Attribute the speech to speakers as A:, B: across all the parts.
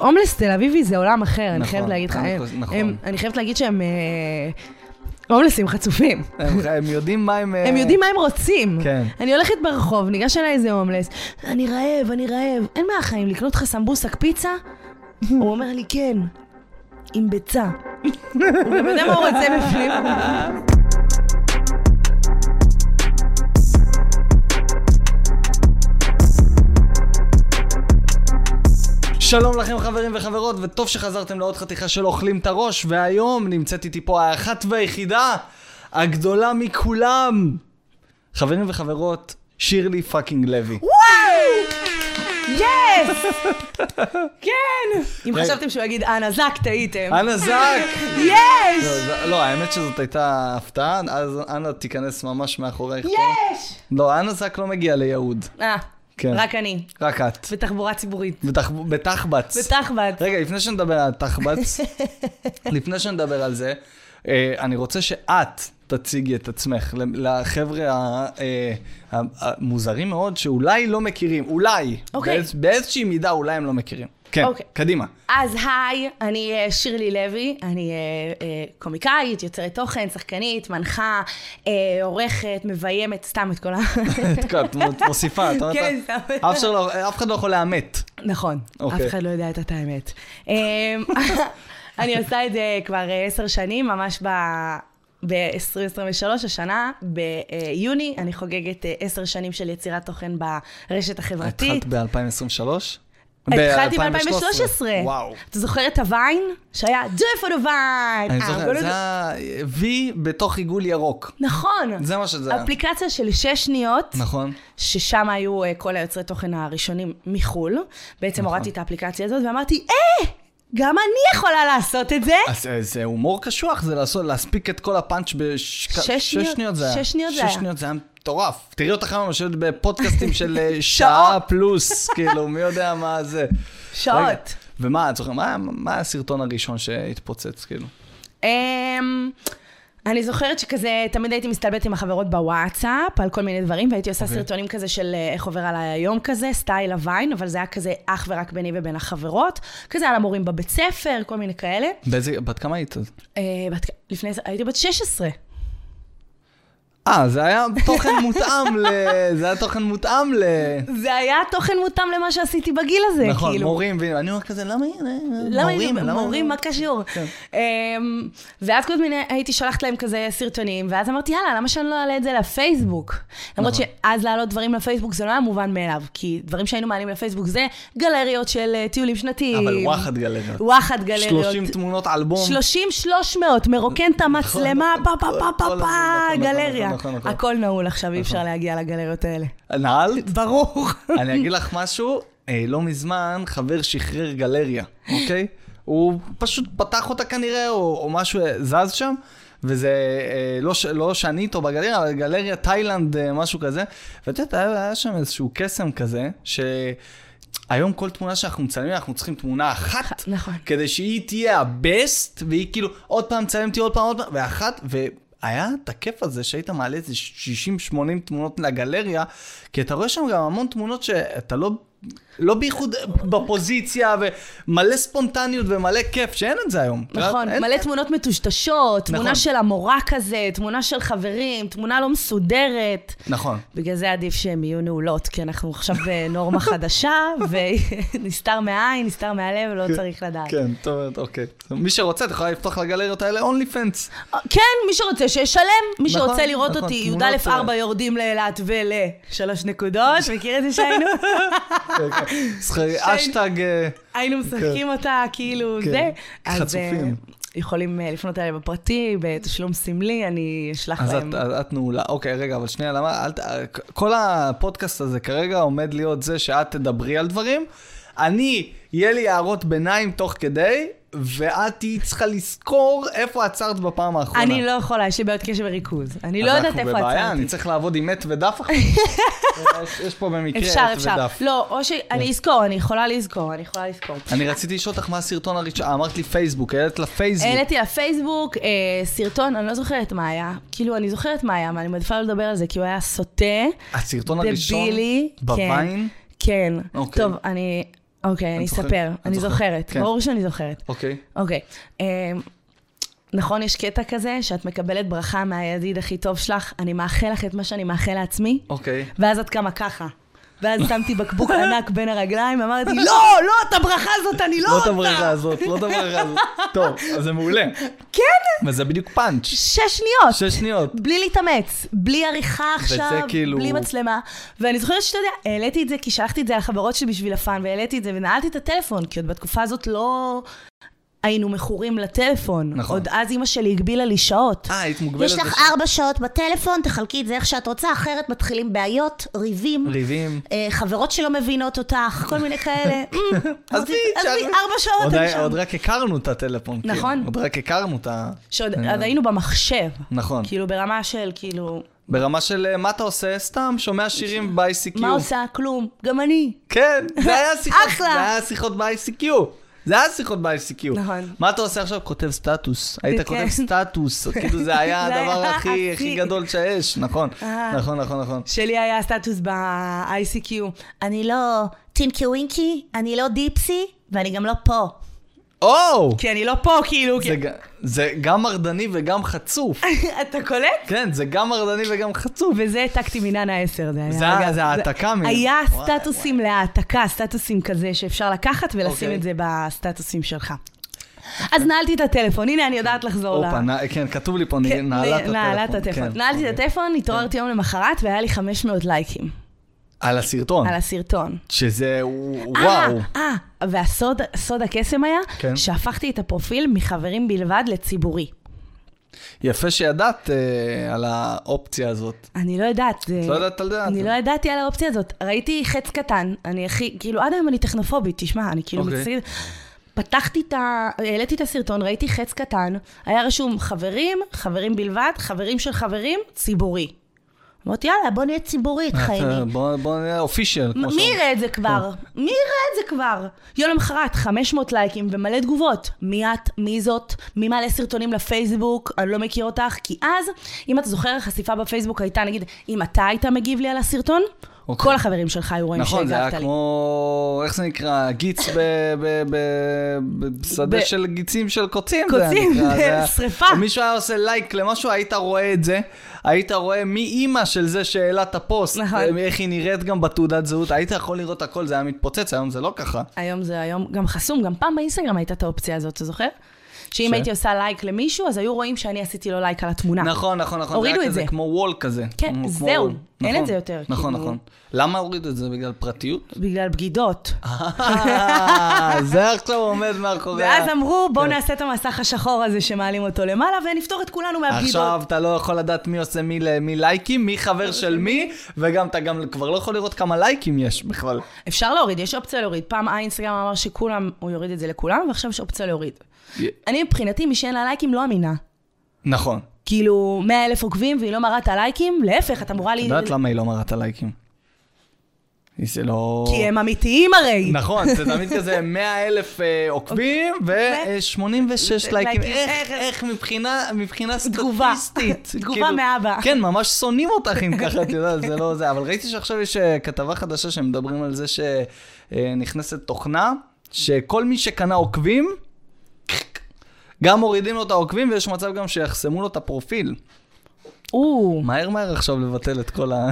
A: הומלס תל אביבי זה עולם אחר, אני
B: נכון,
A: חייבת להגיד לך.
B: נכון,
A: הם-
B: נכון.
A: הם- אני חייבת להגיד שהם אה, הומלסים חצופים.
B: הם- הם יודעים מה הם... אה,
A: הם יודעים מה הם רוצים.
B: כן.
A: אני הולכת ברחוב, ניגש אליי איזה הומלס, אני רעב, אני רעב, אין מהחיים, לקנות לך סמבוסק פיצה? הוא אומר לי, כן, עם ביצה. הוא גם יודע מה הוא רוצה בפנים.
B: שלום לכם חברים וחברות, וטוב שחזרתם לעוד חתיכה של אוכלים את הראש, והיום נמצאת איתי פה האחת והיחידה, הגדולה מכולם. חברים וחברות, שירלי פאקינג לוי.
A: יס! כן! אם חשבתם שהוא יגיד, אנה זק, טעיתם.
B: אנה זק!
A: יש!
B: אה. לא, זה- לא, האמת שזאת הייתה הפתעה, אז אנה תיכנס ממש מאחורייך. פה.
A: יש!
B: לא, אנה זק לא מגיעה ליהוד.
A: אה,
B: כן.
A: רק אני.
B: רק את.
A: בתחבורה ציבורית.
B: בתחב- בתחבץ.
A: בתחבט.
B: רגע, לפני שנדבר על תחבץ, לפני שנדבר על זה, אה, אני רוצה שאת תציגי את עצמך למ- לחבר'ה ה- אה, ה- המוזרים מאוד, שאולי לא מכירים, אולי,
A: אוקיי.
B: באיז- באיזושהי מידה אולי הם לא מכירים. כן,
A: אוקיי.
B: קדימה.
A: אז היי, אני אה, שירלי לוי, אני אה, אה, קומיקאית, יוצרת תוכן, שחקנית, מנחה, אה, עורכת, מביימת, סתם את כל ה...
B: את כל- את מ- מוסיפה, את אומרת,
A: כן, סתם.
B: אף אחד לא- אף אחד לא יכול לאמת.
A: נכון, אף
B: אוקיי.
A: אחד לא יודע את האמת. אה, אני עושה את זה כבר אה, עשר שנים, ממש ב... ב-2023 השנה, ביוני, אני חוגגת אה, עשר שנים של יצירת תוכן ברשת החברתית.
B: התחלת ב-2023?
A: התחלתי ב-2013.
B: וואו.
A: אתה זוכר את הוויין? שהיה do it for the vine.
B: אני
A: אה,
B: זוכר,
A: גולו-
B: זה היה וי בתוך עיגול ירוק.
A: נכון.
B: זה מה שזה היה.
A: אפליקציה של שש שניות.
B: נכון.
A: ששם היו אה, כל היוצרי תוכן הראשונים מחו"ל. בעצם
B: נכון.
A: הורדתי את האפליקציה הזאת ואמרתי, אה, גם אני יכולה לעשות את זה.
B: אז אה, זה הומור קשוח, זה לעשות, להספיק את כל הפאנץ' בשש...
A: שש שניות-
B: זה היה.
A: שש שניות זה
B: שש
A: היה.
B: שניות זה היה מטורף. תראי אותך היום יושבת בפודקאסטים של אה, שעה פלוס, כאילו, מי יודע מה זה. רגע,
A: שעות.
B: ומה, את זוכרת, מה- מה הסרטון הראשון שהתפוצץ, כאילו?
A: אמ, אני זוכרת שכזה, תמיד הייתי מסתלבטת עם החברות בוואטסאפ על כל מיני דברים, והייתי עושה
B: אוקיי.
A: סרטונים כזה של אה, איך עובר עליי היום כזה, סטייל הוויין, אבל זה היה כזה אך ורק ביני ובין החברות, כזה על המורים בבית ספר, כל מיני כאלה.
B: באיזה, בת כמה היית? אז?
A: אה, בת- לפני זה, הייתי בת 16.
B: אה, זה היה תוכן מותאם ל... זה היה תוכן מותאם ל...
A: זה היה תוכן מותאם למה שעשיתי בגיל הזה, כאילו.
B: נכון, מורים, ו- אני אומר כזה, למה,
A: למה
B: מורים,
A: הם-
B: למה-
A: מורים, מה קשור?
B: כן.
A: אמ, ואז כל מיני, הייתי שולחת להם כזה סרטונים, ואז אמרתי, יאללה, למה שאני לא אעלה את זה לפייסבוק? למרות
B: נכון.
A: שאז להעלות דברים לפייסבוק זה לא היה מובן מאליו, כי דברים שהיינו מעלים לפייסבוק זה גלריות של אה, טיולים שנתיים.
B: אבל וואחד גלריות.
A: וואחד גלריות.
B: 30 תמונות אלבום.
A: 30, 300, מרוקן את המצלמה,
B: נכון,
A: פה, פה, פה, פה,
B: נכון,
A: פה,
B: נכון,
A: גלריה.
B: נכון, נכון, נכון.
A: הכל נעול עכשיו, אי אפשר להגיע לגלריות האלה.
B: נעלת?
A: ברור.
B: אני אגיד לך משהו, אה, לא מזמן חבר שחרר גלריה, אוקיי? הוא פשוט פתח אותה כנראה, או, או משהו אה, זז שם, וזה אה, לא, ש- לא שאני איתו בגלריה, אבל גלריה תאילנד, אה, משהו כזה. ואת יודעת, היה, היה שם איזשהו קסם כזה, ש... היום כל תמונה שאנחנו מצלמים, אנחנו צריכים תמונה אחת,
A: נכון.
B: כדי שהיא תהיה הבסט, והיא כאילו, עוד פעם צלם אותי, עוד פעם, עוד פעם, ואחת, והיה את הכיף הזה שהיית מעלה איזה 60-80 תמונות לגלריה, כי אתה רואה שם גם המון תמונות שאתה לא, לא בייחוד בפוזיציה, ומלא ספונטניות ומלא כיף, שאין את זה היום.
A: נכון,
B: אין-
A: מלא תמונות מטושטשות, תמונה
B: נכון.
A: של המורה כזה, תמונה של חברים, תמונה לא מסודרת.
B: נכון.
A: בגלל זה עדיף שהן יהיו נעולות, כי אנחנו עכשיו בנורמה חדשה, ונסתר מהעין, נסתר מהלב, לא צריך לדעת.
B: כן, טוב, אוקיי. מי שרוצה, את יכולה לפתוח לגלריות האלה אונלי פנס.
A: כן, מי שרוצה שישלם, מי
B: נכון,
A: שרוצה לראות
B: נכון,
A: אותי,
B: תמונות,
A: י"א 4 יורדים לאילת ולשלוש נקודות, מכיר את זה שהיינו
B: כן. אשטג... אה,
A: היינו משחקים אותה, כאילו
B: כן,
A: זה? אז,
B: חצופים.
A: אה, יכולים אה, לפנות אליי בפרטי, בתשלום סמלי, אני אשלח
B: אז
A: להם.
B: את, אז את נעולה. אוקיי, רגע, אבל שנייה, למה? אל, ת- כל הפודקאסט הזה כרגע עומד להיות זה שאת תדברי על דברים. אני, יהיה לי הערות ביניים תוך כדי, ואת תהיי צריכה לזכור איפה עצרת בפעם האחרונה.
A: אני לא יכולה, יש לי בעיות קשב וריכוז. אני לא
B: אז
A: יודעת
B: אנחנו
A: איפה
B: בבעיה,
A: עצרתי.
B: אני צריך לעבוד עם עט ודף עכשיו. יש- יש פה במקרה עט ודף. כן.
A: אפשר, אפשר. לא, או ש... אני אזכור, אני יכולה לזכור, אני יכולה לזכור.
B: אני רציתי לשאול אותך מה הסרטון הראשון, אה, אמרת לי פייסבוק, העלית לפייסבוק.
A: העליתי לפייסבוק אה, סרטון, אני לא זוכרת מה היה. כאילו, אני זוכרת מה היה, אבל אני מעדיפה לא לדבר על זה, כי הוא היה סוטה,
B: הסרטון הראשון?
A: דבילי. כן.
B: בוויין?
A: כן.
B: אוקיי.
A: טוב, אני... אוקיי, אני
B: זוכרת.
A: אספר.
B: את
A: אני
B: זוכרת.
A: זוכרת.
B: כן.
A: ברור שאני זוכרת.
B: אוקיי.
A: אוקיי. אה, נכון, יש קטע כזה שאת מקבלת ברכה מהידיד הכי טוב שלך, אני מאחל לך את מה שאני מאחל לעצמי,
B: אוקיי.
A: ואז את קמה ככה. ואז שמתי בקבוק ענק בין הרגליים, אמרתי, לא, לא, את הברכה הזאת אני לא
B: לא את
A: רוצה.
B: הבריכה הזאת, לא את הבריכה הזאת. טוב, אז זה מעולה.
A: כן,
B: וזה בדיוק פאנץ'.
A: שש שניות.
B: שש שניות.
A: בלי להתאמץ, בלי עריכה עכשיו,
B: כאילו-
A: בלי מצלמה. ואני זוכרת שאתה יודע, העליתי את זה כי שלחתי את זה לחברות שלי בשביל הפאן, והעליתי את זה ונעלתי את הטלפון, כי עוד בתקופה הזאת לא היינו מכורים לטלפון.
B: נכון.
A: עוד אז אימא שלי הגבילה לי שעות.
B: אה, היית מוגבלת.
C: יש לך
B: בש-
C: ארבע שעות בטלפון, תחלקי את זה איך שאת רוצה, אחרת מתחילים בעיות, ריבים.
B: ריבים.
C: אה, חברות שלא מבינות אותך, כל מיני כאלה. אמ, אמרתי,
B: שעל-
C: עזבי, ארבע שעות
B: עוד
C: אני
B: היה-
C: שם.
B: עוד רק הכרנו את הטלפון. כן.
A: נכון.
B: עוד רק הכרנו את ה...
A: שעוד עוד היינו במחשב.
B: אה. נכון.
A: כאילו ברמה של, כאילו,
B: ברמה של אה, מה אתה עושה? סתם, שומע שירים ב-ICQ.
A: מה עושה? כלום. גם אני.
B: כן, זה היה שיחות,
A: אחלה.
B: זה היה שיחות ב-ICQ. זה היה שיחות ב-ICQ.
A: נכון.
B: מה אתה עושה עכשיו? כותב סטטוס. היית
A: כן.
B: כותב סטטוס, כאילו זה היה
A: זה
B: הדבר
A: היה
B: הכי הכי
A: הכי.
B: גדול שיש, נכון. נכון, נכון, נכון.
A: שלי היה סטטוס ב-ICQ.
C: אני לא טינקי ווינקי, אני לא דיפסי, ואני גם לא פה.
B: או!
A: כי אני לא פה, כאילו, כי-
B: זה ג- זה גם מרדני וגם חצוף.
A: אתה קולט?
B: כן, זה גם מרדני וגם חצוף.
A: וזה העתקתי מננה 10, זה היה...
B: זה ה-
A: רגע-
B: זה העתקה מ-
A: היה
B: וואי,
A: סטטוסים להעתקה, סטטוסים כזה שאפשר לקחת ולשים
B: אוקיי.
A: את זה בסטטוסים שלך. אז נעלתי את הטלפון, הנה אני יודעת לחזור ל...
B: הופה, נע- כן, כתוב לי פה, נ-
A: כן,
B: נעלת הטלפון.
A: נעלת הטלפון.
B: כן,
A: נעלתי את
B: אוקיי.
A: הטלפון, התעוררתי יום למחרת והיה לי 500 לייקים
B: על הסרטון.
A: על הסרטון.
B: שזה אה. וואו.
A: אה, אה, והסוד סוד הקסם היה
B: כן.
A: שהפכתי את הפרופיל מחברים בלבד לציבורי.
B: יפה שידעת אה, על האופציה הזאת.
A: אני לא יודעת. זה-
B: לא יודעת על זה?
A: אני לא ידעתי על האופציה הזאת. ראיתי חץ קטן, אני הכי, כאילו, עד היום אני טכנופובית, תשמע, אני כאילו
B: אוקיי.
A: מצטערת. פתחתי את ה... העליתי את הסרטון, ראיתי חץ קטן, היה רשום חברים, חברים בלבד, חברים של חברים, ציבורי. אמרתי, יאללה, בוא נהיה ציבורית, חיים.
B: אה, בוא בוא נראה אופישל, כמו
A: מי
B: שאומרים. כן.
A: יראה את זה כבר? מי יראה את זה כבר? יום למחרת, 500 לייקים ומלא תגובות. מי את? מי זאת? מי מעלה סרטונים לפייסבוק? אני לא מכיר אותך. כי אז, אם אתה זוכר, החשיפה בפייסבוק הייתה, נגיד, אם אתה היית מגיב לי על הסרטון,
B: אוקיי.
A: כל החברים שלך היו רואים
B: נכון, זה
A: שהגבת
B: היה
A: לי.
B: כמו, איך זה נקרא, גיץ ב- ב- ב- בשדה
A: ב-
B: של גיצים של קוצים. זה היה
A: קוצים,
B: נקרא, זה היה-
A: שריפה.
B: אם מישהו היה עושה לייק למשהו, היית רואה את זה, היית רואה מי אימא של זה שהעלה את הפוסט, אה,
A: נכון.
B: איך היא נראית גם בתעודת זהות, היית יכול לראות הכל, זה היה מתפוצץ, היום זה לא ככה.
A: היום זה היום גם חסום, גם פעם באינסטגרם הייתה את האופציה הזאת, אתה זוכר? שאם
B: ש-
A: הייתי עושה לייק למישהו, אז היו רואים שאני עשיתי לו לייק על התמונה.
B: נכון, נכון, נכון.
A: הורידו
B: זה היה
A: את
B: כזה
A: זה.
B: כמו וול כזה.
A: כן,
B: כמו-
A: זהו,
B: כמו wall.
A: אין
B: נכון,
A: את זה יותר,
B: נכון,
A: כאילו.
B: נכון. למה הורידו את זה? בגלל פרטיות?
A: בגלל בגידות.
B: אה, זה עכשיו עומד מאחורי ה-
A: ואז אמרו, בואו
B: כן.
A: נעשה את המסך השחור הזה שמעלים אותו למעלה, ונפתור את כולנו מהבגידות.
B: עכשיו אתה לא יכול לדעת מי עושה מי למי לייקים, מי חבר של מי, וגם אתה גם כבר לא יכול לראות כמה לייקים יש בכלל.
A: אפשר להוריד, יש אופציה להוריד. פעם האינסטגרם אמר שכולם, הוא יוריד את זה לכולם, ועכשיו יש אופציה להוריד.
B: י-
A: אני מבחינתי, מי שאין לה לייקים לא אמינה.
B: נכון.
A: כאילו, 100 אלף עוקבים והיא לא מראה את הלייקים, להפך, את אמורה
B: את
A: לי...
B: יודעת למה היא לא מראה את הלייקים? היא זה לא...
A: כי הם אמיתיים הרי.
B: נכון, זה תמיד כזה 100 אלף אה, עוקבים ו-86 לייקים.
A: לייקים.
B: איך, איך מבחינה, מבחינה
A: תגובה.
B: סטטיסטית.
A: תגובה
B: כאילו,
A: מאבא.
B: כן, ממש שונאים אותך אם ככה, את יודעת, זה לא זה. אבל ראיתי שעכשיו יש אה, כתבה חדשה שמדברים על זה שנכנסת תוכנה, שכל מי שקנה עוקבים, גם מורידים לו את העוקבים, ויש מצב גם שיחסמו לו את הפרופיל.
A: או,
B: מהר מהר עכשיו לבטל את כל ה...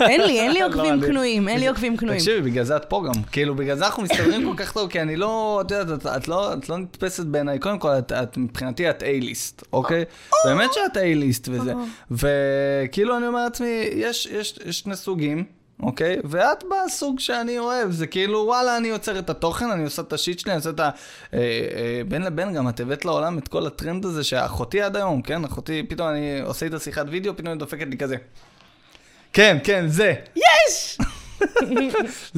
A: אין לי, אין לי
B: לא
A: עוקבים
B: מעניין.
A: קנויים, אין לי עוקבים קנויים.
B: תקשיבי, בגלל זה את פה גם. כאילו, בגלל זה אנחנו מסתדרים כל כך טוב, כי אני לא, את יודעת, את- את לא- את לא נתפסת בעיניי. קודם כל, את- את- מבחינתי את A-ליסט, אוקיי? באמת שאת A-ליסט וזה. וכאילו, אני אומר לעצמי, יש יש- יש שני סוגים. אוקיי? ואת בסוג שאני אוהב, זה כאילו, וואלה, אני יוצר את התוכן, אני עושה את השיט שלי, אני עושה את ה... אה, אה, בין לבין גם את הבאת לעולם את כל הטרנד הזה שאחותי עד היום, כן? אחותי, פתאום אני עושה איתה שיחת וידאו, פתאום היא דופקת לי כזה. כן, כן, זה.
A: יש!
B: אז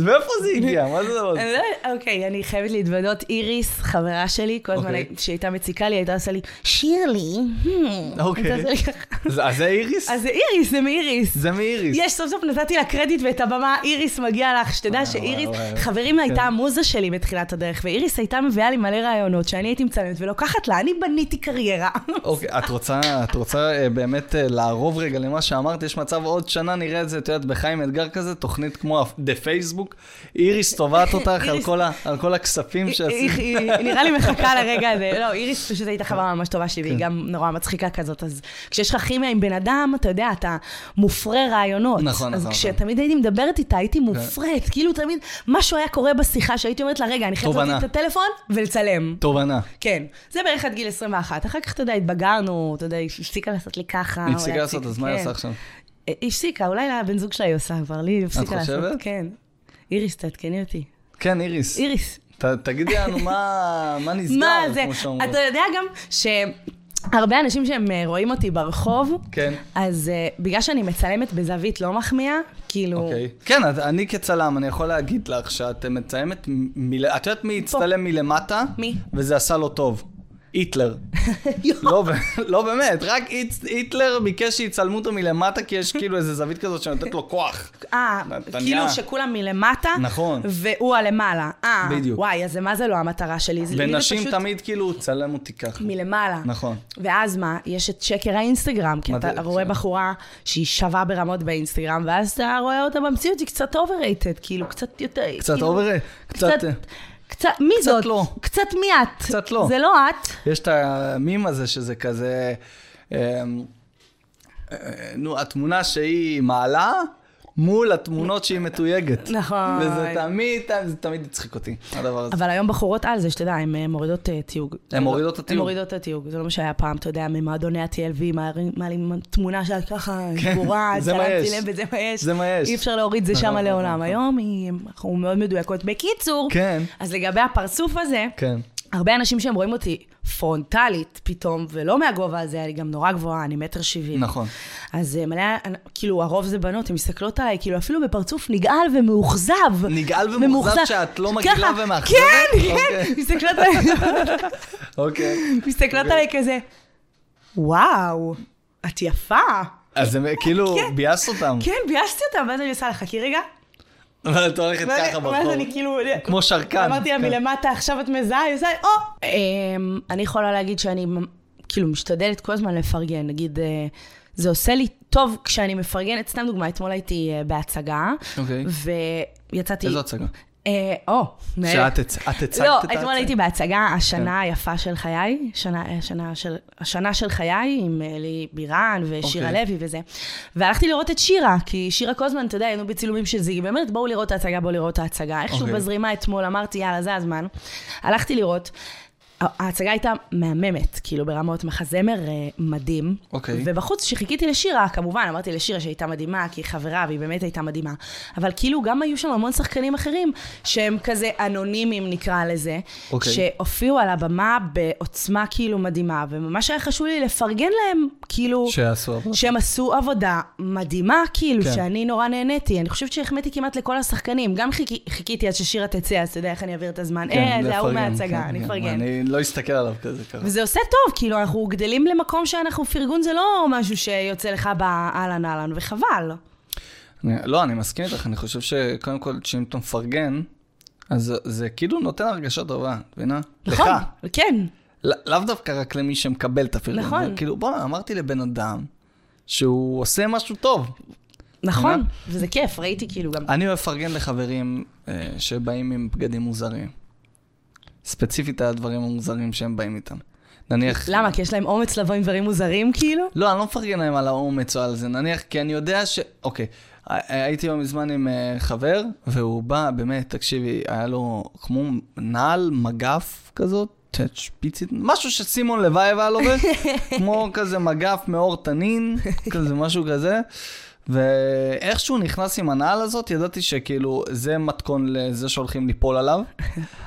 B: מאיפה זה הגיע? מה זה הדבר הזה?
A: אני לא יודעת, אוקיי, אני חייבת להתוודות. איריס, חברה שלי, כל הזמן
B: אוקיי.
A: שהייתה מציקה לי, הייתה עושה לי... hmm, "ש-"
C: שירלי, "הם,
A: הייתה
B: אוקיי.
A: עושה לי ככה.
B: אז אז זה איריס?
A: אז זה איריס, זה מאיריס.
B: זה מאיריס.
A: יש, סוף סוף נתתי לה קרדיט ואת הבמה, איריס מגיע לך, שתדע שאיריס,
B: וואי, וואי.
A: חברים הייתה
B: כן.
A: המוזה שלי בתחילת הדרך, ואיריס הייתה מביאה לי מלא רעיונות שאני הייתי מצלמת ולוקחת לה, אני בניתי קריירה.
B: אוקיי, את רוצה, את רוצה אה, באמת אה, לערוב רגע למה שאמרת? יש מצב עוד שנה נראה את זה, את יודעת, בחיים אתגר כזה, תוכנית כמו כמו דה פייסבוק. איריס תובעת אותך על כל ה- על כל הכספים
A: היא-
B: שעשית.
A: היא היא נראה לי מחכה לרגע הזה. לא, איריס פשוט הייתה חברה ממש טובה שלי,
B: כן.
A: והיא גם נורא מצחיקה כזאת. אז כשיש לך כימיה עם בן אדם, אתה יודע, אתה מופרה רעיונות.
B: נכון,
A: אז
B: נכון, כן.
A: כשתמיד הייתי מדברת איתה, הייתי מופרית. כאילו תמיד משהו היה קורה בשיחה, שהייתי אומרת לה, רגע, אני חייבת
B: תובנה.
A: להוציא את הטלפון ולצלם.
B: תובנה.
A: כן, זה בערך עד גיל 21. אחר כך, אתה יודע, התבגרנו, אתה יודע, היא הפסיקה לעשות לי ככה.
B: היא
A: אולי
B: הפסיקה לעשות, אז מה היא
A: כן.
B: עושה עכשיו?
A: אה, היא הפסיקה, אולי לבן זוג שלה היא עושה כבר, לי היא הפסיקה לעשות.
B: חושבת?
A: כן. איריס, תעדכני אותי.
B: כן, איריס.
A: איריס,
B: ת- תגידי לנו מה מה נסגר,
A: מה זה?
B: כמו שאומרים.
A: אתה יודע גם שהרבה אנשים שהם אה, רואים אותי ברחוב,
B: כן.
A: אז אה, בגלל שאני מצלמת בזווית לא מחמיאה, כאילו...
B: אוקיי. כן, אז אני כצלם, אני יכול להגיד לך שאת מציימת מ... את יודעת מי הצטלם מלמטה?
A: מי?
B: וזה עשה לו טוב. היטלר. לא, ב- לא באמת, רק היט- היטלר ביקש שיצלמו אותו מלמטה, כי יש כאילו איזה זווית כזאת שנותנת לו כוח.
A: אה,
B: נתניה.
A: כאילו שכולם מלמטה,
B: נכון.
A: והוא הלמעלה. אה,
B: בדיוק.
A: וואי, אז זה מה זה לא המטרה שלי? זה- לי זה
B: ונשים
A: פשוט
B: תמיד כאילו, צלם אותי ככה.
A: מלמעלה.
B: נכון.
A: ואז מה? יש את שקר האינסטגרם, כי אתה
B: מדהים,
A: רואה
B: כן.
A: בחורה שהיא שווה ברמות באינסטגרם, ואז אתה רואה אותה במציאות, היא קצת overrated, כאילו, קצת יותר...
B: קצת
A: כאילו,
B: אובר...
A: קצת...
B: קצת...
A: קצת, מי
B: קצת
A: זאת?
B: לא.
A: קצת מי את?
B: קצת לא.
A: זה לא את.
B: יש את המים הזה שזה כזה... אמ, אה, נו, התמונה שהיא מעלה מול התמונות שהיא מתויגת.
A: נכון.
B: וזה תמיד, זה תמיד הצחיק אותי, הדבר הזה.
A: אבל היום בחורות על זה, שתדע, הן אה, מורידות אה, תיוג.
B: הן מורידות את
A: הן
B: התיוג.
A: מורידות את התיוג. זה לא מה שהיה פעם, אתה יודע, ממועדוני ה-TLV, מעלים- מעלים תמונה שאת ככה גבורה,
B: כן, זה מה
A: צלמתי
B: יש.
A: לב וזה מה יש.
B: זה מה יש.
A: אי אפשר להוריד זה שמה
B: נכון,
A: לעולם.
B: נכון.
A: היום היא- אנחנו מאוד מדויקות. בקיצור,
B: כן.
A: אז לגבי הפרצוף הזה,
B: כן.
A: הרבה אנשים שהם רואים אותי פרונטלית פתאום, ולא מהגובה הזה, אני גם נורא גבוהה, אני מטר שבעים.
B: נכון.
A: אז אה, מלא, אה, כאילו, הרוב זה בנות, הן מסתכלות עליי, כאילו, אפילו בפרצוף נגעל ומאוכזב.
B: נגעל ומאוכזב שאת לא מגעילה
A: ככה,
B: ומאכזבת?
A: כן, כן,
B: אוקיי.
A: מסתכלות עליי-
B: אוקיי.
A: מסתכלות עליי כזה, וואו, את יפה.
B: אז הם כאילו ביאס אותם.
A: כן, ביאסתי אותה, ואז אני עושה לך, חכי רגע.
B: אבל את הולכת
A: ואז-
B: ככה
A: ואז
B: ברחוב.
A: אני כאילו...
B: כמו שרקן.
A: אמרתי לה
B: כן.
A: מלמטה, עכשיו את מזהה, היא עושה, או! אמ, אני יכולה להגיד שאני ממ- כאילו משתדלת כל הזמן לפרגן, נגיד... אה, זה עושה לי טוב כשאני מפרגנת, סתם דוגמה, אתמול הייתי אה, בהצגה,
B: אוקיי.
A: ויצאתי...
B: איזו הצגה?
A: אה, או, נהלך.
B: שאת הצ- את הצגת
A: לא,
B: את כן. ההצגה?
A: אתמול הייתי בהצגה, השנה היפה של חיי, שנה, אה, שנה של, השנה של חיי עם אלי בירן ושירה
B: אוקיי.
A: לוי וזה. והלכתי לראות את שירה, כי שירה כל הזמן, אתה יודע, היינו בצילומים של זיגי, באמת, בואו לראות את ההצגה, בואו לראות את ההצגה. איכשהו
B: אוקיי.
A: בזרימה אתמול אמרתי, יאללה, זה הזמן. הלכתי לראות. ה- ההצגה הייתה מהממת, כאילו ברמות מחזמר אה, מדהים.
B: אוקיי.
A: ובחוץ, כשחיכיתי לשירה, כמובן, אמרתי לשירה שהייתה מדהימה, כי היא חברה, והיא באמת הייתה מדהימה. אבל כאילו, גם היו שם המון שחקנים אחרים, שהם כזה אנונימיים, נקרא לזה,
B: אוקיי.
A: שהופיעו על הבמה בעוצמה כאילו מדהימה, וממש היה חשוב לי לפרגן להם, כאילו...
B: שעשו עבודה.
A: שהם עשו עבודה מדהימה, כאילו,
B: כן.
A: כן. שאני נורא נהניתי. אני חושבת שהחמאתי כמעט לכל השחקנים. גם חיכי, חיכיתי עד ששירה תצא, אז אתה יודע איך אני אעביר את הזמן.
B: כן,
A: אה, זה ההוא
B: לפרגן,
A: מההצגה,
B: כן,
A: אני
B: כן.
A: אפרגן.
B: אני לא אסתכל עליו כזה ככה.
A: וזה עושה טוב, כאילו, אנחנו גדלים למקום שאנחנו, פרגון זה לא משהו שיוצא לך באהלן אהלן, וחבל.
B: אני- לא, אני מסכים איתך, אני חושב שקודם כל, שאם אתה מפרגן, אז זה כאילו נותן הרגשה טובה, את מבינה?
A: נכון?
B: לך.
A: כן.
B: לא- לאו דווקא רק למי שמקבל את הפרגון.
A: נכון.
B: זה כאילו, בוא'נה, אמרתי לבן אדם שהוא עושה משהו טוב.
A: נכון,
B: מבינה?
A: וזה כיף, ראיתי כאילו גם...
B: אני אוהב לפרגן לחברים אה, שבאים עם בגדים מוזרים. ספציפית הדברים המוזרים שהם באים איתם. נניח...
A: למה? כי יש להם אומץ לבוא עם דברים מוזרים, כאילו?
B: לא, אני לא מפרגן להם על האומץ או על זה, נניח, כי אני יודע ש... אוקיי, ה- הייתי לא מזמן עם אה, חבר, והוא בא, באמת, תקשיבי, היה לו כמו נעל מגף כזאת, ש- שפיצית, משהו שסימון לוייב היה לובש, כמו כזה מגף מאור תנין, כזה משהו כזה. ואיך שהוא נכנס עם הנעל הזאת, ידעתי שכאילו זה מתכון לזה שהולכים ליפול עליו.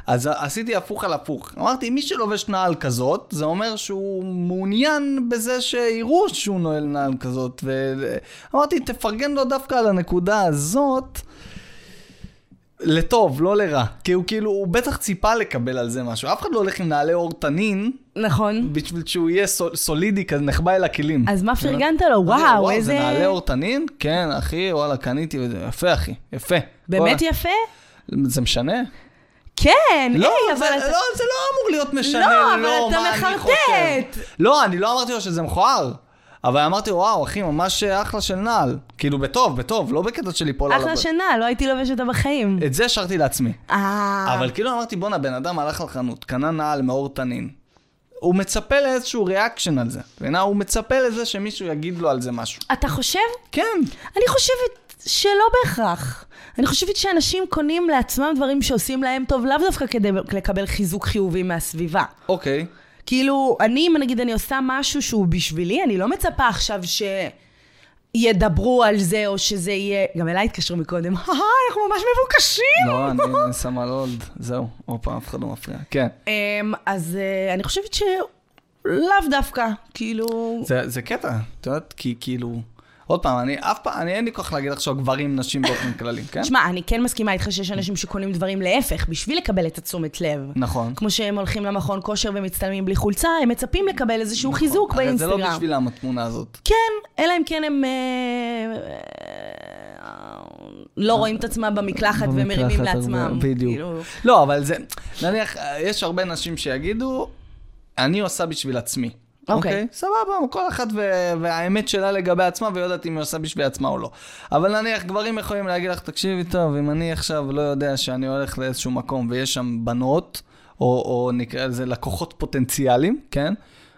B: אז עשיתי הפוך על הפוך. אמרתי, מי שלובש נעל כזאת, זה אומר שהוא מעוניין בזה שיראו שהוא נועל נעל כזאת. ואמרתי, תפרגן לו דווקא על הנקודה הזאת. לטוב, לא לרע. כי הוא כאילו, הוא בטח ציפה לקבל על זה משהו. אף אחד לא הולך עם נעלי עור תנין
A: נכון.
B: בשביל שהוא יהיה סול, סולידי כזה, נחבא אל הכלים.
A: אז מה פרגנת לו?
B: אמרתי לו,
A: וואו, איזה...
B: לא- זה נעלי עור תנין? כן, אחי, וואלה, קניתי. וזה- יפה, אחי, יפה.
A: באמת
B: וואלה.
A: יפה?
B: זה משנה?
A: כן,
B: לא,
A: היי,
B: זה,
A: אבל אתה...
B: לא, זה לא אמור להיות משנה,
A: לא,
B: לא,
A: אבל אתה
B: מה אני
A: מחרטט.
B: חושב. לא, אני לא אמרתי לו שזה מכוער. אבל אמרתי, וואו, אחי, ממש אחלה של נעל. כאילו, בטוב, בטוב, לא בקטע של ליפול עליו.
A: אחלה שינה, לא הייתי לובש אותה בחיים.
B: את זה שרתי לעצמי.
A: אה,
B: אבל כאילו אמרתי, בואנה, בן אדם הלך לחנות, קנה נעל מאור תנין. הוא מצפה לאיזשהו ריאקשן על זה. בעיניי, הוא מצפה לזה שמישהו יגיד לו על זה משהו.
A: אתה חושב?
B: כן.
A: אני חושבת שלא בהכרח. אני חושבת שאנשים קונים לעצמם דברים שעושים להם טוב, לאו דווקא כדי לקבל חיזוק חיובי מהסביבה.
B: אוקיי.
A: כאילו, אני, אם נגיד אני עושה משהו שהוא בשבילי, אני לא מצפה עכשיו ש... ידברו על זה, או שזה יהיה... גם אליי התקשרו מקודם, "אה, אנחנו ממש מבוקשים!
B: לא, אני סמל הולד, זהו. עוד פעם, אף אחד לא מפריע. כן.
A: אמ, אז אה, אני חושבת שלאו דווקא, כאילו...
B: זה, זה קטע, את יודעת, כי כאילו... עוד פעם, אני אף פעם, אני אין לי כוח להגיד עכשיו גברים, נשים באופן כללי, כן?
A: תשמע, אני כן מסכימה איתך שיש אנשים שקונים דברים להפך, בשביל לקבל את התשומת לב.
B: נכון.
A: כמו שהם הולכים למכון כושר ומצטלמים בלי חולצה, הם מצפים לקבל איזשהו
B: נכון.
A: חיזוק
B: הרי זה
A: באינסטגרם.
B: לא בשבילם התמונה הזאת.
A: כן, אלא אם כן הם אה, אה, לא רואים את עצמם במקלחת ומרימים
B: במקלחת,
A: לעצמם.
B: בדיוק.
A: כאילו,
B: לא, אבל זה, נניח, אה, יש הרבה נשים שיגידו, אני עושה בשביל עצמי.
A: אוקיי.
B: סבבה, כל אחת ו- והאמת שלה לגבי עצמה, והיא יודעת אם היא עושה בשביל עצמה או לא. אבל נניח, גברים יכולים להגיד לך, תקשיבי טוב, אם אני עכשיו לא יודע שאני הולך לאיזשהו מקום ויש שם בנות, או, או נקרא לזה לקוחות פוטנציאליים, כן?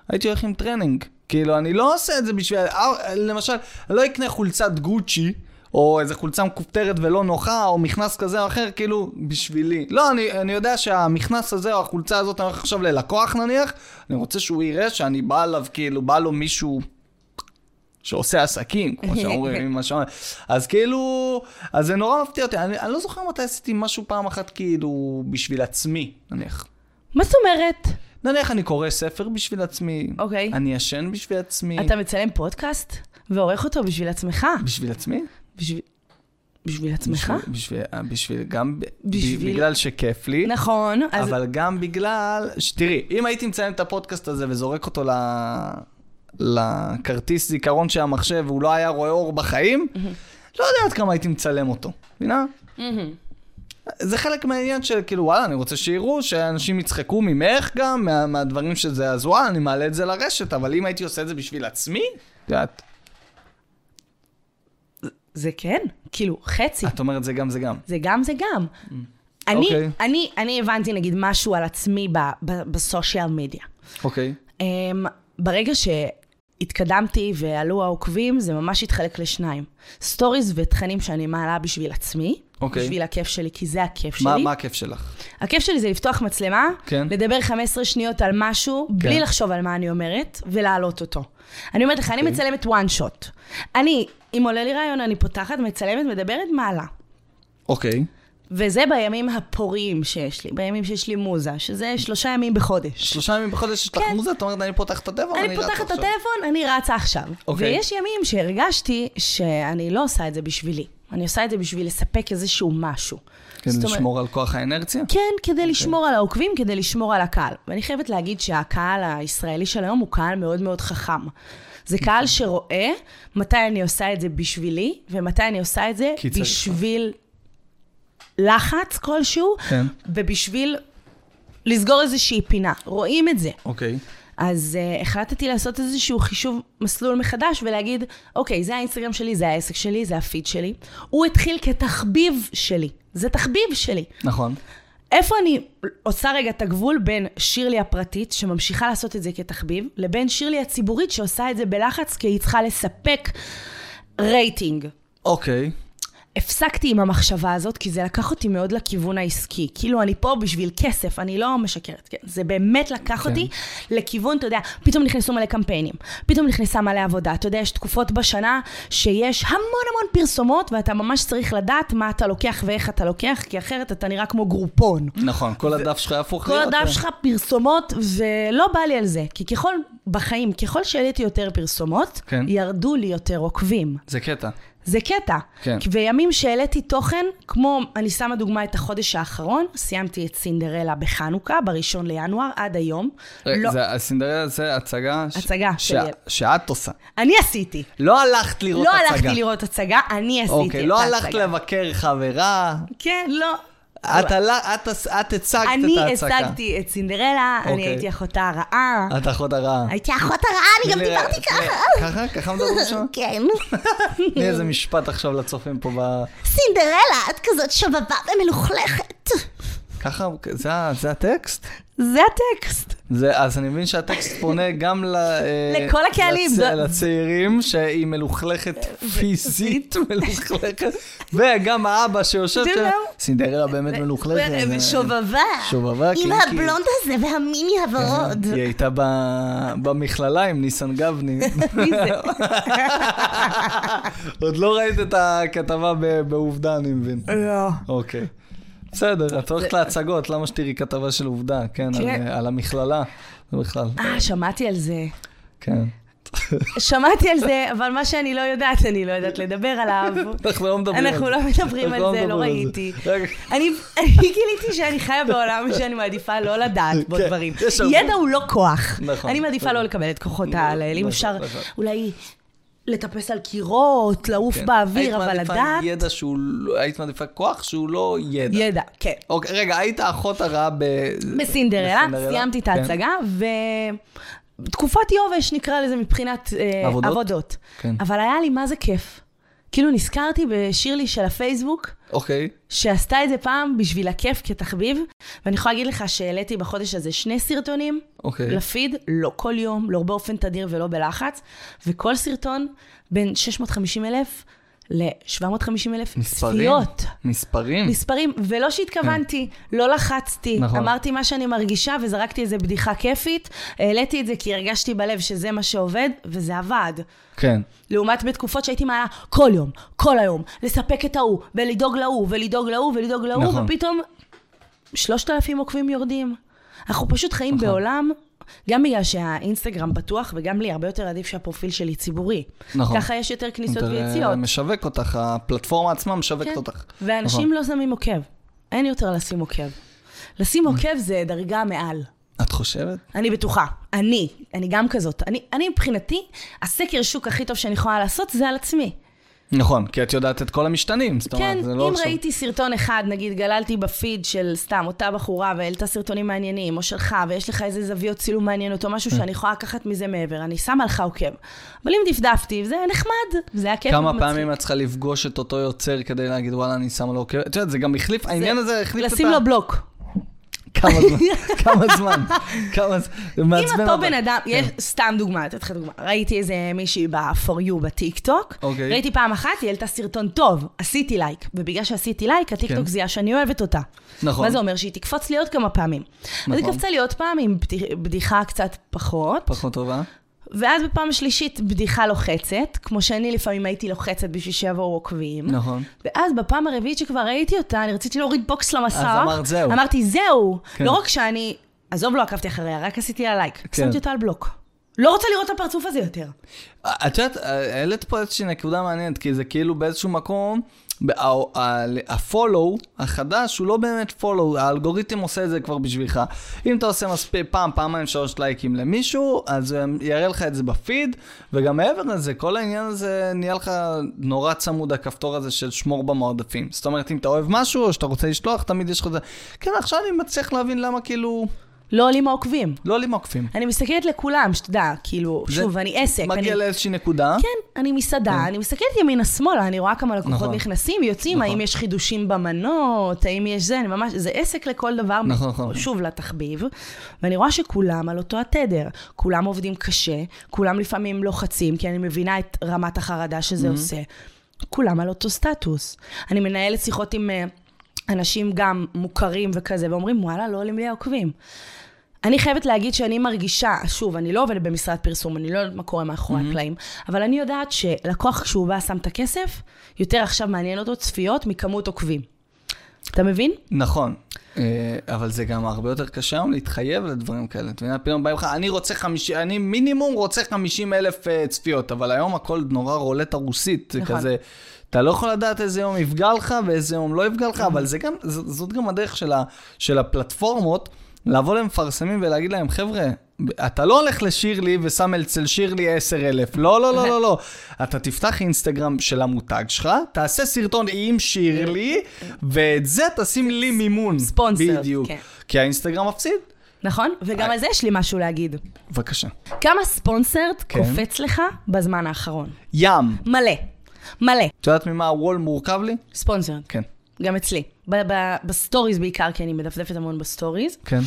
B: הייתי הולך עם טרנינג. כאילו, אני לא עושה את זה בשביל... אה, למשל, אני לא אקנה חולצת גוצ'י, או איזה חולצה מכופתרת ולא נוחה, או מכנס כזה או אחר, כאילו, בשבילי. לא, אני, אני יודע שהמכנס הזה או החולצה הזאת, אני הולך עכשיו ללקוח נניח, אני רוצה שהוא יראה שאני בא אליו, כאילו, בא לו מישהו שעושה עסקים, כמו שאומרים, עם מה שאומרים. אז כאילו, אז זה נורא מפתיע אותי. אני, אני לא זוכר מתי עשיתי משהו פעם אחת, כאילו, בשביל עצמי, נניח.
A: מה זאת אומרת?
B: נניח אני קורא ספר בשביל עצמי,
A: אוקיי.
B: אני ישן בשביל עצמי.
A: אתה מצלם פודקאסט ועורך אותו בשביל עצמך.
B: בשביל עצמי?
A: בשביל- בשביל עצמך?
B: בשביל, בשביל, אה, בשביל, גם ב-
A: בשביל-
B: בשביל... בגלל שכיף לי.
A: נכון, אז
B: אבל גם בגלל, ש- תראי, אם הייתי מציין את הפודקאסט הזה וזורק אותו ל... לכרטיס זיכרון של המחשב והוא לא היה רואה אור בחיים, לא יודע עד כמה הייתי מצלם אותו, מבינה?
A: Mm-hmm.
B: זה חלק מהעניין של כאילו, וואלה, אני רוצה שיראו, שאנשים יצחקו ממך גם, מה, מהדברים שזה, אז וואלה, אני מעלה את זה לרשת, אבל אם הייתי עושה את זה בשביל עצמי, את יודעת,
A: זה כן, כאילו, חצי.
B: את אומרת זה גם זה גם.
A: זה גם זה גם. אני,
B: אה. אוקיי.
A: אני, אני הבנתי נגיד משהו על עצמי ב- ב- בסושיאל מדיה.
B: אוקיי.
A: Um, ברגע שהתקדמתי ועלו העוקבים, זה ממש התחלק לשניים. סטוריז ותכנים שאני מעלה בשביל עצמי,
B: אוקיי.
A: בשביל הכיף שלי, כי זה הכיף
B: מה,
A: שלי.
B: מה הכיף שלך?
A: הכיף שלי זה לפתוח מצלמה,
B: כן.
A: לדבר 15 שניות על משהו, כן. בלי לחשוב על מה אני אומרת, ולהעלות אותו. אני אומרת לך, אני
B: אוקיי.
A: מצלמת one shot. אני, אם עולה לי רעיון, אני פותחת, מצלמת, מדברת, מעלה.
B: אוקיי.
A: וזה בימים הפוריים שיש לי, בימים שיש לי מוזה, שזה שלושה ימים בחודש.
B: שלושה ימים בחודש יש לך
A: כן.
B: מוזה, את אומרת, אני פותחת את הטבע,
A: אני פותחת את הטלפון, אני רצה עכשיו.
B: אוקיי.
A: ויש ימים שהרגשתי שאני לא עושה את זה בשבילי. אני עושה את זה בשביל לספק איזשהו משהו.
B: כן,
A: זאת אומרת-
B: לשמור על כוח האנרציה?
A: כן,
B: אוקיי.
A: כדי לשמור על העוקבים, כדי לשמור על הקהל. ואני חייבת להגיד שהקהל הישראלי של היום הוא קהל מאוד מאוד חכם. זה
B: נכון.
A: קהל שרואה מתי אני עושה את זה בשבילי, ומתי אני עושה את זה
B: כי צריך.
A: בשביל לחץ כלשהו,
B: כן.
A: ובשביל לסגור איזושהי פינה. רואים את זה.
B: אוקיי.
A: אז uh, החלטתי לעשות איזשהו חישוב מסלול מחדש ולהגיד, אוקיי, זה האינסטגרם שלי, זה העסק שלי, זה הפיד שלי. הוא התחיל כתחביב שלי. זה תחביב שלי.
B: נכון.
A: איפה אני עושה רגע את הגבול בין שירלי הפרטית, שממשיכה לעשות את זה כתחביב, לבין שירלי הציבורית שעושה את זה בלחץ כי היא צריכה לספק רייטינג.
B: אוקיי.
A: הפסקתי עם המחשבה הזאת, כי זה לקח אותי מאוד לכיוון העסקי. כאילו, אני פה בשביל כסף, אני לא משקרת, כן? זה באמת לקח
B: כן.
A: אותי לכיוון, אתה יודע, פתאום נכנסו מלא קמפיינים, פתאום נכנסה מלא עבודה. אתה יודע, יש תקופות בשנה שיש המון המון פרסומות, ואתה ממש צריך לדעת מה אתה לוקח ואיך אתה לוקח, כי אחרת אתה נראה כמו גרופון.
B: נכון, כל הדף שלך היה הפוך
A: כל
B: להיות,
A: הדף
B: אה,
A: שלך פרסומות, ולא בא לי על זה. כי ככל, בחיים, ככל שהעליתי יותר פרסומות,
B: כן.
A: ירדו לי יותר עוקבים.
B: זה קטע.
A: זה קטע.
B: כן.
A: וימים שהעליתי תוכן, כמו, אני שמה דוגמה את החודש האחרון, סיימתי את סינדרלה בחנוכה, בראשון לינואר, עד היום.
B: רגע,
A: לא,
B: זה- הסינדרלה זה הצגה... ש-
A: הצגה
B: ש-
A: של-
B: שאת עושה.
A: אני עשיתי.
B: לא הלכת לראות
A: לא
B: הצגה. לא
A: הלכתי לראות הצגה, אני עשיתי את
B: אוקיי, לא
A: ההצגה.
B: הלכת לבקר חברה.
A: כן, לא.
B: את עלה- את עש- את הצגת את ההצגה.
A: אני השגתי את סינדרלה, אני
B: אוקיי. אה.
A: הייתי אחותה רעה.
B: את אחות הרעה.
C: הייתי אחות הרעה, אני גם
B: תני לי-
C: דיברתי
B: תני-
C: ככה.
B: ככה? ככה מדברים שם?
C: כן.
B: תני איזה משפט עכשיו לצופים פה ב...
C: סינדרלה, את כזאת שבבה ומלוכלכת.
B: ככה? זה ה- זה הטקסט?
A: זה הטקסט.
B: זה, אז אני מבין שהטקסט פונה גם ל, אה,
A: לכל הקהלים,
B: לצ...
A: זה-
B: לצעירים שהיא מלוכלכת פיזית, מלוכלכת, וגם האבא שיושב
A: זה
B: שם,
A: לא.
B: סינדרלה באמת מלוכלכת. אה,
C: שובבה.
B: שובבה, כן,
C: עם
B: קינקית.
C: הבלונד הזה והמיני הוורוד.
B: היא הייתה ב... במכללה עם ניסן גבני.
A: מי זה?
B: עוד לא ראית את הכתבה ב... בעובדה, אני מבין.
A: לא.
B: אוקיי. בסדר, את הולכת להצגות, למה שתראי כתבה של עובדה, כן, על,
A: כן.
B: על המכללה, זה בכלל,
A: אה, שמעתי על זה.
B: כן.
A: אה. שמעתי על זה, אבל מה שאני לא יודעת, אני לא יודעת לדבר עליו.
B: אנחנו לא מדברים על זה.
A: אנחנו לא מדברים
B: אנחנו
A: על זה, לא
B: מדברים על
A: ראיתי.
B: רגע,
A: אני אני גיליתי שאני חיה בעולם שאני מעדיפה לא לדעת בו
B: כן,
A: דברים.
B: יש הרבה.
A: ידע הוא לא כוח.
B: נכון.
A: אני מעדיפה לא לקבל את כוחות העל האלה. אם
B: נכון,
A: אפשר
B: נכון.
A: אולי לטפס על קירות, לעוף
B: כן.
A: באוויר, אבל
B: היית
A: לדעת...
B: מעדיפה ידע שהוא, לא- היית מעדיפה כוח שהוא לא ידע.
A: ידע, כן.
B: אוקיי, רגע, היית האחות הרעה ב...
A: בסינדרלה,
B: בסינדרלה?
A: סיימתי את
B: כן.
A: ההצגה, ותקופת יובש נקרא לזה מבחינת אה,
B: עבודות?
A: עבודות.
B: כן.
A: אבל היה לי מה זה כיף. כאילו נזכרתי בשירלי של הפייסבוק,
B: אוקיי,
A: שעשתה את זה פעם בשביל הכיף כתחביב, ואני יכולה להגיד לך שהעליתי בחודש הזה שני סרטונים
B: אוקיי.
A: לפיד, לא כל יום, לא באופן תדיר ולא בלחץ, וכל סרטון בין 650 אלף ל-750 אלף
B: מספרים?
A: צפיות.
B: מספרים?
A: מספרים, ולא שהתכוונתי, לא לחצתי.
B: כן. נכון.
A: אמרתי מה שאני מרגישה וזרקתי איזה בדיחה כיפית. העליתי את זה כי הרגשתי בלב שזה מה שעובד, וזה עבד.
B: כן.
A: לעומת בתקופות שהייתי מעלה כל יום, כל היום, לספק את ההוא, ולדאוג להוא, ולדאוג להוא, ולדאג להוא,
B: נכון.
A: ופתאום 3,000 עוקבים יורדים. אנחנו פשוט חיים
B: נכון.
A: בעולם, גם בגלל שהאינסטגרם פתוח, וגם לי הרבה יותר עדיף שהפרופיל שלי ציבורי.
B: נכון.
A: ככה יש יותר כניסות
B: אתה
A: ויציאות.
B: משווק אותך, הפלטפורמה עצמה משווקת
A: כן.
B: אותך.
A: ואנשים
B: נכון.
A: לא שמים עוקב. אין יותר לשים עוקב. לשים עוקב זה דרגה מעל.
B: את חושבת?
A: אני בטוחה. אני, אני גם כזאת. אני, אני מבחינתי, הסקר שוק הכי טוב שאני יכולה לעשות זה על עצמי.
B: נכון, כי את יודעת את כל המשתנים, זאת
A: כן,
B: אומרת, זה לא
A: אם
B: עכשיו...
A: ראיתי סרטון אחד, נגיד גללתי בפיד של סתם אותה בחורה והעלתה סרטונים מעניינים, או שלך, ויש לך איזה זוויות צילום מעניינות, או
B: אה.
A: משהו שאני יכולה לקחת מזה מעבר, אני שמה לך עוקב. אבל אם דפדפתי, זה נחמד, זה היה כיף.
B: כמה
A: ומצחיק.
B: פעמים את צריכה לפגוש את אותו יוצר כדי להגיד, וואלה, אני שמה לו עוקב? את יודעת, זה גם החליף, העניין הזה החליף את ה...
A: לשים לו בלוק.
B: כמה זמן? כמה זמן? כמה זמן? זה
A: אם
B: מעצבן כן.
A: אותו
B: אבל.
A: בן אדם, יש, סתם דוגמא, אתן לך דוגמא. ראיתי איזה מישהי ב-for you בטיקטוק,
B: אוקיי.
A: ראיתי פעם אחת, היא העלתה סרטון טוב, עשיתי לייק, ובגלל שעשיתי לייק,
B: כן.
A: הטיקטוק זיהה שאני אוהבת אותה.
B: נכון.
A: מה זה אומר? שהיא תקפוץ לי עוד כמה פעמים. אז היא
B: נכון.
A: קפצה לי עוד פעם עם בדיח- בדיחה קצת פחות,
B: פחות טובה.
A: ואז בפעם השלישית בדיחה לוחצת, כמו שאני לפעמים הייתי לוחצת בשביל שיבואו עוקבים.
B: נכון.
A: ואז בפעם הרביעית שכבר ראיתי אותה, אני רציתי להוריד בוקס למסך.
B: אז אמרת, "זהו".
A: אמרתי, זהו.
B: כן.
A: לא רק שאני, עזוב, לא עקבתי אחריה, רק עשיתי לה לייק.
B: כן.
A: שמתי אותה על בלוק. לא רוצה לראות את הפרצוף הזה יותר.
B: את יודעת, העלית פה איזושהי נקודה מעניינת, כי זה כאילו באיזשהו מקום, ה- ה- הפולו החדש הוא לא באמת פולו, האלגוריתם עושה את זה כבר בשבילך. אם אתה עושה מספיק פעם, פעמיים, שלוש לייקים למישהו, אז הוא יראה לך את זה בפיד, וגם מעבר לזה, כל העניין הזה נהיה לך נורא צמוד, הכפתור הזה של שמור במועדפים. זאת אומרת, אם אתה אוהב משהו, או שאתה רוצה לשלוח, תמיד יש לך את זה. כן, עכשיו אני מצליח להבין למה כאילו,
A: לא עולים העוקבים.
B: לא עולים עוקפים.
A: אני מסתכלת לכולם, שתדע, כאילו,
B: זה
A: שוב, אני עסק.
B: מגיע
A: אני-
B: לאיזושהי נקודה.
A: כן, אני מסעדה, אני מסתכלת ימינה שמאלה, אני רואה כמה לקוחות
B: נכון.
A: נכנסים, יוצאים, האם יש חידושים במנות, האם יש זה, אני ממש, זה עסק לכל דבר,
B: נכון, נכון.
A: שוב לתחביב, ואני רואה שכולם על אותו התדר, כולם עובדים קשה, כולם לפעמים לוחצים, כי אני מבינה את רמת החרדה שזה
B: Mm-hmm.
A: עושה, כולם על אותו סטטוס. אני מנהלת שיחות עם אה, אנשים גם מוכרים וכזה, ואומרים, וואלה, לא עולים לי העוקבים. אני חייבת להגיד שאני מרגישה, שוב, אני לא עובדת במשרד פרסום, אני לא יודעת מה קורה
B: Mm-hmm.
A: מאחורי הקלעים, אבל אני יודעת שלקוח כשהוא בא, שם את הכסף, יותר עכשיו מעניין אותו צפיות מכמות עוקבים. אתה מבין?
B: נכון, אה, אבל זה גם הרבה יותר קשה היום להתחייב לדברים כאלה. את מבינה, פתאום באים לך, אני רוצה חמישים, אני מינימום רוצה חמישים אלף אה, צפיות, אבל היום הכל נורא רולטה רוסית, זה
A: נכון.
B: כזה, אתה לא יכול לדעת איזה יום יפגע לך ואיזה יום לא יפגע לך,
A: כן.
B: אבל זה גם, ז- זאת גם הדרך של, ה, של הפלטפורמות, לבוא למפרסמים ולהגיד להם, חבר'ה, אתה לא הולך לשירלי ושם אצל שירלי 10,000. לא, לא, לא, לא, לא. אתה תפתח אינסטגרם של המותג שלך, תעשה סרטון עם שירלי, ואת זה תשים לי מימון.
A: Sponsored,
B: בדיוק.
A: כן.
B: כי האינסטגרם מפסיד.
A: נכון?
B: אה,
A: וגם על זה יש לי משהו להגיד.
B: בבקשה.
A: כמה ספונסרד
B: כן.
A: קופץ לך בזמן האחרון?
B: ים.
A: מלא. מלא.
B: את יודעת ממה הוול מורכב לי?
A: ספונסרד.
B: כן.
A: גם אצלי. ב- ב- בסטוריז בעיקר, כי אני מדפדפת המון בסטוריז,
B: כן.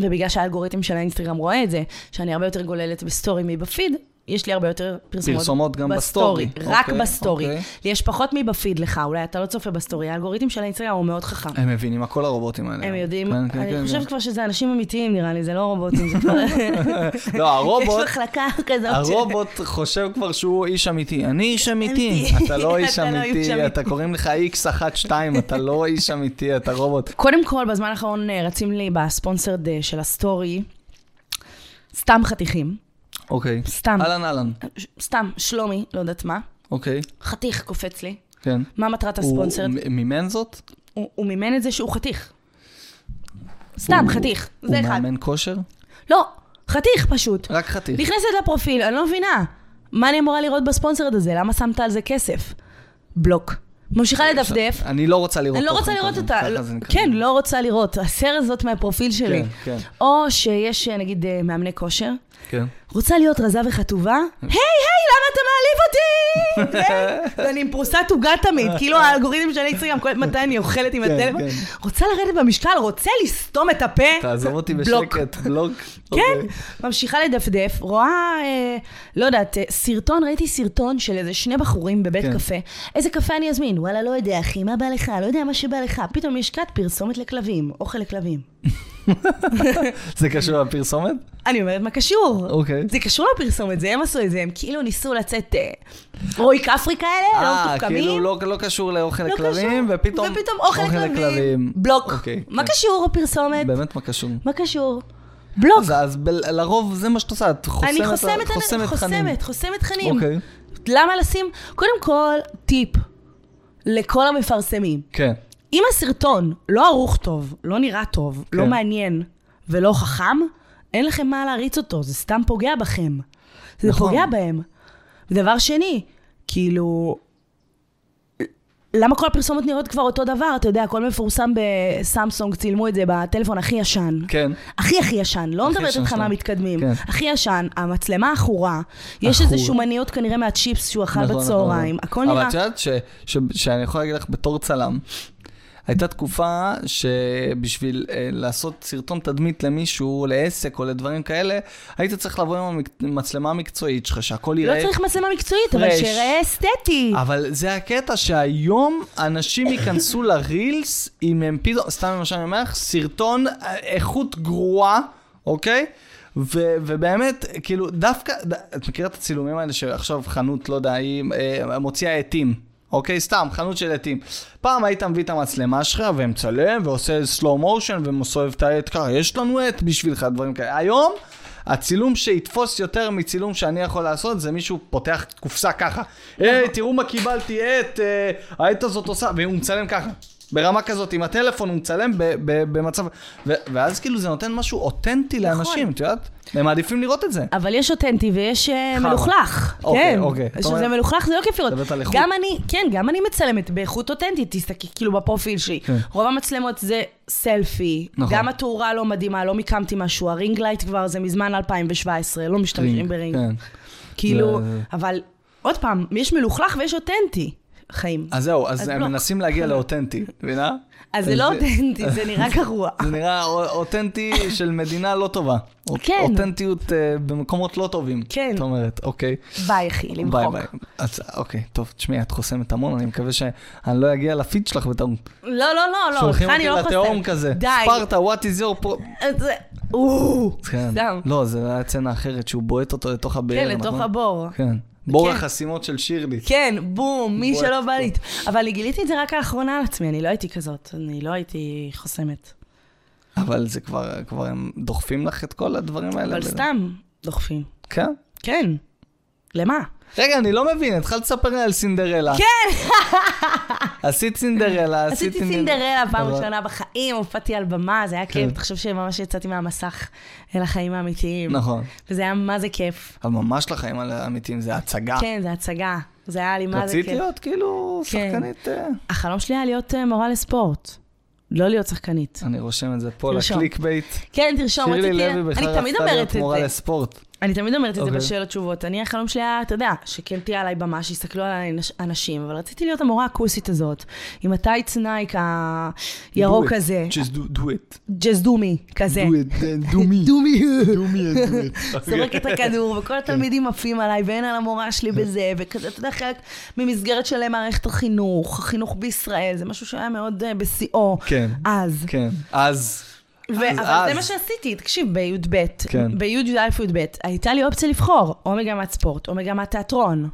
A: ובגלל שהאלגוריתם של האינסטגרם רואה את זה, שאני הרבה יותר גוללת בסטורי מבפיד, יש לי הרבה יותר פרסומות.
B: פרסומות גם בסטורי.
A: רק
B: אוקיי,
A: בסטורי.
B: אוקיי.
A: לי יש פחות מבפיד לך, אולי אתה לא צופה בסטורי. האלגוריתם של האינסטגרם הוא מאוד חכם.
B: הם מבינים הכל הרובוטים האלה.
A: הם יודעים,
B: אה, כן, כן,
A: אני
B: כן,
A: חושבת
B: כן.
A: כבר שזה אנשים אמיתיים נראה לי, זה לא רובוטים, זה כבר...
B: לא, הרובוט,
C: יש מחלקה כזאת.
A: אוקיי.
C: ש-
B: הרובוט חושב כבר שהוא איש אמיתי. אני איש אמיתי.
C: אמיתי.
B: אתה לא איש
A: אתה לא איש
B: אמיתי,
A: אמיתי.
B: אתה קוראים לך X12, אתה לא איש אמיתי, אתה רובוט.
A: קודם כל, בזמן האחרון אה, רצים לי בספונסרד אה, של הסטורי, סתם חתיכים.
B: אוקיי.
A: סתם.
B: אהלן אהלן.
A: ש- סתם, שלומי, לא יודעת מה.
B: אוקיי,
A: חתיך קופץ לי.
B: כן.
A: מה מטרת
B: הוא-
A: הספונסרד?
B: הוא מ- מימן זאת?
A: הוא הוא מימן את זה שהוא חתיך. סתם, חתיך. זה
B: הוא
A: אחד.
B: מאמן כושר?
A: לא, חתיך פשוט.
B: רק חתיך.
A: נכנסת לפרופיל, אני לא מבינה. מה אני אמורה לראות בספונסרד הזה? למה שמת על זה כסף? בלוק. ממשיכה לדפדף.
B: אני לא רוצה לראות
A: אני לא
B: תוכן
A: רוצה לראות
B: כזה,
A: אותה.
B: ככה
A: לא-
B: זה נקרא.
A: כן, לא רוצה לראות. הסר זאת מהפרופיל שלי.
B: כן, כן.
A: או שיש, אה, נגיד, אה, מאמני כושר.
B: כן.
A: רוצה להיות רזה וחטובה? היי, היי, למה אתה מעליב אותי? כן, ואני עם פרוסת עוגה תמיד, כאילו האלגוריתם של האינסטגרם קולט מתי אני אוכלת עם
B: כן,
A: הטלפון.
B: כן.
A: רוצה לרדת במשקל, רוצה לסתום את הפה?
B: תעזוב אותי
A: בלוק.
B: בשקט, בלוק.
A: כן,
B: אוקיי.
A: ממשיכה לדפדף, רואה, אה, לא יודעת, אה, סרטון, ראיתי סרטון של איזה שני בחורים בבית
B: כן.
A: קפה. איזה קפה אני אזמין? וואלה, לא יודע, אחי, מה בא לך? לא יודע מה שבא לך. פתאום יש כת פרסומת לכלבים, אוכל לכלבים.
B: אוקיי. זה קשור לפרסומת?
A: אני אומרת, מה קשור?
B: אוקיי.
A: זה קשור לפרסומת, זה הם עשו את זה, הם כאילו ניסו לצאת אה, רוי כפרי כאלה, לא
B: אה,
A: מתוחכמים.
B: כאילו לא לא קשור לאוכל
A: לא
B: לכלבים,
A: קשור.
B: ופתאום...
A: ופתאום אוכל לכלבים. בלוק.
B: אוקיי,
A: מה
B: כן.
A: קשור הפרסומת?
B: באמת, מה קשור?
A: מה קשור? בלוק.
B: אז- אז ב- לרוב זה מה שאת עושה, את חוסמת
A: אני חוסמת,
B: חוסמת תכנים.
A: חוסמת, חוסמת תכנים.
B: אוקיי,
A: למה לשים? קודם כל, טיפ לכל המפרסמים.
B: כן.
A: אם הסרטון לא ערוך טוב, לא נראה טוב,
B: כן.
A: לא מעניין ולא חכם, אין לכם מה להריץ אותו, זה סתם פוגע בכם. זה
B: נכון.
A: פוגע בהם. ודבר שני, כאילו... למה כל הפרסומות נראות כבר אותו דבר? אתה יודע, הכל מפורסם בסמסונג, צילמו את זה בטלפון הכי ישן.
B: כן.
A: הכי הכי ישן, לא
B: הכי
A: מדברת
B: ישן
A: איתך
B: שלהם.
A: מהמתקדמים.
B: כן.
A: הכי ישן, המצלמה עכורה, יש
B: עכור.
A: איזה שומניות כנראה מהצ'יפס שהוא אכל
B: נכון,
A: בצהריים,
B: נכון.
A: הכל נראה...
B: אבל את יודעת ש- ש- שאני יכול להגיד לך בתור צלם, הייתה תקופה שבשביל אה, לעשות סרטון תדמית למישהו, לעסק או לדברים כאלה, היית צריך לבוא עם המק- מצלמה המקצועית שלך, שהכל
A: לא
B: ייראה...
A: צריך מצלמה מקצועית, אבל
B: פרש.
A: שיראה אסתטי.
B: אבל זה הקטע שהיום אנשים ייכנסו לרילס אם הם פתאום, סתם למשל אני אומר לך, סרטון אה, איכות גרועה, אוקיי? ו- ובאמת, כאילו, דווקא, ד- את מכירה את הצילומים האלה שעכשיו חנות, לא יודע, היא אה, מוציאה עטים, אוקיי? סתם, חנות של עטים. פעם היית מביא את המצלמה שלך ומצלם ועושה slow motion ומסובב את העט ככה, יש לנו עט בשבילך, דברים כאלה. היום... הצילום שיתפוס יותר מצילום שאני יכול לעשות זה מישהו פותח קופסה ככה.
A: נכון."
B: היי, תראו מה קיבלתי, עט, אה, העט הזאת עושה, והוא מצלם ככה. ברמה כזאת, עם הטלפון הוא מצלם ב- ב- במצב... ו- ואז כאילו זה נותן משהו אותנטי
A: נכון.
B: לאנשים, את יודעת? הם מעדיפים לראות את זה.
A: אבל יש אותנטי ויש אה,
B: חרא.
A: מלוכלך.
B: אוקיי,
A: כן.
B: אוקיי. זאת
A: שזה
B: אומרת-
A: מלוכלך זה לא כיף לראות.
B: מדברת על איכות.
A: גם אני, כן, גם אני מצלמת באיכות אותנטית, תסתכלי כאילו בפרופיל שלי.
B: כן.
A: רוב המצלמות זה סלפי,
B: נכון.
A: גם התאורה לא מדהימה, לא מיקמתי משהו, הרינג לייט כבר זה מזמן 2017, לא משתמשים ברינג.
B: כן.
A: כאילו,
B: זה-
A: אבל עוד פעם, יש מלוכלך ויש אותנטי חיים.
B: אז זהו, אז
A: אז לא.
B: הם
A: בלוק.
B: מנסים להגיע לאותנטי, מבינה?
A: אז זה לא אותנטי, זה נראה גרוע.
B: זה נראה א- אותנטי של מדינה לא טובה. אות-
A: כן.
B: אותנטיות אה, במקומות לא טובים.
A: כן.
B: את אומרת, אוקיי.
A: ביי, אחי,
B: ביי
A: למחוק.
B: ביי. אז אוקיי, טוב, תשמעי, את חוסמת המון, אני מקווה שאני לא אגיע לפיד שלך בטעות.
A: לא, לא, לא, לא, אותך
B: שולחים
A: אני
B: אותי
A: לא חוסמת.
B: לתהום כזה.
A: די.
B: ספרטה, what is your pro...
A: אז זה- או,
B: כן.
A: סתם.
B: לא, זה היה צנה אחרת, שהוא בועט אותו לתוך הבאר,
A: כן,
B: נכון?
A: לתוך הבור.
B: כן. בור
A: כן.
B: החסימות של שירלי.
A: כן, בום, מי
B: בוא,
A: שלא
B: בוא.
A: בא לי. אבל אני גיליתי את זה רק לאחרונה על עצמי, אני לא הייתי כזאת, אני לא הייתי חוסמת.
B: לא, אבל זה כבר, כבר לא, הם דוחפים לך את כל הדברים האלה.
A: אבל
B: ו-
A: סתם דוחפים.
B: כן?
A: כן. למה?
B: רגע, אני לא מבין, התחלת לספר לי על סינדרלה.
A: כן,
B: עשית סינדרלה, עשית...
A: עשיתי סינדרלה פעם
B: אבל-
A: ראשונה בחיים, הופעתי על במה, זה היה
B: כן.
A: כיף, תחשוב שממש יצאתי מהמסך אל החיים האמיתיים.
B: נכון.
A: וזה היה מה זה כיף.
B: אבל ממש לחיים האמיתיים, זה הצגה.
A: כן, זה הצגה. זה היה לי מה זה
B: רצית
A: כיף.
B: להיות כאילו
A: כן.
B: שחקנית... אה,
A: החלום שלי היה להיות אה, מורה לספורט, לא להיות שחקנית.
B: אני רושם את זה פה
A: תרשום.
B: לקליק בייט.
A: כן, תרשום,
B: שירלי
A: רציתי...
B: לוי בכלל
A: אני תמיד
B: רצתה
A: אומרת את
B: להיות מורה
A: זה.
B: לספורט.
A: אני תמיד אומרת את זה
B: אוקיי.
A: בשאלות תשובות. אני, החלום שלי היה, אתה יודע, שכן תהיה עליי במה, שיסתכלו עליי אנש- אנשים, אבל רציתי להיות המורה הכוסית הזאת, עם הטייץ נייק הירוק
B: Do it.
A: הזה,
B: Just do, do it.
A: just do me כזה.
B: Do it, then do me.
A: do me. לא
B: do me and do it.
A: זורק את הכדור,
B: כן.
A: וכל התלמידים עפים עליי, ואין על המורה שלי בזה, וכזה, אתה יודע, חלק ממסגרת של מערכת החינוך, החינוך בישראל, זה משהו שהיה מאוד אה, בשיאו.
B: כן.
A: אז.
B: כן. אז...
A: ו-
B: אז-
A: אבל זה
B: אז.
A: מה שעשיתי, תקשיב, בי"ב,
B: כן.
A: בי"א י"ב, הייתה לי אופציה לבחור, או מגמת ספורט, או מגמת תיאטרון,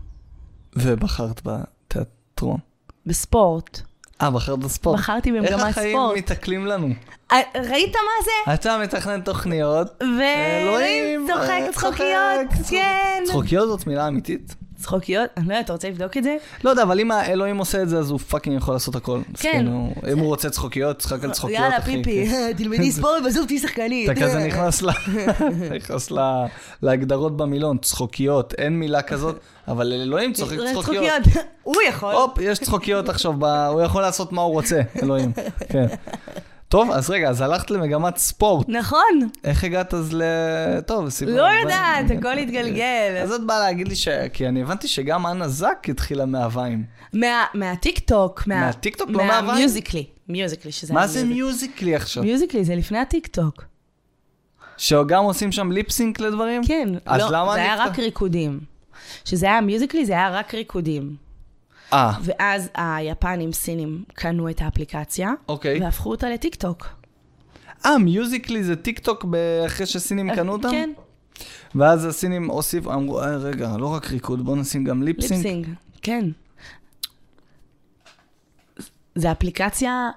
B: ובחרת בתיאטרון.
A: בספורט.
B: אה, בחרת בספורט.
A: בחרתי במגמת
B: איך החיים
A: ספורט.
B: מתעכלים לנו?
A: אה, ראית מה זה?
B: אתה מתכנן תוכניות.
A: כן.
B: אלוהים,
A: ואלוהים, צוחק
B: אה,
A: צחוקיות,
B: צוחק, צוחק.
A: כן.
B: צחוקיות זאת מילה אמיתית?
A: צחוקיות? אני לא יודעת, אתה רוצה לבדוק את זה?
B: לא יודע, אבל אם האלוהים עושה את זה, אז הוא פאקינג יכול לעשות הכל. מסכן, הוא- אם הוא רוצה צחוקיות, צחק על צחוקיות,
A: כן. יאללה,
B: אחי,
A: פיפי,
B: כן.
A: תלמדי ספורט, בסוף תהיי שחקנית.
B: אתה כזה נכנס ל... נכנס ל- להגדרות במילון, צחוקיות, אין מילה כזאת, אבל אלוהים צוחק צחוקיות.
A: אה, הוא יכול.
B: הופ, יש צחוקיות עכשיו, ב- הוא יכול לעשות מה הוא רוצה, אלוהים. כן. טוב, אז רגע, אז הלכת למגמת ספורט.
A: נכון,
B: איך הגעת אז ל... טוב, סיפור.
A: לא יודעת, הכל התגלגל.
B: אז את באה להגיד לי ש... כי אני הבנתי שגם אנה זק התחילה מהוויים.
A: מה- מהטיקטוק, מה-
B: מהטיקטוק, לא מהוואי?
A: מהמיוזיקלי, מיוזיקלי, שזה
B: מה
A: היה
B: זה
A: מיוזיקלי.
B: מיוזיקלי עכשיו?
A: מיוזיקלי זה לפני הטיקטוק.
B: שגם עושים שם ליפסינק לדברים?
A: כן,
B: אז
A: לא,
B: למה
A: זה
B: אני
A: היה
B: צריך-
A: רק ריקודים. שזה היה מיוזיקלי, זה היה רק ריקודים.
B: אה,
A: ואז היפנים, סינים, קנו את האפליקציה,
B: אוקיי.
A: והפכו אותה לטיקטוק.
B: אה, מיוזיקלי זה טיק טוק ב- אחרי שהסינים קנו אותם?
A: כן,
B: ואז הסינים הוסיפו, אמרו, "אה, רגע, לא רק ריקוד, בואו נשים גם ליפסינק.
A: ליפסינג, כן. זה אפליקציה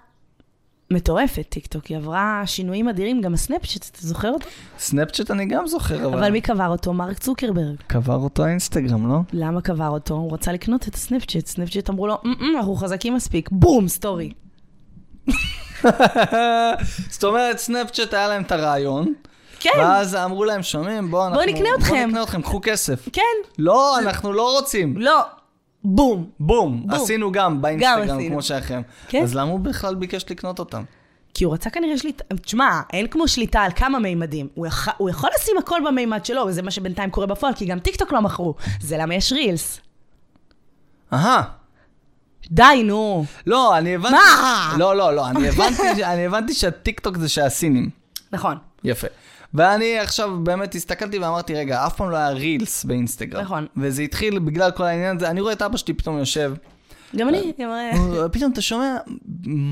A: מטורפת, טיקטוק. היא עברה שינויים אדירים, גם הסנאפצ'ט, אתה זוכר אותו?
B: סנאפצ'אט אני גם זוכר, אבל...
A: אבל מי קבר אותו? מרק צוקרברג.
B: קבר אותו אינסטגרם, לא?
A: למה קבר אותו? הוא רצה לקנות את הסנאפצ'ט. סנאפצ'ט אמרו לו, "מ-מ, אנחנו חזקים מספיק. בום, סטורי.
B: זאת אומרת, סנאפצ'אט היה להם את הרעיון,
A: כן,
B: ואז אמרו להם, שומעים, בואו אנחנו...
A: נקנה אתכם."
B: בואו נקנה אתכם, קחו כסף.
A: כן,
B: לא, אנחנו לא רוצים.
A: לא, בום.
B: בום,
A: בום.
B: עשינו גם באינסטגרם,
A: עשינו.
B: כמו שלכם.
A: כן.
B: אז למה הוא בכלל ביקש לקנות אותם?
A: כי הוא רצה כנראה שליטה, תשמע, אין כמו שליטה על כמה מימדים. הוא, יח... הוא יכול לשים הכל במימד שלו, וזה מה שבינתיים קורה בפועל, כי גם טיקטוק לא מכרו. זה למה יש רילס.
B: אהה.
A: די, נו.
B: לא, אני הבנתי...
A: מה?
B: לא, לא, לא, אני הבנתי, ש- אני הבנתי שהטיקטוק זה של הסינים.
A: נכון,
B: יפה. ואני עכשיו באמת הסתכלתי ואמרתי, רגע, אף פעם לא היה רילס באינסטגרם.
A: נכון.
B: וזה התחיל בגלל כל העניין הזה, אני רואה את אבא שלי פתאום יושב,
A: גם אני, גם
B: הוא- פתאום אתה שומע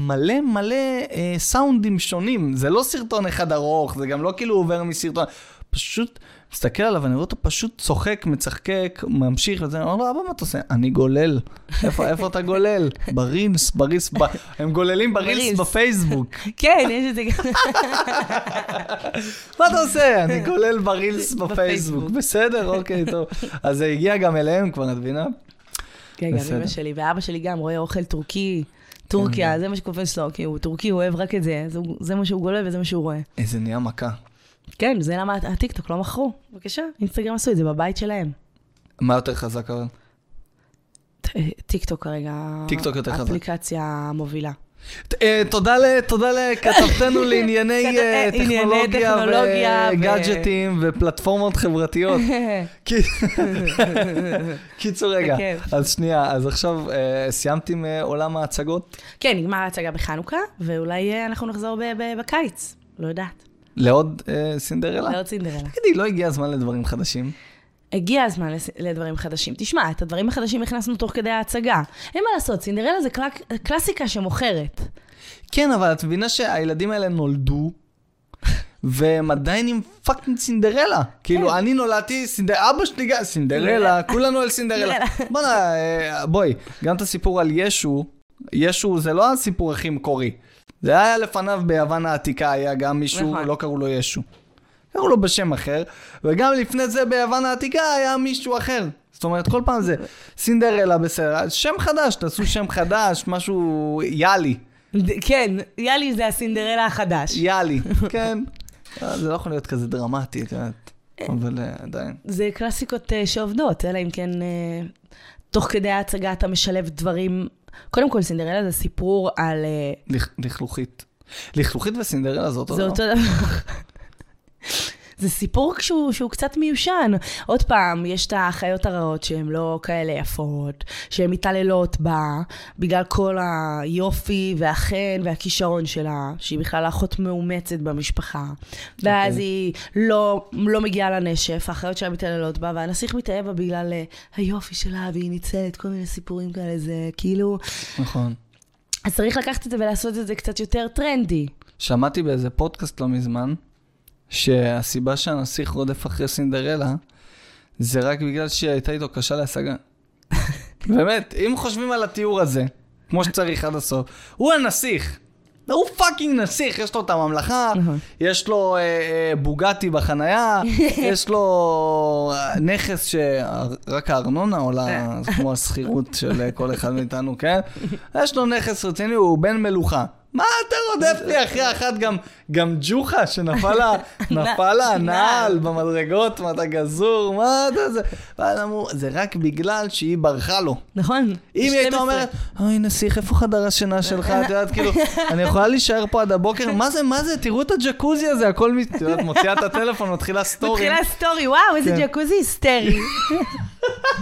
B: מלא מלא אה, סאונדים שונים, זה לא סרטון אחד ארוך, זה גם לא כאילו עובר מסרטון, פשוט מסתכל עליו, אני רואה אותו פשוט צוחק, מצחקק, ממשיך, וזה, אני אומר לו, אבא, מה אתה עושה? אני גולל. איפה, איפה אתה גולל? ברילס, ברילס, ב... הם גוללים ברילס
A: ברילס.
B: בפייסבוק.
A: כן, יש את זה גם.
B: מה אתה עושה? אני גולל ברילס בפייסבוק.
A: בפייסבוק.
B: בסדר, אוקיי, טוב. אז זה הגיע גם אליהם כבר, את מבינה?
A: כן, גם
B: בסדר.
A: אמא שלי, ואבא שלי גם רואה אוכל טורקי, טורקיה, זה מה שקופץ לו, כי הוא טורקי, הוא אוהב רק את זה, אז הוא- זה מה שהוא גולה וזה מה שהוא רואה.
B: איזה נהיה מכה.
A: כן, זה למה הטיקטוק לא מכרו. בבקשה, אינסטגרם עשו את זה בבית שלהם.
B: מה יותר חזק אבל?
A: ט- אה, טיקטוק כרגע,
B: טיקטוק יותר חזק.
A: האפליקציה המובילה.
B: ת- אה, תודה ל- תודה לכתבתנו לענייני אה,
A: כת- ענייני
B: טכנולוגיה
A: טכנולוגיה ו-
B: וגאדג'טים ופלטפורמות חברתיות. כי- קיצור רגע,
A: בכיף.
B: אז שנייה, אז עכשיו אה, סיימת עם אה, עולם ההצגות?
A: כן, נגמר ההצגה בחנוכה, ואולי אה, אנחנו נחזור ב- ב- בקיץ. לא יודעת.
B: לעוד אה, סינדרלה?
A: לארץ סינדרלה.
B: תגידי, לא הגיע הזמן לדברים חדשים?
A: הגיע הזמן לס- לדברים חדשים. תשמע, את הדברים החדשים הכנסנו תוך כדי ההצגה. אין מה לעשות, סינדרלה זה קלק- קלאסיקה שמוכרת.
B: כן, אבל את מבינה שהילדים האלה נולדו, והם עדיין עם פאקינג סינדרלה. כאילו, אני נולדתי, סינדר... אבא שלי גם סינדרלה, כולנו על סינדרלה. בוא'נה, אה, בואי, גם את הסיפור על ישו, ישו זה לא הסיפור הכי מקורי. זה היה לפניו ביוון העתיקה, היה גם מישהו,
A: נכון.
B: לא קראו לו ישו. קראו לו בשם אחר, וגם לפני זה ביוון העתיקה היה מישהו אחר. זאת אומרת, כל פעם זה סינדרלה בסדר, שם חדש, תעשו שם חדש, משהו יאלי,
A: ד- כן, יאלי זה הסינדרלה החדש.
B: יאלי, כן. אה, זה לא יכול להיות כזה דרמטי, את יודעת, אבל אה, עדיין.
A: זה קלאסיקות אה, שעובדות, אלא אם כן אה, תוך כדי ההצגה אתה משלב דברים. קודם כל, סינדרלה זה סיפור על... אה,
B: לכ- לכלוכית. לכלוכית וסינדרלה לא- זה אותו
A: זה
B: דבר.
A: אותו דבר. זה סיפור שהוא, שהוא קצת מיושן. עוד פעם, יש את האחיות הרעות שהן לא כאלה יפות, שהן מתעללות בה בגלל כל היופי והחן והכישרון שלה, שהיא בכלל אחות מאומצת במשפחה. ואז
B: אוקיי.
A: היא לא, לא מגיעה לנשף, האחיות שלה מתעללות בה, והנסיך מתאהב בה בגלל אה, היופי שלה, והיא ניצלת, כל מיני סיפורים כאלה, זה כאילו...
B: נכון.
A: אז צריך לקחת את זה ולעשות את זה קצת יותר טרנדי.
B: שמעתי באיזה פודקאסט לא מזמן, שהסיבה שהנסיך רודף אחרי סינדרלה, זה רק בגלל שהיא הייתה איתו קשה להשגה. באמת, אם חושבים על התיאור הזה, כמו שצריך עד הסוף, הוא הנסיך. הוא פאקינג נסיך, יש לו את הממלכה,
A: נכון.
B: יש לו אה, אה, בוגטי בחנייה, יש לו אה, נכס שרק הארנונה עולה, זה כמו השכירות של אה, כל אחד מאיתנו, כן? יש לו נכס רציני, הוא בן מלוכה. מה אתה רודף לי אחרי אחת? גם, גם ג'וחה שנפל לה, נפל לה הנעל במדרגות, מה אתה גזור, מה אתה זה? ואז אמרו, זה רק בגלל שהיא ברחה לו.
A: נכון?
B: אם היא הייתה
A: 12.
B: אומרת, אוי נסיך, איפה חדר השינה שלך? את יודעת, כאילו, אני יכולה להישאר פה עד הבוקר? מה זה, מה זה, תראו את הג'קוזי הזה, הכל מת... את יודעת, מוציאה את הטלפון, מתחילה סטורים.
A: מתחילה סטורי, וואו, איזה
B: כן.
A: ג'קוזי היסטרי.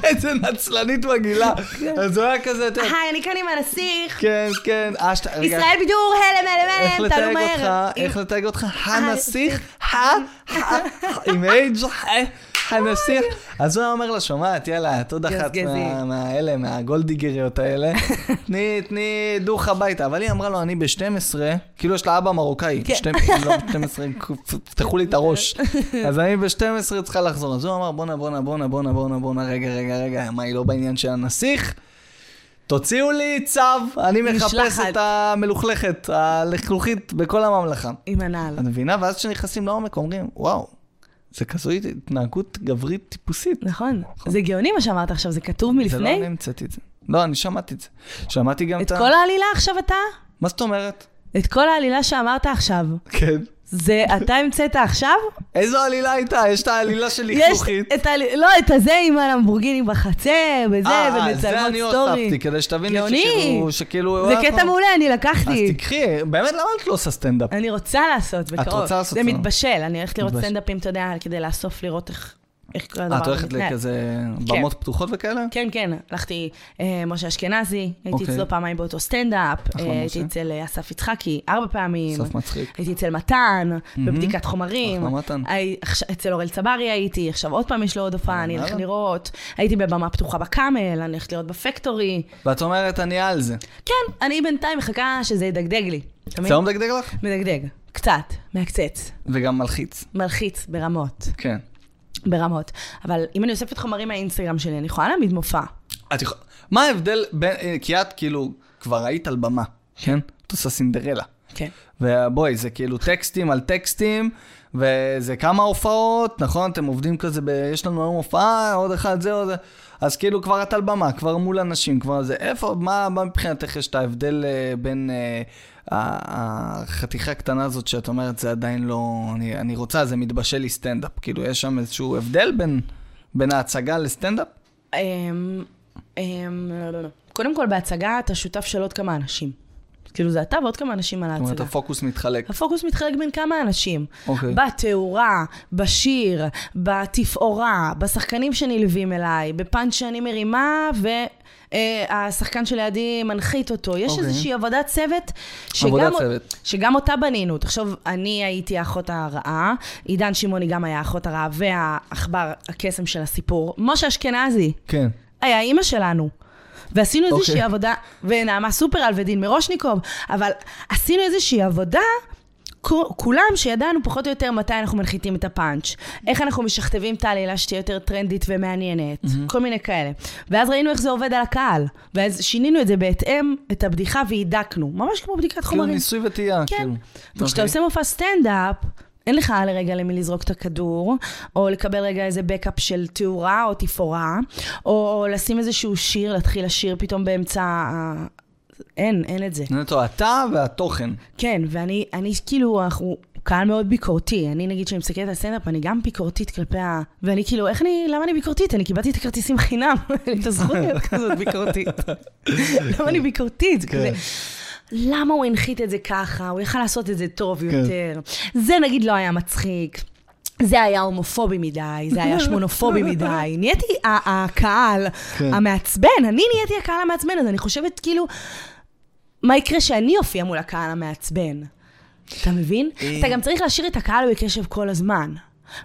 B: איזה נצלנית מגעילה.
A: כן.
B: אז הוא היה כזה, את יודעת,
A: היי, אני כאן עם הנסיך.
B: כן, כן, אה, שת- רגע,
A: אה. ישראל בידור, הלם, הלם,
B: איך
A: הלם, תעלו
B: לתייג אותך,
A: לא מהר. אה,
B: איך לתייג אותך, הנסיך, ה, ה, עם אייג', ה- הנסיך.
A: אה.
B: אז הוא היה אומר לה, שומעת, יאללה, את עוד אחת
A: גזגזי.
B: מה- מהאלה, מהגולדיגריות האלה, תני, תני דוך הביתה. אבל היא אמרה לו, אני ב-12, כאילו יש לה אבא מרוקאי,
A: כן.
B: שתים- לא ב-12, פתחו לי את הראש. אז אני ב-12 צריכה לחזור. אז הוא אמר, בואנה, בואנה, בואנה, בואנה, בואנה, בואנה, רגע, רגע, רגע, מה, היא לא בעניין של הנסיך? תוציאו לי צו, אני מחפש
A: משלחת.
B: את המלוכלכת, הלכלוכית בכל הממלכה.
A: עם הנעל.
B: את מבינה? ואז כשנכנסים לעומק אומרים, וואו, זה כזו התנהגות גברית טיפוסית.
A: נכון. זה גאוני מה שאמרת עכשיו, זה כתוב
B: זה לא
A: מלפני?
B: אני המצאתי את זה. לא, אני שמעתי את זה. שמעתי גם
A: את
B: את ה...
A: כל העלילה עכשיו אתה?
B: מה זאת אומרת?
A: את כל העלילה שאמרת עכשיו.
B: כן.
A: זה אתה המצאת עכשיו?
B: איזו עלילה הייתה? יש את העלילה של
A: יש
B: לכלוכית.
A: את ה... לא, את הזה עם הלמבורגיני בחצר, וזה,
B: אה, אה, זה
A: ומצלמות
B: אני
A: סטורי.
B: הוספתי, כדי שתביני
A: גאוני.
B: שכאילו... שכאילו- אה,
A: זה קטע מעולה, אני
B: אז
A: לקחתי.
B: תקחי, באמת, למה את לא עושה סטנדאפ?
A: אני רוצה לעשות בקרוב.
B: רוצה לעשות
A: זה
B: סטנדאפ.
A: מתבשל, אני הולכת לראות
B: מתבשל.
A: סטנדאפים, אתה יודע, כדי לאסוף לראות איך איך כל הדבר
B: אה, את
A: הזה
B: הולכת
A: מתנהל.
B: לכזה במות פתוחות וכאלה?
A: כן, כן, הלכתי, אה, משה אשכנזי, הייתי
B: אוקיי.
A: אצלו פעמיים באותו סטנדאפ,
B: אחלה,
A: אה,
B: משה.
A: הייתי אצל אה, אסף יצחקים ארבע פעמים,
B: סוף מצחיק.
A: הייתי אצל מתן, בבדיקת חומרים,
B: אחלה מתן.
A: הי- עכש- אצל אורל צברי הייתי, עכשיו עוד פעם יש לו עוד הופעה, אני הולכת
B: וואלה.
A: לראות, הייתי בבמה פתוחה בקאמל, אני הולכת לראות בפקטורי,
B: ואת אומרת, אני על זה.
A: כן, אני בינתיים מחכה שזה ידגדג לי, אתה מבין?
B: זה לא מדגדג לך?
A: מדגדג, קצת, מהקצץ,
B: וגם מלחיץ.
A: מלחיץ ברמות,
B: כן.
A: ברמות, אבל אם אני אוספת חומרים מהאינסטגרם שלי, אני יכולה להעמיד מופע.
B: את יכול... מה ההבדל בין... אה, כי את כאילו כבר היית על במה, כן? את עושה סינדרלה.
A: כן.
B: ובואי, זה כאילו טקסטים על טקסטים, וזה כמה הופעות, נכון? אתם עובדים כזה ב... יש לנו היום הופעה, עוד אחד זה, עוד זה. אז כאילו כבר את על במה, כבר מול אנשים, כבר זה... איפה, מה, מה מבחינתך יש את ההבדל אה, בין אה, ה- החתיכה הקטנה הזאת שאת אומרת, זה עדיין לא... אני, אני רוצה, זה מתבשל לי סטנדאפ. כאילו, יש שם איזשהו הבדל בין, בין ההצגה לסטנדאפ?
A: אמ, אמ, לא, לא, לא. קודם כל, בהצגה אתה שותף של עוד כמה אנשים. כאילו, זה אתה ועוד כמה אנשים על
B: זאת אומרת,
A: ההצגה.
B: הפוקוס מתחלק.
A: הפוקוס מתחלק בין כמה אנשים.
B: אוקיי.
A: בתאורה, בשיר, בתפאורה, בשחקנים שנלווים אליי, בפאנץ' שאני מרימה, והשחקן שלידי מנחית אותו. יש
B: אוקיי.
A: איזושהי עבודת צוות,
B: עבודת
A: שגם,
B: צוות.
A: שגם אותה בנינו. תחשוב, אני הייתי האחות הרעה, עידן שמעוני גם היה האחות הרעה, והעכבר הקסם של הסיפור. משה אשכנזי,
B: כן.
A: היה אימא שלנו. ועשינו
B: אוקיי.
A: איזושהי עבודה, ונעמה סופרל ודין מירושניקוב, אבל עשינו איזושהי עבודה, כו- כולם שידענו פחות או יותר מתי אנחנו מנחיתים את הפאנץ', איך אנחנו משכתבים את העלילה שתהיה יותר טרנדית ומעניינת, כל מיני כאלה. ואז ראינו איך זה עובד על הקהל, ואז שינינו את זה בהתאם, את הבדיחה והידקנו, ממש כמו בדיקת
B: כאילו
A: חומרים.
B: ניסוי וטעייה,
A: כן.
B: כאילו.
A: וכשאתה
B: אוקיי.
A: עושה מופע סטנדאפ, אין לך לרגע למי לזרוק את הכדור, או לקבל רגע איזה בקאפ של תאורה או תפאורה, או לשים איזשהו שיר, להתחיל לשיר פתאום באמצע ה... אין, אין את זה.
B: נטו אתה והתוכן.
A: כן, ואני אני, כאילו, אנחנו קהל מאוד ביקורתי. אני, נגיד, כשאני מסתכלת על סטנדאפ, אני גם ביקורתית כלפי ה... ואני כאילו, איך אני, למה אני ביקורתית? אני קיבלתי את הכרטיסים חינם, אין לי את הזכות להיות כזאת ביקורתית. למה אני ביקורתית? כזה, למה הוא הנחית את זה ככה? הוא יכל לעשות את זה טוב יותר. זה, נגיד, לא היה מצחיק. זה היה הומופובי מדי, זה היה שמונופובי מדי. נהייתי ה- הקהל
B: כן.
A: המעצבן, אני נהייתי הקהל המעצבן, אז אני חושבת כאילו, מה יקרה שאני אופיע מול הקהל המעצבן? אתה מבין?
B: אה.
A: אתה גם צריך להשאיר את הקהל בקשב כל הזמן.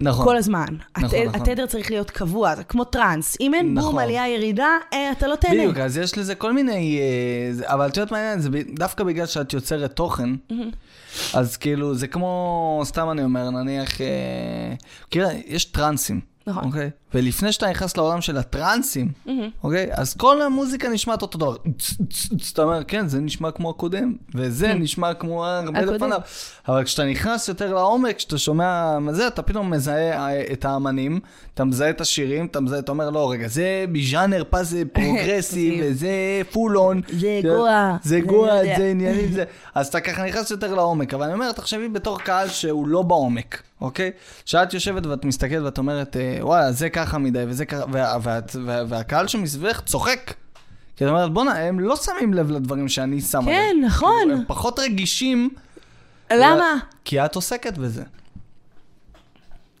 B: נכון.
A: כל הזמן.
B: נכון,
A: הת-
B: נכון.
A: התדר צריך להיות קבוע, זה כמו טראנס. אם אין בום,
B: נכון.
A: עלייה, ירידה, אה, אתה לא תהנה.
B: בדיוק, אז יש לזה כל מיני... אה, זה- אבל את יודעת מה העניין? זה ב- דווקא בגלל שאת יוצרת תוכן,
A: Mm-hmm.
B: אז כאילו, זה כמו, סתם אני אומר, נניח... אה, כאילו, יש טרנסים.
A: נכון. Mm-hmm.
B: אוקיי? ולפני שאתה נכנס לעולם של הטרנסים, אוקיי? אז כל המוזיקה נשמעת אותו דבר. צ, צ, צ, אתה אומר, כן, זה נשמע כמו הקודם, וזה נשמע כמו הרבה
A: Mm-hmm. הקודם.
B: לפניו. אבל כשאתה נכנס יותר לעומק, כשאתה שומע מה זה, אתה פתאום מזהה אה, את האמנים, אתה מזהה את השירים, אתה מזהה, אתה אומר, לא, רגע, זה בז'אנר פס זה פרוגרסי, וזה פול און.
A: כן, זה גואה,
B: זה
A: זה
B: גואה,
A: יודע.
B: זה עניינים, זה... אז אתה ככה נכנס יותר לעומק. אבל אני אומר, תחשבי בתור קהל שהוא לא בעומק, אוקיי? שאת יושבת ואת מסתכלת ואת אומרת, אה, וואלה, זה ככה מדי, וזה ככה, וה- ואת- וה- והקהל שמסביבך צוחק. כי את אומרת, בואנה, הם לא שמים לב לדברים שאני שם עליהם.
A: כן, נכון.
B: הם פחות רגישים.
A: למה?
B: כי את עוסקת בזה.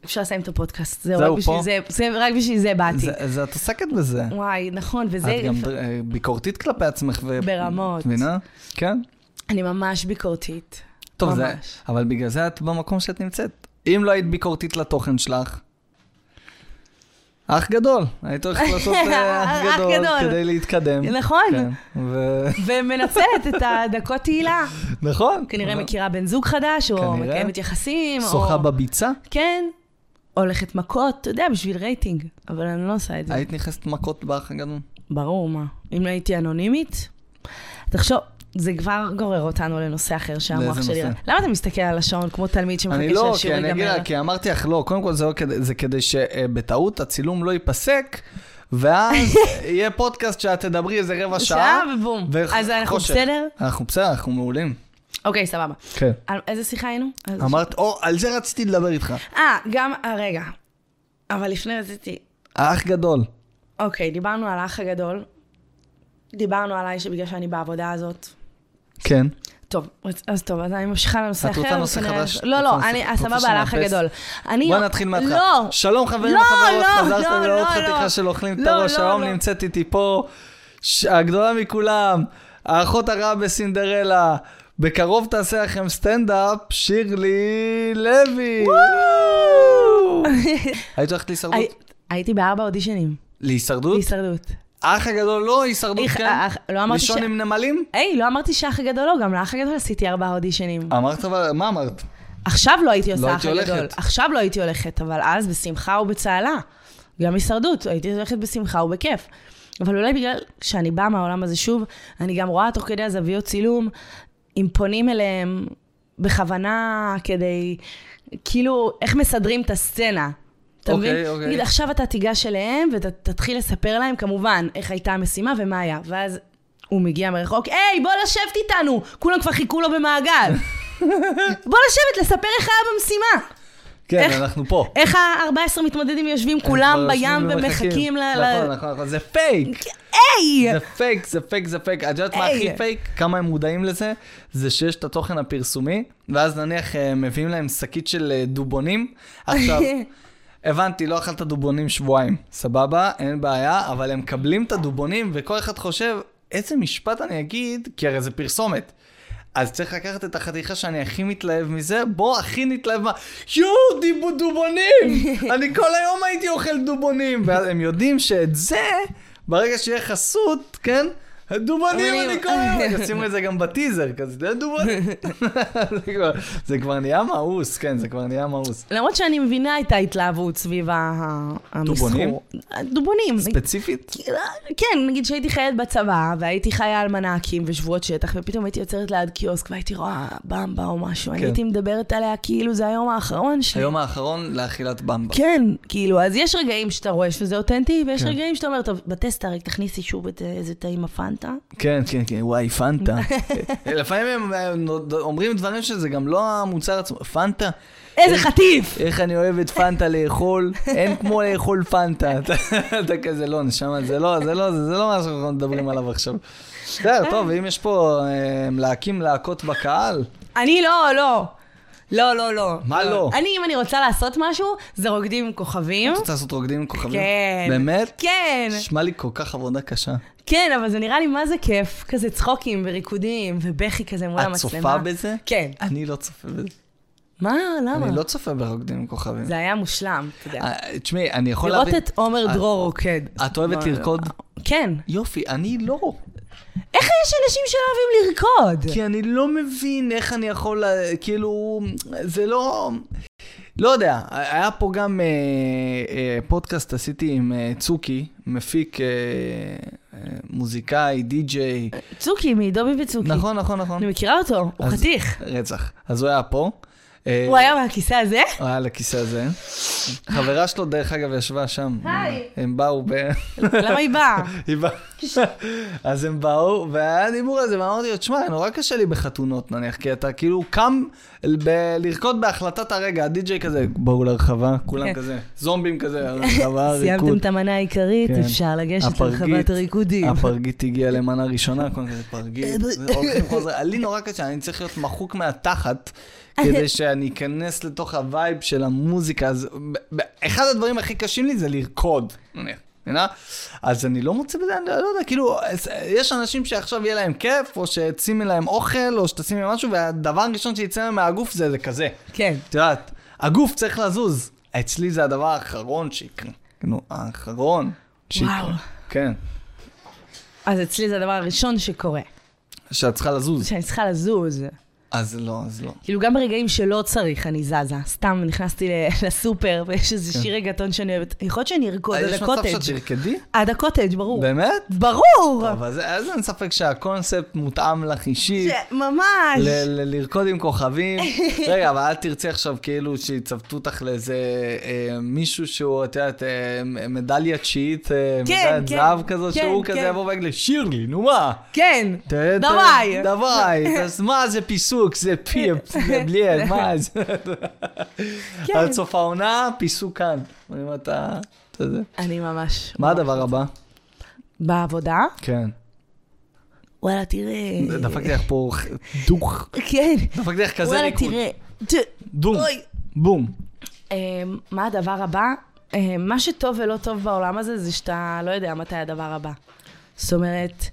A: אפשר לסיים את הפודקאסט, זהו,
B: זהו,
A: רק בשביל
B: פה?
A: זה- זה, רק בשביל זה באתי.
B: זה- אז את עוסקת בזה.
A: וואי, נכון, וזה...
B: את גם אה, ביקורתית כלפי עצמך. ו-
A: ברמות.
B: מבינה? כן.
A: אני ממש ביקורתית.
B: טוב, זה...
A: ממש.
B: אבל בגלל זה את במקום שאת נמצאת. אם לא היית ביקורתית לתוכן שלך, אח גדול. היית הולכת לעשות אה, אח
A: אח
B: גדול
A: גדול.
B: כדי להתקדם.
A: נכון.
B: כן, ו-
A: ומנצלת את הדקות תהילה.
B: נכון.
A: כנראה מכירה בן זוג חדש, או
B: כנראה.
A: מקיימת יחסים, או...
B: שוחה בביצה? כן.
A: הולכת מכות, אתה יודע, בשביל רייטינג. אבל אני לא עושה את זה.
B: היית נכנסת מכות באח הגדול?
A: ברור, מה. אם לא הייתי אנונימית, תחשוב, זה כבר גורר אותנו לנושא אחר שהמוח
B: לאיזה
A: שלי...
B: נושא?
A: למה אתה מסתכל על השעון כמו תלמיד
B: אני
A: שמחכה
B: לא,
A: שהשיעור
B: כי אני אגיד,
A: ייגמר?
B: לה, כי אמרתי לך, לא, קודם כל זה, לא כדי, זה כדי שבטעות הצילום לא ייפסק, ואז יהיה פודקאסט שאת תדברי איזה רבע לא שעה.
A: שעה ובום.
B: וח-
A: אז אנחנו
B: חושך.
A: בסדר?
B: אנחנו בסדר, אנחנו מעולים.
A: אוקיי, סבבה.
B: כן.
A: על איזה שיחה היינו? על-
B: אמרת, או, על זה רציתי לדבר איתך.
A: אה, גם... אה, רגע. אבל לפני רציתי...
B: האח גדול.
A: אוקיי, דיברנו על האח הגדול. דיברנו עליי שבגלל שאני בעבודה הזאת.
B: כן.
A: טוב, אז- אז טוב, אז אני ממשיכה לנושא
B: את
A: אחר.
B: רוצה נושא
A: וכנראה-
B: חדש?
A: לא,
B: את
A: לא,
B: רוצה
A: אני...
B: נושא-
A: אה,
B: את רוצה
A: סבבה, על האח
B: שנאפס?
A: הגדול. אני...
B: בואו נתחיל מההתחלה.
A: לא!
B: שלום חברים
A: לא,
B: וחברות,
A: לא,
B: חזרתם
A: לא,
B: לעוד
A: לא,
B: חתיכה
A: לא.
B: של אוכלים את
A: לא,
B: הראש,
A: לא,
B: היום
A: לא.
B: נמצאת איתי פה, ש- הגדולה מכולם, האחות הרעה בסינדרלה, בקרוב תעשה לכם סטנדאפ, שירלי לוי. היית הולכת להישרדות?
A: הי- הייתי בארבע אודישנים.
B: להישרדות?
A: בהישרדות.
B: האח הגדול לא הישרדות,
A: איך-
B: כן?
A: האח- לא אמרתי ש...
B: לישון עם נמלים?
A: היי, לא אמרתי שהאח הגדול לא, גם לאח הגדול עשיתי ארבעה אודישנים.
B: אמרת אבל, מה אמרת?
A: עכשיו לא הייתי
B: לא
A: עושה אח
B: הייתי
A: הגדול.
B: הולכת.
A: עכשיו לא הייתי הולכת, אבל אז בשמחה ובצהלה. גם הישרדות, הייתי הולכת בשמחה ובכיף. אבל אולי בגלל שאני באה מהעולם הזה שוב, אני גם רואה תוך כדי הזוויות צילום, אם פונים אליהם בכוונה כדי, כאילו, איך מסדרים את הסצנה. אתה
B: אוקיי,
A: מבין?
B: אוקיי.
A: נגיד, עכשיו אתה תיגש אליהם ותתחיל לספר להם, כמובן, איך הייתה המשימה ומה היה. ואז הוא מגיע מרחוק, היי, בוא לשבת איתנו! כולם כבר חיכו לו במעגל. בוא לשבת, לספר איך היה במשימה.
B: כן,
A: איך-
B: אנחנו פה.
A: איך ה-14 מתמודדים יושבים כולם
B: כבר יושבים
A: בים ומחכים ל... ל-
B: נכון, נכון, נכון, זה פייק.
A: היי!
B: זה פייק, זה פייק, זה פייק. את יודעת מה
A: היי.
B: הכי פייק? כמה הם מודעים לזה? זה שיש את התוכן הפרסומי, ואז נניח אה, מביאים להם שקית של אה, דובונים. עכשיו, הבנתי, לא אכלת דובונים שבועיים. סבבה, אין בעיה, אבל הם מקבלים את הדובונים, וכל אחד חושב, איזה משפט אני אגיד, כי הרי זה פרסומת. אז צריך לקחת את החתיכה שאני הכי מתלהב מזה, בוא הכי נתלהב מה, יואו, דיבו דובונים! אני כל היום הייתי אוכל דובונים! ואז הם יודעים שאת זה, ברגע שיהיה חסות, כן? דובונים
A: דובונים.
B: אני קורא, ישימו את זה גם בטיזר, כזה דובונים. זה כבר- זה כבר נהיה מאוס, כן, זה כבר נהיה מאוס.
A: למרות שאני מבינה את ההתלהבות סביב ה- ה- המסחור.
B: דובונים?
A: דובונים.
B: ספציפית?
A: כן, נגיד שהייתי חיילת בצבא, והייתי חיה על מנהקים ושבועות שטח, ופתאום הייתי יוצרת ליד קיוסק והייתי רואה במבה או משהו. אני
B: כן.
A: הייתי מדברת עליה כאילו זה היום האחרון שלי.
B: היום האחרון לאכילת במבה.
A: כן, כאילו, אז יש רגעים שאתה רואה שזה אותנטי, ויש
B: כן.
A: רגעים שאתה אומר, טוב, בטסטה רק תכניסי שוב את אה, איזה טעים הפנטה.
B: כן, כן, כן, וואי, פנטה. לפעמים הם אה, נוד- אומרים דברים שזה גם לא המוצר עצמו. פנטה?
A: איזה חטיף!
B: איך אני אוהב את פנטה לאכול, אין כמו לאכול פנטה. אתה אתה כזה, לא, נשמה, זה לא, זה לא, זה לא מה שאנחנו מדברים עליו עכשיו. בסדר, טוב, ואם יש פה אה, להקים להקות בקהל,
A: אני לא, לא. לא, לא, לא.
B: מה לא?
A: אני, אם אני רוצה לעשות משהו, זה רוקדים עם כוכבים.
B: רוצה לעשות רוקדים עם כוכבים?
A: כן.
B: באמת?
A: כן,
B: נשמע לי כל כך עבודה קשה.
A: כן, אבל זה נראה לי מה זה כיף. כזה צחוקים וריקודים ובכי כזה מול
B: את
A: המצלמה.
B: צופה בזה?
A: כן.
B: אני לא צופה בזה.
A: מה? למה?
B: אני לא צופה ברוקדים עם כוכבים.
A: זה היה מושלם, אתה יודע.
B: אה, תשמעי, אני יכול
A: לראות
B: להבין...
A: את עומר
B: אה,
A: דרור רוקד.
B: את אוהבת
A: לא,
B: לרקוד?
A: כן.
B: יופי, אני לא.
A: איך יש אנשים שלא אוהבים לרקוד?
B: כי אני לא מבין איך אני יכול, לה- כאילו, זה לא... לא יודע, היה פה גם אה, אה, פודקאסט עשיתי עם אה, צוקי, מפיק אה, אה, מוזיקאי, די-ג'יי.
A: צוקי מדובי וצוקי.
B: נכון, נכון, נכון.
A: אני מכירה אותו, הוא
B: אז-
A: חתיך.
B: רצח. אז הוא היה פה. אה,
A: הוא היה מהכיסא הזה?
B: הוא היה על הכיסא הזה. חברה שלו, דרך אגב, ישבה שם.
A: היי.
B: הם באו ב...
A: למה היא באה?
B: היא באה. אז הם באו, והיה דיבור על זה, ואמרתי לו, תשמע, נורא קשה לי בחתונות נניח, כי אתה כאילו קם ב- לרקוד בהחלטת הרגע, הדי-ג'יי כזה, בואו לרחבה, כולם
A: כן.
B: כזה, זומבים כזה, הרחבה,
A: סיימתם
B: ריקוד.
A: את המנה העיקרית,
B: כן.
A: אפשר לגשת
B: הפרגית,
A: לרחבת הריקודים.
B: הפרגית הגיעה למנה ראשונה, כל כזה פרגית, הולכים חוזר. לי נורא קשה, אני צריך להיות מחוק מהתחת. כדי שאני אכנס לתוך הווייב של המוזיקה, אז ב- ב- אחד הדברים הכי קשים לי זה לרקוד, נניח, מבינה? אז אני לא מוצא בזה, אני לא יודע, כאילו, אז יש אנשים שעכשיו יהיה להם כיף, או שתשימי להם אוכל, או שתשימי להם משהו, והדבר הראשון שיצא להם מהגוף זה זה כזה.
A: כן.
B: את יודעת, הגוף צריך לזוז. אצלי זה הדבר האחרון שיקרה. נו, האחרון שיקרה.
A: וואו.
B: כן.
A: אז אצלי זה הדבר הראשון שקורה,
B: שאת צריכה לזוז.
A: שאני צריכה לזוז.
B: אז לא, אז לא.
A: כאילו, גם ברגעים שלא צריך, אני זזה. סתם נכנסתי ל- לסופר, ויש איזה שיר רגטון שאני אוהבת. יכול להיות שאני ארקוד עד
B: כן. אה, יש מצב שאת
A: הקוטג'.
B: תרקדי?
A: עד הקוטג', ברור.
B: באמת?
A: ברור!
B: טוב, אז אז אין ספק שהקונספט מותאם לך אישית.
A: זה- ממש.
B: ל- ל- לרקוד עם כוכבים. רגע, אבל אל תרצי עכשיו כאילו שיצוותו אותך לאיזה אה, מישהו שהוא, את יודעת, אה, מ- מדליה תשיעית, אה,
A: כן,
B: מדליית
A: כן,
B: זהב כזאת,
A: כן,
B: שהוא
A: כן.
B: כזה יבוא ויגיד לי, שירלי, נו מה?
A: כן.
B: ת- ת-
A: דוואי.
B: דוואי, אז מה זה פיסוק, זה פי, זה בלי, מה זה?
A: כן.
B: עד סוף העונה, פיסוק כאן. אם אתה... אתה יודע.
A: אני ממש...
B: מה הדבר הבא?
A: בעבודה?
B: כן.
A: וואלה, תראה...
B: דפקתי לך פה דוך.
A: כן.
B: דפקתי לך כזה
A: וואלה,
B: ריקוד.
A: תראה. ת-
B: דום.
A: אוי.
B: בום.
A: אה, מה הדבר הבא? אה, מה שטוב ולא טוב בעולם הזה, זה שאתה לא יודע מתי הדבר הבא. זאת אומרת,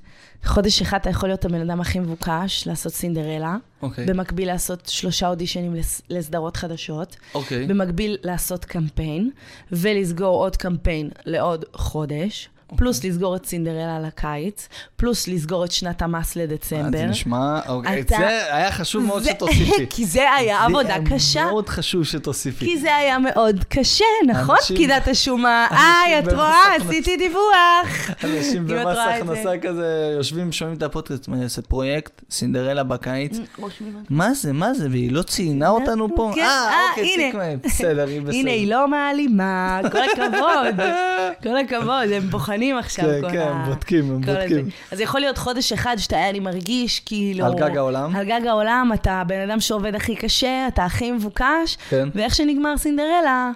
A: חודש אחד אתה יכול להיות הבן אדם הכי מבוקש, לעשות סינדרלה.
B: אוקיי.
A: במקביל לעשות שלושה אודישנים לס- לסדרות חדשות.
B: אוקיי.
A: במקביל לעשות קמפיין, ולסגור עוד קמפיין לעוד חודש.
B: אוקיי.
A: פלוס לסגור את סינדרלה לקיץ, פלוס לסגור את שנת המס
B: אה,
A: לדצמבר.
B: זה נשמע, אוקיי, את
A: אתה-
B: זה היה חשוב מאוד
A: זה-
B: שתוסיפי.
A: כי זה היה עבודה
B: לי
A: קשה.
B: מאוד חשוב שתוסיפי.
A: כי זה היה מאוד קשה, נכון,
B: אנשים-
A: פקידת השומה? איי, את
B: במס
A: רואה?
B: הכנסה.
A: עשיתי דיווח.
B: אנשים
A: אם את
B: במס
A: רואה את זה.
B: הכנסה כזה יושבים, שומעים את הפודקאסט, אני עושה פרויקט, סינדרלה בקיץ. מה זה, מה זה, והיא לא ציינה אותנו פה?
A: כן,
B: אה,
A: אה,
B: אוקיי,
A: הנה.
B: תקווה, בסדר, היא בסדר.
A: הנה, היא לא מעלימה, כל הכבוד. כל הכבוד, הם בוחנים עכשיו.
B: כן,
A: כל
B: כן,
A: ה-
B: בודקים, הם
A: כל הזה.
B: בודקים.
A: אז יכול להיות חודש אחד שאתה, אני מרגיש כאילו...
B: על גג העולם?
A: על גג העולם, אתה הבן אדם שעובד הכי קשה, אתה הכי מבוקש,
B: כן.
A: ואיך שנגמר סינדרלה.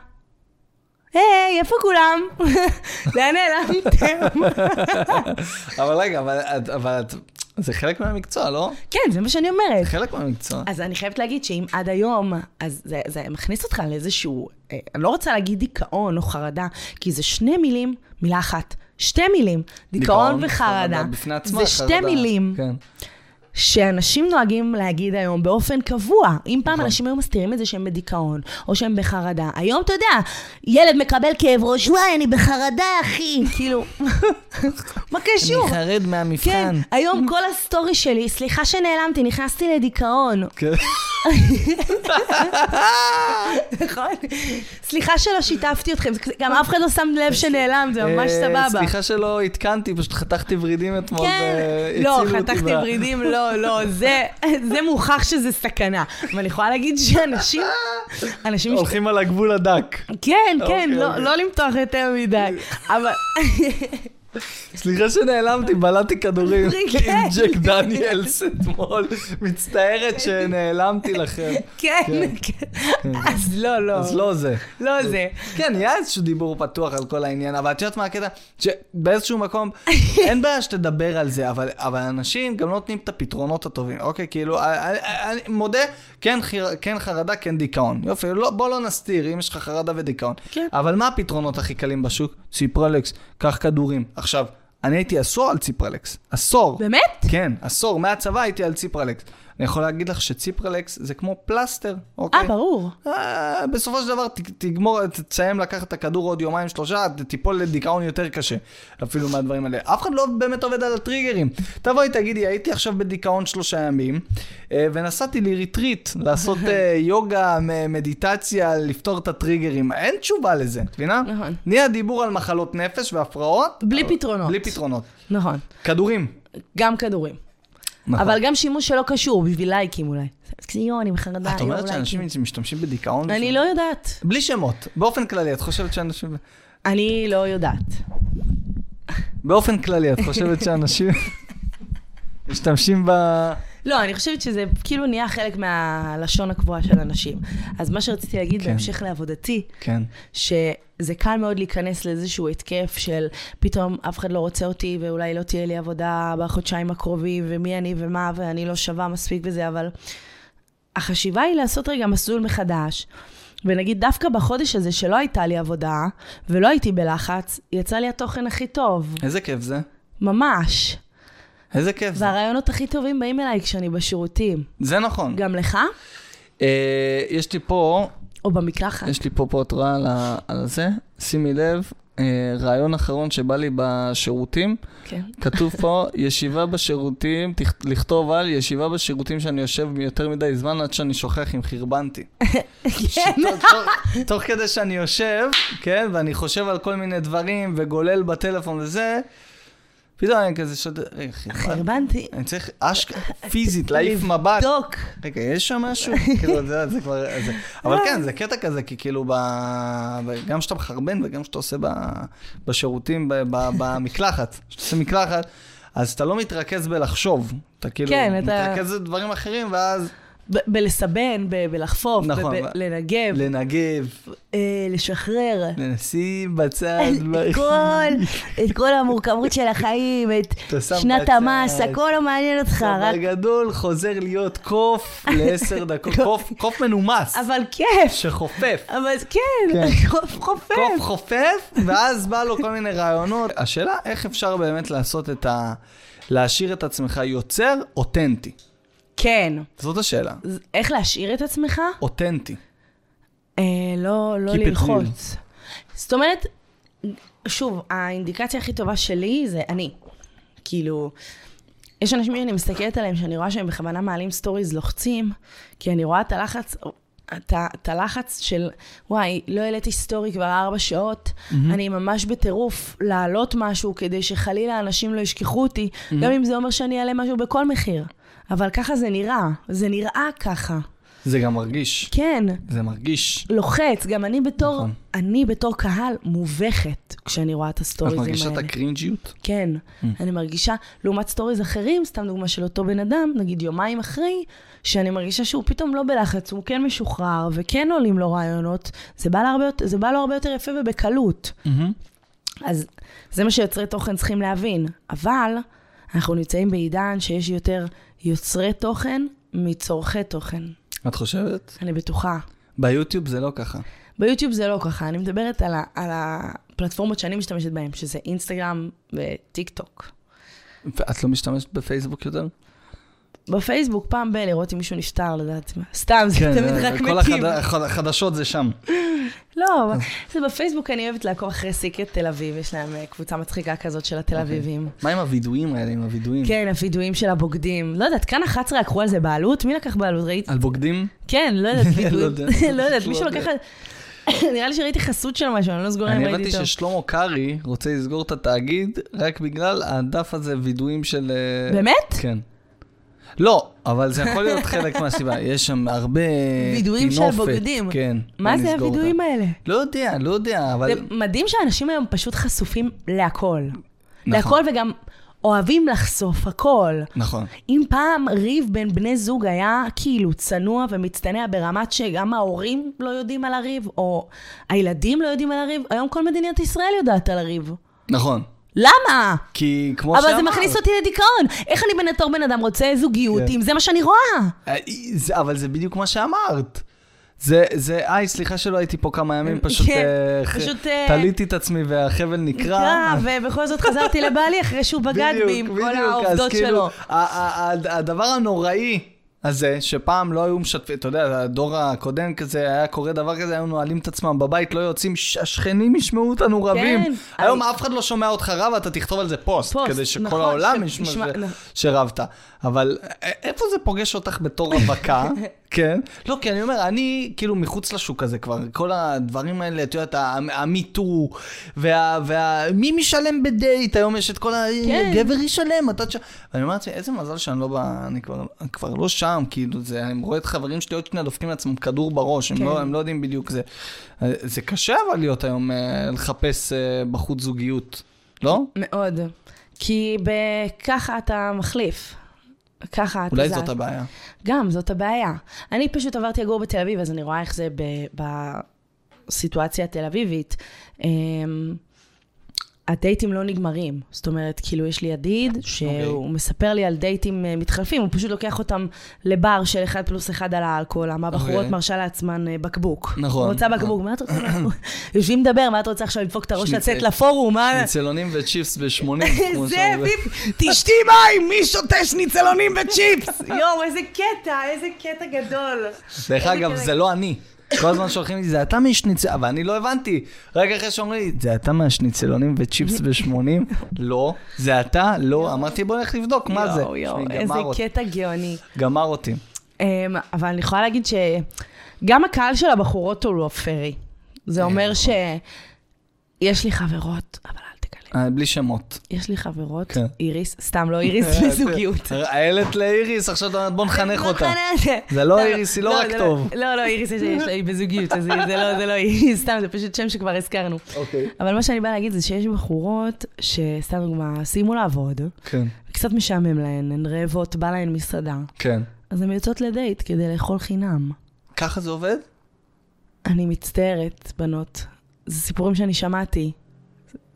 A: היי, איפה כולם? לאן נעלמתם?
B: אבל רגע, אבל את- אבל את... זה חלק מהמקצוע, לא?
A: כן, זה מה שאני אומרת.
B: חלק מהמקצוע.
A: אז אני חייבת להגיד שאם עד היום, אז זה, זה מכניס אותך לאיזשהו, אה, אני לא רוצה להגיד דיכאון או חרדה, כי זה שני מילים, מילה אחת. שתי מילים, דיכאון וחרדה.
B: בפני עצמה,
A: זה שתי
B: חרדה.
A: מילים,
B: כן.
A: שאנשים נוהגים להגיד היום באופן קבוע. אם פעם
B: נכון.
A: אנשים היו מסתירים את זה שהם בדיכאון, או שהם בחרדה, היום אתה יודע,
C: ילד מקבל כאב ראש, וואי, אני בחרדה, אחי.
A: כאילו, מה קשור?
B: חרד מהמבחן.
A: כן, היום כל הסטורי שלי, סליחה שנעלמתי, נכנסתי לדיכאון.
B: כן.
A: נכון? סליחה שלא שיתפתי אתכם, זה כזה- גם אף אחד לא שם לב שנעלם, זה ממש
B: אה,
A: סבבה.
B: סליחה שלא עדכנתי, פשוט חתכתי ורידים אתמול.
A: כן,
B: והצילו
A: לא,
B: אה, אותי
A: חתכתי
B: ב-
A: ורידים, לא, לא, זה זה מוכח שזה סכנה. אבל אני יכולה להגיד שאנשים, אנשים... מש-
B: הולכים על הגבול הדק.
A: כן, כן,
B: אוקיי,
A: לא-
B: אוקיי.
A: לא למתוח יותר מדי. אבל...
B: סליחה שנעלמתי, בלעתי כדורים
A: כן.
B: עם ג'ק דניאלס אתמול. מצטערת שנעלמתי לכם.
A: כן,
B: כן.
A: כן. אז לא, לא.
B: אז לא זה.
A: לא זה.
B: כן, היה איזשהו דיבור פתוח על כל העניין, אבל את יודעת מה הקטע? שבאיזשהו מקום, אין בעיה שתדבר על זה, אבל, אבל אנשים גם לא נותנים את הפתרונות הטובים. אוקיי, כאילו, אני, אני מודה, כן, חיר, כן חרדה, כן דיכאון. יופי, לא, בוא לא נסתיר, אם יש לך חרדה ודיכאון.
A: כן.
B: אבל מה הפתרונות הכי קלים בשוק? ציפרלקס, קח כדורים. עכשיו, אני הייתי עשור על ציפרלקס. עשור.
A: באמת?
B: כן, עשור. מהצבא הייתי על ציפרלקס. אני יכול להגיד לך שציפרלקס זה כמו פלסטר, אוקיי?
A: אה, ברור.
B: אה, בסופו של דבר ת, תגמור, תסיים לקחת את הכדור עוד יומיים שלושה, ת- תיפול לדיכאון יותר קשה אפילו מהדברים האלה. אף אחד לא באמת עובד על הטריגרים. תבואי תגידי, הייתי עכשיו בדיכאון שלושה ימים, אה, ונסעתי לריטריט לעשות אה, יוגה, מ- מדיטציה, לפתור את הטריגרים. אין תשובה לזה, את מבינה?
A: נכון.
B: נהיה דיבור על מחלות נפש והפרעות.
A: בלי
B: אבל-
A: פתרונות.
B: בלי פתרונות.
A: נכון.
B: כדורים.
A: גם כדורים.
B: נכון.
A: אבל גם שימוש שלא קשור, בשביל לייקים אולי. זה יואו, אני בחרדה,
B: את
A: יואו,
B: אומרת
A: לייקים.
B: שאנשים משתמשים בדיכאון?
A: אני
B: בשביל-
A: כן. לא יודעת.
B: בלי שמות. באופן כללי, את חושבת שאנשים...
A: אני לא יודעת.
B: באופן כללי, את חושבת שאנשים משתמשים ב...
A: לא, אני חושבת שזה כאילו נהיה חלק מהלשון הקבועה של אנשים. אז מה שרציתי להגיד
B: כן.
A: בהמשך לעבודתי,
B: כן.
A: שזה קל מאוד להיכנס לאיזשהו התקף של פתאום אף אחד לא רוצה אותי ואולי לא תהיה לי עבודה בחודשיים הקרובים ומי אני ומה ואני לא שווה מספיק וזה, אבל החשיבה היא לעשות רגע מסלול מחדש. ונגיד דווקא בחודש הזה שלא הייתה לי עבודה ולא הייתי בלחץ, יצא לי התוכן הכי טוב,
B: איזה כיף זה.
A: ממש.
B: איזה כיף זה.
A: והרעיונות הכי טובים באים אליי כשאני בשירותים.
B: זה נכון.
A: גם לך?
B: אה, יש לי פה,
A: או במקלחת.
B: יש לי פה פה התראה על ה- על זה. שימי לב, אה, רעיון אחרון שבא לי בשירותים,
A: כן.
B: כתוב פה, ישיבה בשירותים, תכ- לכתוב על ישיבה בשירותים שאני יושב יותר מדי זמן עד שאני שוכח אם חרבנתי. תוך- תוך- תוך כדי שאני יושב, כן, ואני חושב על כל מיני דברים, וגולל בטלפון וזה, פתאום אני כזה שותה, רגע, חרבנתי.
A: חרבנתי.
B: אני צריך אשכרה, פיזית, להעיף מבט.
A: דוק.
B: רגע, יש שם משהו? כאילו, זה, זה כבר... זה. אבל
A: לא.
B: כן, זה קטע כזה, כי כאילו, ב... ב- גם כשאתה מחרבן וגם כשאתה עושה ב... בשירותים, ב... ב... במקלחת, כשאתה עושה מקלחת, אז אתה לא מתרכז בלחשוב. אתה כאילו
A: כן, אתה-
B: מתרכז בדברים אחרים, ואז
A: ב- בלסבן, ב- בלחפוף, ב-
B: נכון,
A: ב-
B: ו-
A: לנגב,
B: לנגב,
A: אה, לשחרר. אה,
B: לנשים בצד.
C: את כל, את כל המורכבות של החיים, את
B: אתה שם
C: שנת
B: בצד.
C: המס, הכל לא מעניין אותך,
B: דבר
C: רק...
B: גדול חוזר להיות קוף לעשר דקות, קוף- קוף מנומס,
A: אבל כיף.
B: שחופף.
A: אבל כן,
B: כן.
A: חופ-
B: קוף
A: חופף.
B: חופף, ואז בא לו כל מיני רעיונות. השאלה, איך אפשר באמת לעשות את ה... להשאיר את עצמך יוצר אותנטי?
A: כן.
B: זאת השאלה.
A: אז איך להשאיר את עצמך?
B: אותנטי.
A: אה, לא, לא
B: Keep it
A: ללחוץ. זאת אומרת, שוב, האינדיקציה הכי טובה שלי זה אני. כאילו, יש אנשים שאני מסתכלת עליהם, שאני רואה שהם בכוונה מעלים סטוריז לוחצים, כי אני רואה את הלחץ, את, ה- את הלחץ של, וואי, לא העליתי סטורי כבר ארבע שעות, mm-hmm. אני ממש בטירוף להעלות משהו כדי שחלילה אנשים לא ישכחו אותי, mm-hmm. גם אם זה אומר שאני אעלה משהו בכל מחיר. אבל ככה זה נראה, זה נראה ככה.
B: זה גם מרגיש.
A: כן.
B: זה מרגיש.
A: לוחץ, גם אני בתור,
B: נכון.
A: נכון. אני בתור קהל מובכת כשאני רואה את
B: את
A: הסטוריזים האלה.
B: מרגישה את הקרינג'יות?
A: כן, אני מרגישה, לעומת סטוריז אחרים, סתם דוגמה של אותו בן אדם, נגיד יומיים אחרי, שאני מרגישה שהוא פתאום לא בלחץ, הוא כן משוחרר, וכן עולים לו רעיונות, זה בא, להרבה, יותר- זה בא לו הרבה יותר יפה ובקלות. אז זה מה שיוצרי תוכן צריכים להבין. אבל אנחנו נמצאים בעידן שיש יותר יוצרי תוכן מצורכי תוכן,
B: את חושבת?
A: אני בטוחה.
B: ביוטיוב זה לא ככה.
A: ביוטיוב זה לא ככה, אני מדברת על, ה, על הפלטפורמות שאני משתמשת בהן, שזה אינסטגרם וטיק טוק. כן,
B: ואת לא משתמשת בפייסבוק יותר?
A: בפייסבוק פעם ב- לראות אם מישהו נפטר, לדעת מה. סתם, זה
B: כן,
A: תמיד
B: אה,
A: רק
B: כל
A: מתים.
B: החד- הח- החדשות זה שם.
A: לא, אבל- זה בפייסבוק אני אוהבת לעקוב אחרי סיקרט תל אביב, יש להם אה, קבוצה מצחיקה כזאת של התל
B: אוקיי.
A: אביבים.
B: מה עם הווידואים האלה, עם הווידואים?
A: כן, הווידויים של הבוגדים. לא יודעת, כאן 11 לקחו על זה בעלות? מי לקח בעלות? ראית?
B: על בוגדים?
A: כן, לא יודעת, וידויים.
B: אה. לא יודע.
A: לא יודעת,
B: לא
A: מישהו
B: יודע.
A: לקח... על- נראה לי שראיתי חסות של משהו, אני לא סגורה אם
B: אני
A: ראיתי
B: הבנתי
A: טוב.
B: ששלמה קרעי רוצה לסגור את התאגיד רק בגלל הדף הזה, וידואים של... אה,
A: באמת?
B: כן. לא, אבל זה יכול להיות חלק מהסיבה. יש שם הרבה
A: וידואים של
B: טינופת.
A: בוגדים.
B: כן.
A: מה זה
B: ונסגור אותה.
A: הווידויים האלה?
B: לא יודע, לא יודע, אבל...
A: זה מדהים שאנשים היום פשוט חשופים להכל.
B: נכון.
A: להכל וגם אוהבים לחשוף הכל.
B: נכון.
A: אם פעם ריב בין בני זוג היה כאילו צנוע ומצטנע ברמת שגם ההורים לא יודעים על הריב, או הילדים לא יודעים על הריב, היום כל מדינת ישראל יודעת על הריב.
B: נכון.
A: למה?
B: כי כמו
A: אבל
B: שאמרת-
A: זה מכניס אותי לדיכאון. איך אני בתור בן אדם רוצה זוגיות,
B: כן.
A: אם זה מה שאני רואה?
B: אה, זה- אבל זה בדיוק מה שאמרת. זה, זה, היי, סליחה שלא הייתי פה כמה ימים, פשוט,
A: כן,
B: אה, ח-
A: פשוט, אה,
B: תליתי את עצמי והחבל נקרע.
A: נקרע, ובכל זאת חזרתי לבעלי אחרי שהוא בגד בי עם
B: בדיוק,
A: כל
B: בדיוק, אז
A: העובדות
B: כאילו,
A: שלו.
B: ה- ה- ה- הדבר הנוראי הזה, שפעם לא היו משתפים, אתה יודע, הדור הקודם כזה, היה קורה דבר כזה, היו נועלים את עצמם בבית, לא יוצאים, ש- השכנים ישמעו אותנו רבים.
A: אני-
B: היום אף אחד לא שומע אותך רב, אתה תכתוב על זה פוסט,
A: כן, פוסט,
B: כדי שכל
A: נכון,
B: העולם
A: ש-
B: ישמע
A: ישמע-
B: זה-
A: לא.
B: שרבת. אבל א- איפה זה פוגש אותך בתור רווקה? כן. לא, כי אני אומר, אני כאילו מחוץ לשוק הזה כבר, כל הדברים האלה, את יודעת, ה- המיטו, וה... וה- מי משלם בדייט? היום יש את כל ה...
A: כן.
B: גבר ישלם, אתה... תש- ואני אומר לעצמי, איזה מזל שאני לא ב... אני כבר, אני כבר לא שם, כאילו, זה, אני רואה את חברים שלי עוד שנייה דופקים לעצמם כדור בראש, הם,
A: כן.
B: לא, הם לא יודעים בדיוק זה. אה, זה קשה אבל להיות היום אה, לחפש אה, בחוץ זוגיות, לא?
A: מאוד. כי ככה אתה מחליף. ככה אתה
B: אולי
A: זז.
B: זאת הבעיה.
A: גם, זאת הבעיה. אני פשוט עברתי לגור בתל אביב, אז אני רואה איך זה ב- בסיטואציה התל אביבית. אמ, הדייטים לא נגמרים. זאת אומרת, כאילו, יש לי ידיד
B: אוקיי.
A: שהוא מספר לי על דייטים אה, מתחלפים, הוא פשוט לוקח אותם לבר של אחד פלוס אחד על האלכוהול, למה הבחורות
B: אוקיי.
A: מרשה לעצמן אה, בקבוק.
B: נכון,
A: רוצה
B: נכון.
A: בקבוק, מה את רוצה? יושבים לדבר, מה את רוצה עכשיו לדפוק את הראש
B: שניצל.
A: לצאת לפורום? מה...
B: ניצלונים וצ'יפס ב-80.
A: זה, ביפ, תשתי מים, מי שותה שניצלונים וצ'יפס? יואו, איזה קטע, איזה קטע גדול.
B: דרך
A: איזה
B: אגב,
A: קטע.
B: זה לא אני. כל הזמן שולחים לי, זה אתה מהשניצל... אבל אני לא הבנתי. רגע אחרי שאומרים לי, זה אתה מהשניצלונים וצ'יפס ב-80? לא. זה אתה? לא. אמרתי, בוא נלך לבדוק, מה זה?
A: יואו, יואו,
B: שמי, גמר
A: איזה
B: אותי.
A: קטע גאוני.
B: גמר אותי.
A: אמ, אבל אני יכולה להגיד שגם הקהל של הבחורות הוא לא פרי.
B: כן.
A: זה אומר ש... יש לי חברות, אבל אל תגלה.
B: אה, בלי שמות.
A: יש לי חברות,
B: כן.
A: איריס, סתם לא איריס, בזוגיות.
B: העלת לאיריס, עכשיו את אומרת, בוא נחנך אותה. זה לא איריס, היא לא רק
A: זה
B: טוב.
A: לא, לא, איריס יש- יש לה, היא בזוגיות, אז היא- זה לא- זה לא איריס, סתם, זה פשוט שם שכבר הזכרנו.
B: אוקיי.
A: אבל מה שאני באה להגיד זה שיש בחורות שסתם דוגמה, סיימו לעבוד,
B: כן,
A: קצת משעמם להן, הן רעבות, בא להן מסעדה,
B: כן.
A: אז הן יוצאות לדייט כדי לאכול חינם.
B: ככה זה עובד?
A: אני מצטערת, בנות. זה סיפורים שאני שמעתי.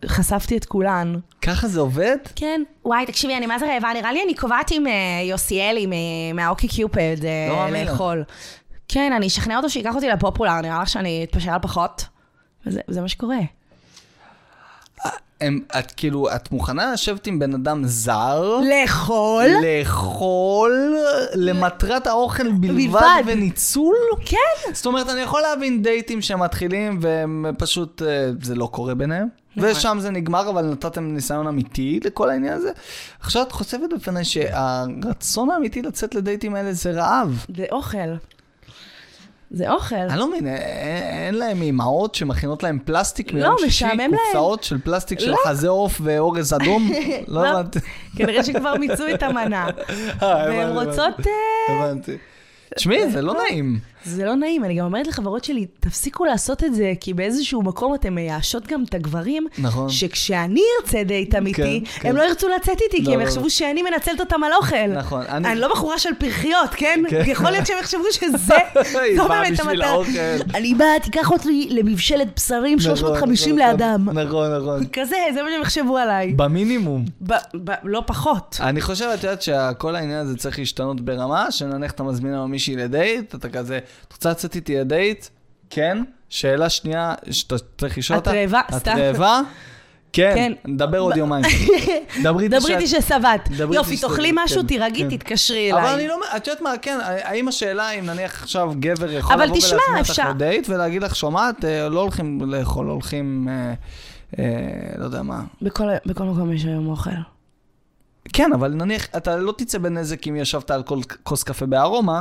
A: חשפתי את כולן.
B: ככה זה עובד?
A: כן.
C: וואי, תקשיבי, אני מה זה רעבה? נראה לי אני קובעת עם אה, יוסיאלי מ- מהאוקי קיופד אה,
B: לא מאמין לך.
A: לאכול.
C: כן, אני אשכנע אותו שייקח אותי לפופולר, נראה לך שאני אתפשר על פחות?
A: וזה זה מה שקורה.
B: הם, את כאילו, את מוכנה לשבת עם בן אדם זר?
A: לאכול?
B: לאכול למטרת האוכל בלבד
A: בלבד.
B: וניצול?
A: כן.
B: זאת אומרת, אני יכול להבין דייטים שמתחילים והם פשוט, אה, זה לא קורה ביניהם. ושם זה נגמר, אבל נתתם ניסיון אמיתי לכל העניין הזה. עכשיו את חושפת בפני שהרצון האמיתי לצאת לדייטים האלה זה רעב.
A: זה אוכל. זה אוכל.
B: אני לא מבין, אה, אה, אין להם אימהות שמכינות להם פלסטיק מיום
A: לא,
B: שישי,
A: משעמם להם.
B: קופסאות של פלסטיק של חזה עוף ואורז אדום? לא
A: לא.
B: הבנתי.
A: כנראה שכבר מיצו את המנה.
B: אה,
A: והן
B: הבנתי,
A: רוצות... אה,
B: הבנתי. תשמעי, זה לא נעים.
A: זה לא נעים, אני גם אומרת לחברות שלי, תפסיקו לעשות את זה, כי באיזשהו מקום אתם מייאשות גם את הגברים,
B: נכון.
A: שכשאני ארצה דייט אמיתי,
B: כן,
A: הם
B: כן.
A: לא ירצו לצאת איתי,
B: לא,
A: כי הם
B: לא, לא.
A: יחשבו שאני מנצלת אותם על אוכל.
B: נכון, אני-
A: אני... אני לא בחורה של פרחיות, כן?
B: כן.
A: יכול להיות שהם יחשבו שזה,
B: היא
A: זו
B: באה
A: באמת
B: בשביל
A: המטרה.
B: האוכל.
A: אני באה, תיקח אותי למבשלת בשרים
B: נכון,
A: 350
B: נכון,
A: לאדם.
B: נכון, נכון.
A: כזה, זה מה שהם יחשבו עליי.
B: במינימום.
A: ב- ב- לא פחות.
B: אני חושב, את יודעת, שכל העניין הזה צריך להשתנות ברמה, שנניח אתה מזמין היום מישהי לדייט, אתה כזה, את רוצה לצאת איתי לדייט? כן. שאלה שנייה שאתה צריך לשאול
A: את
B: אותה.
A: רעבה?
B: את
A: סתם.
B: רעבה? כן,
A: כן.
B: נדבר עוד יומיים. דברי איתי
A: דברי איתי
B: שאת-
A: ששבעת.
B: דברי
A: יופי,
B: איתי
A: תאכלי
B: שאת-
A: משהו,
B: כן,
A: תירגעי,
B: כן.
A: תתקשרי
B: אבל אני
A: אליי.
B: לא, מ- את יודעת מה, כן, האם השאלה אם נניח עכשיו גבר יכול
A: אבל
B: לבוא
A: תשמע,
B: ולהזמין אותך
A: אפשר-
B: לדייט ולהגיד לך, שומעת, אה, לא הולכים לאכול, הולכים, אה, אה, לא יודע מה.
A: בכל בכל מקום יש היום אוכל.
B: כן, אבל נניח, אתה לא תצא בנזק אם ישבת על כל כוס קפה בארומה,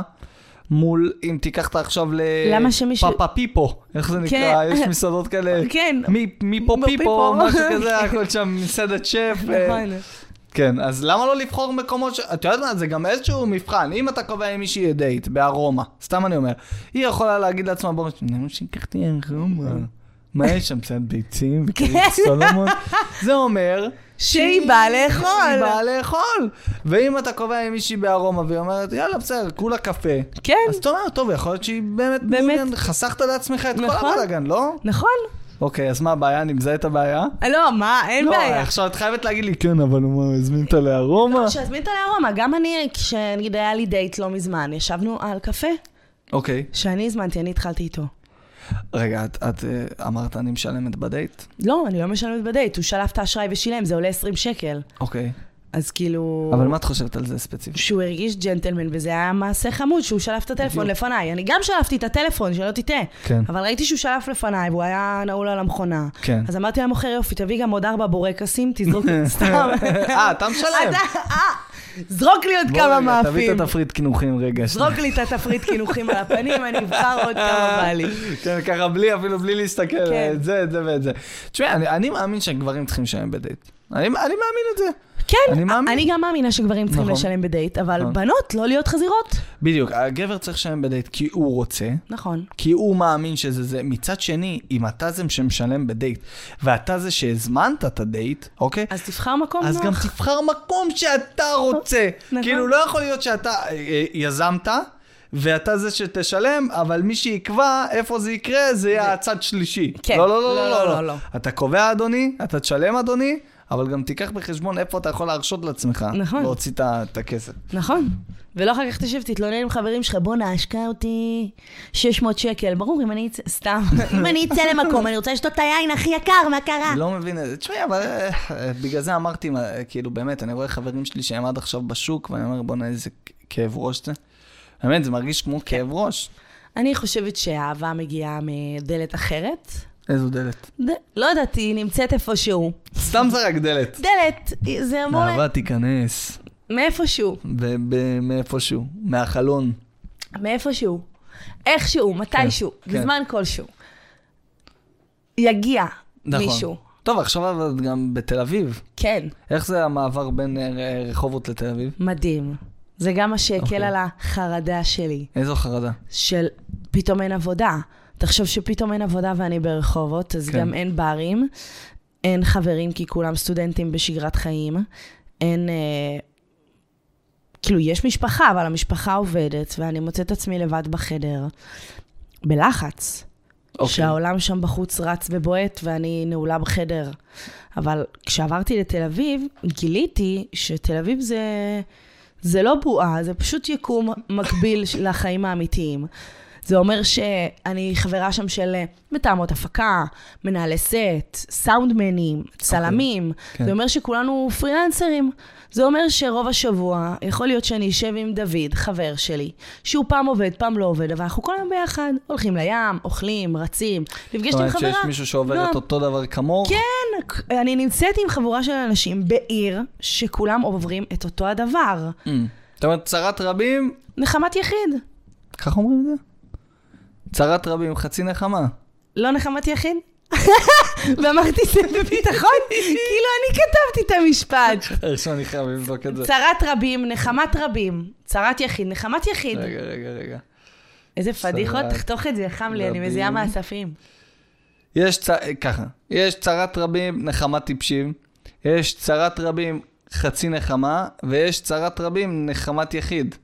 B: מול אם תיקח אותה עכשיו ל...
A: למה שמישהו-
B: פאפה פיפו, איך זה נקרא?
A: כן.
B: יש מסעדות כאלה.
A: כן.
B: מי- מפה
A: מפה
B: פיפו,
A: פיפו.
B: משהו כזה, הכל שם מסעדת שף. אה,
A: נכון.
B: כן, אז למה לא לבחור מקומות ש... את יודעת מה, זה גם איזשהו מבחן. אם אתה קובע עם מישהי דייט בארומה, סתם אני אומר, היא יכולה להגיד לעצמה, בואו, למה שיקחתי ארומה? מה יש שם? קצת ביצים
A: כן.
B: וקריט סולומון? זה אומר...
A: שהיא באה לאכול.
B: היא באה לאכול. ואם אתה קובע עם מישהי בארומה והיא אומרת, יאללה, בסדר, כולה קפה.
A: כן.
B: אז אתה אומר, טוב, יכול להיות שהיא באמת...
A: באמת.
B: מעוניינת." חסכת לעצמך את כל
A: נכון.
B: הבלאגן, לא?
A: נכון.
B: אוקיי, אז מה הבעיה? אני מזהה את הבעיה?
A: אה, לא, מה, אין
B: לא,
A: בעיה. לא,
B: עכשיו את חייבת להגיד לי, כן, אבל הוא הזמין אותה לארומה.
A: שיזמין אותה לארומה, גם אני, כשנגיד היה לי דייט לא מזמן, ישבנו על קפה
B: אוקיי.
A: שאני הזמנתי, אני התחלתי איתו.
B: רגע, את, את אה, אמרת אני משלמת בדייט?
A: לא, אני לא משלמת בדייט, הוא שלף את האשראי ושילם, זה עולה 20 שקל.
B: אוקיי.
A: אז כאילו...
B: אבל מה את חושבת על זה ספציפית?
A: שהוא הרגיש ג'נטלמן, וזה היה מעשה חמוד שהוא שלף את הטלפון
B: בדיוק.
A: לפניי. אני גם שלפתי את הטלפון, שלא תטעה.
B: כן.
A: אבל ראיתי שהוא שלף לפניי, והוא היה נעול על המכונה.
B: כן.
A: אז אמרתי למוכר, יופי, תביא גם עוד ארבע בורקסים, תזרוק סתם.
B: אה, אתה משלם.
A: אתה- אה, זרוק לי עוד
B: בוא
A: כמה
B: רגע, תביא
A: מאפים.
B: את התפריט קינוחים רגע.
A: זרוק לי את התפריט קינוחים על הפנים, אני אבחר עוד כמה בא לי.
B: כן, ככה בלי, אפילו בלי להסתכל,
A: כן.
B: את זה, את זה ואת זה. תשמעי, אני- אני מאמין שגברים צריכים לשלם בדייט. אני אני מאמין את זה.
A: כן,
B: אני מאמין.
A: אני גם מאמינה שגברים צריכים
B: נכון.
A: לשלם בדייט, אבל
B: נכון.
A: בנות, לא להיות חזירות.
B: בדיוק, הגבר צריך לשלם בדייט כי הוא רוצה,
A: נכון.
B: כי הוא מאמין שזה זה. מצד שני, אם אתה זה שמשלם בדייט, ואתה זה שהזמנת את הדייט, אוקיי?
A: אז תבחר מקום
B: אז גם
A: נוח.
B: תבחר מקום שאתה רוצה.
A: נכון.
B: כאילו, לא יכול להיות שאתה אה, אה, יזמת, ואתה זה שתשלם, אבל מי שיקבע איפה זה יקרה, זה יהיה הצד שלישי.
A: כן.
B: לא, לא, לא, לא, לא, לא.
A: לא.
B: אתה קובע, אדוני, אתה תשלם, אדוני, אבל גם תיקח בחשבון איפה אתה יכול להרשות לעצמך.
A: נכון.
B: להוציא את ה- את הכסף.
A: נכון. ולא אחר כך תשב, תתלונן עם חברים שלך, בואנה, השקע אותי 600 שקל. ברור, אם אני אצא, סתם.
C: אם אני אצא למקום, אני רוצה לשתות את היין הכי יקר, מה קרה?
B: אני לא מבין את זה. תשמעי, אבל אה, אה, בגלל זה אמרתי, אה, כאילו, באמת, אני רואה חברים שלי שהם עד עכשיו בשוק, ואני אומר, בוא'נה, איזה כאב ראש זה. באמת, זה מרגיש כמו כאב ראש.
A: אני חושבת שהאהבה מגיעה מדלת אחרת.
B: איזו דלת.
A: ד... לא יודעת, היא נמצאת איפשהו.
B: סתם זה רק דלת.
A: דלת, זה אמור...
B: אהבה תיכנס,
A: מאיפשהו.
B: ב- ב- מאיפשהו, מהחלון.
A: מאיפשהו. איכשהו, מתישהו,
B: כן.
A: בזמן כלשהו. יגיע
B: נכון.
A: מישהו.
B: טוב, עכשיו אבל את גם בתל אביב.
A: כן,
B: איך זה המעבר בין אה, ר- רחובות לתל אביב?
A: מדהים. זה גם מה שהקל
B: אוקיי.
A: על החרדה שלי.
B: איזו חרדה.
A: של פתאום אין עבודה. תחשוב שפתאום אין עבודה ואני ברחובות, אז
B: כן.
A: כן. גם אין ברים, אין חברים כי כולם סטודנטים בשגרת חיים, אין... אה, כאילו, יש משפחה, אבל המשפחה עובדת, ואני מוצאת עצמי לבד בחדר, בלחץ.
B: אוקיי.
A: שהעולם שם בחוץ רץ ובועט ואני נעולה בחדר. אבל כשעברתי לתל אביב, גיליתי שתל אביב זה, זה לא בועה, זה פשוט יקום מקביל ש- לחיים האמיתיים. זה אומר שאני חברה שם של אה, מתאמות הפקה, מנהלי סט, סאונדמנים, צלמים. Okay.
B: אוקיי, כן.
A: כן. זה אומר שכולנו פרילנסרים. זה אומר שרוב השבוע יכול להיות שאני אשב עם דוד, חבר שלי, שהוא פעם עובד, פעם לא עובד, אבל אנחנו כל היום ביחד. הולכים לים, אוכלים, רצים, נפגשת
B: זאת
A: עם
B: אומרת
A: חברה.
B: שיש מישהו שעובר
A: נועם.
B: את אותו דבר כמוך?
A: כן, אני נמצאת עם חבורה של אנשים בעיר שכולם עוברים את אותו הדבר.
B: אמ. זאת אומרת, צרת רבים,
A: נחמת יחיד.
B: ככה אומרים את זה? צרת רבים, חצי נחמה.
A: לא נחמת יחיד? ואמרתי זה בביטחון, כאילו אני כתבתי את המשפט.
B: עכשיו אני חייב לבדוק את זה.
A: צרת רבים, נחמת רבים. צרת יחיד, נחמת יחיד.
B: רגע, רגע, רגע.
A: איזה פדיחות,
B: צרת
A: תחתוך את זה, חם לי, אני
B: רבים.
A: מזיעה מעשפים.
B: יש צ... ככה, יש צרת רבים, נחמה טיפשים, יש צרת רבים, חצי נחמה, ויש צרת רבים, נחמת יחיד.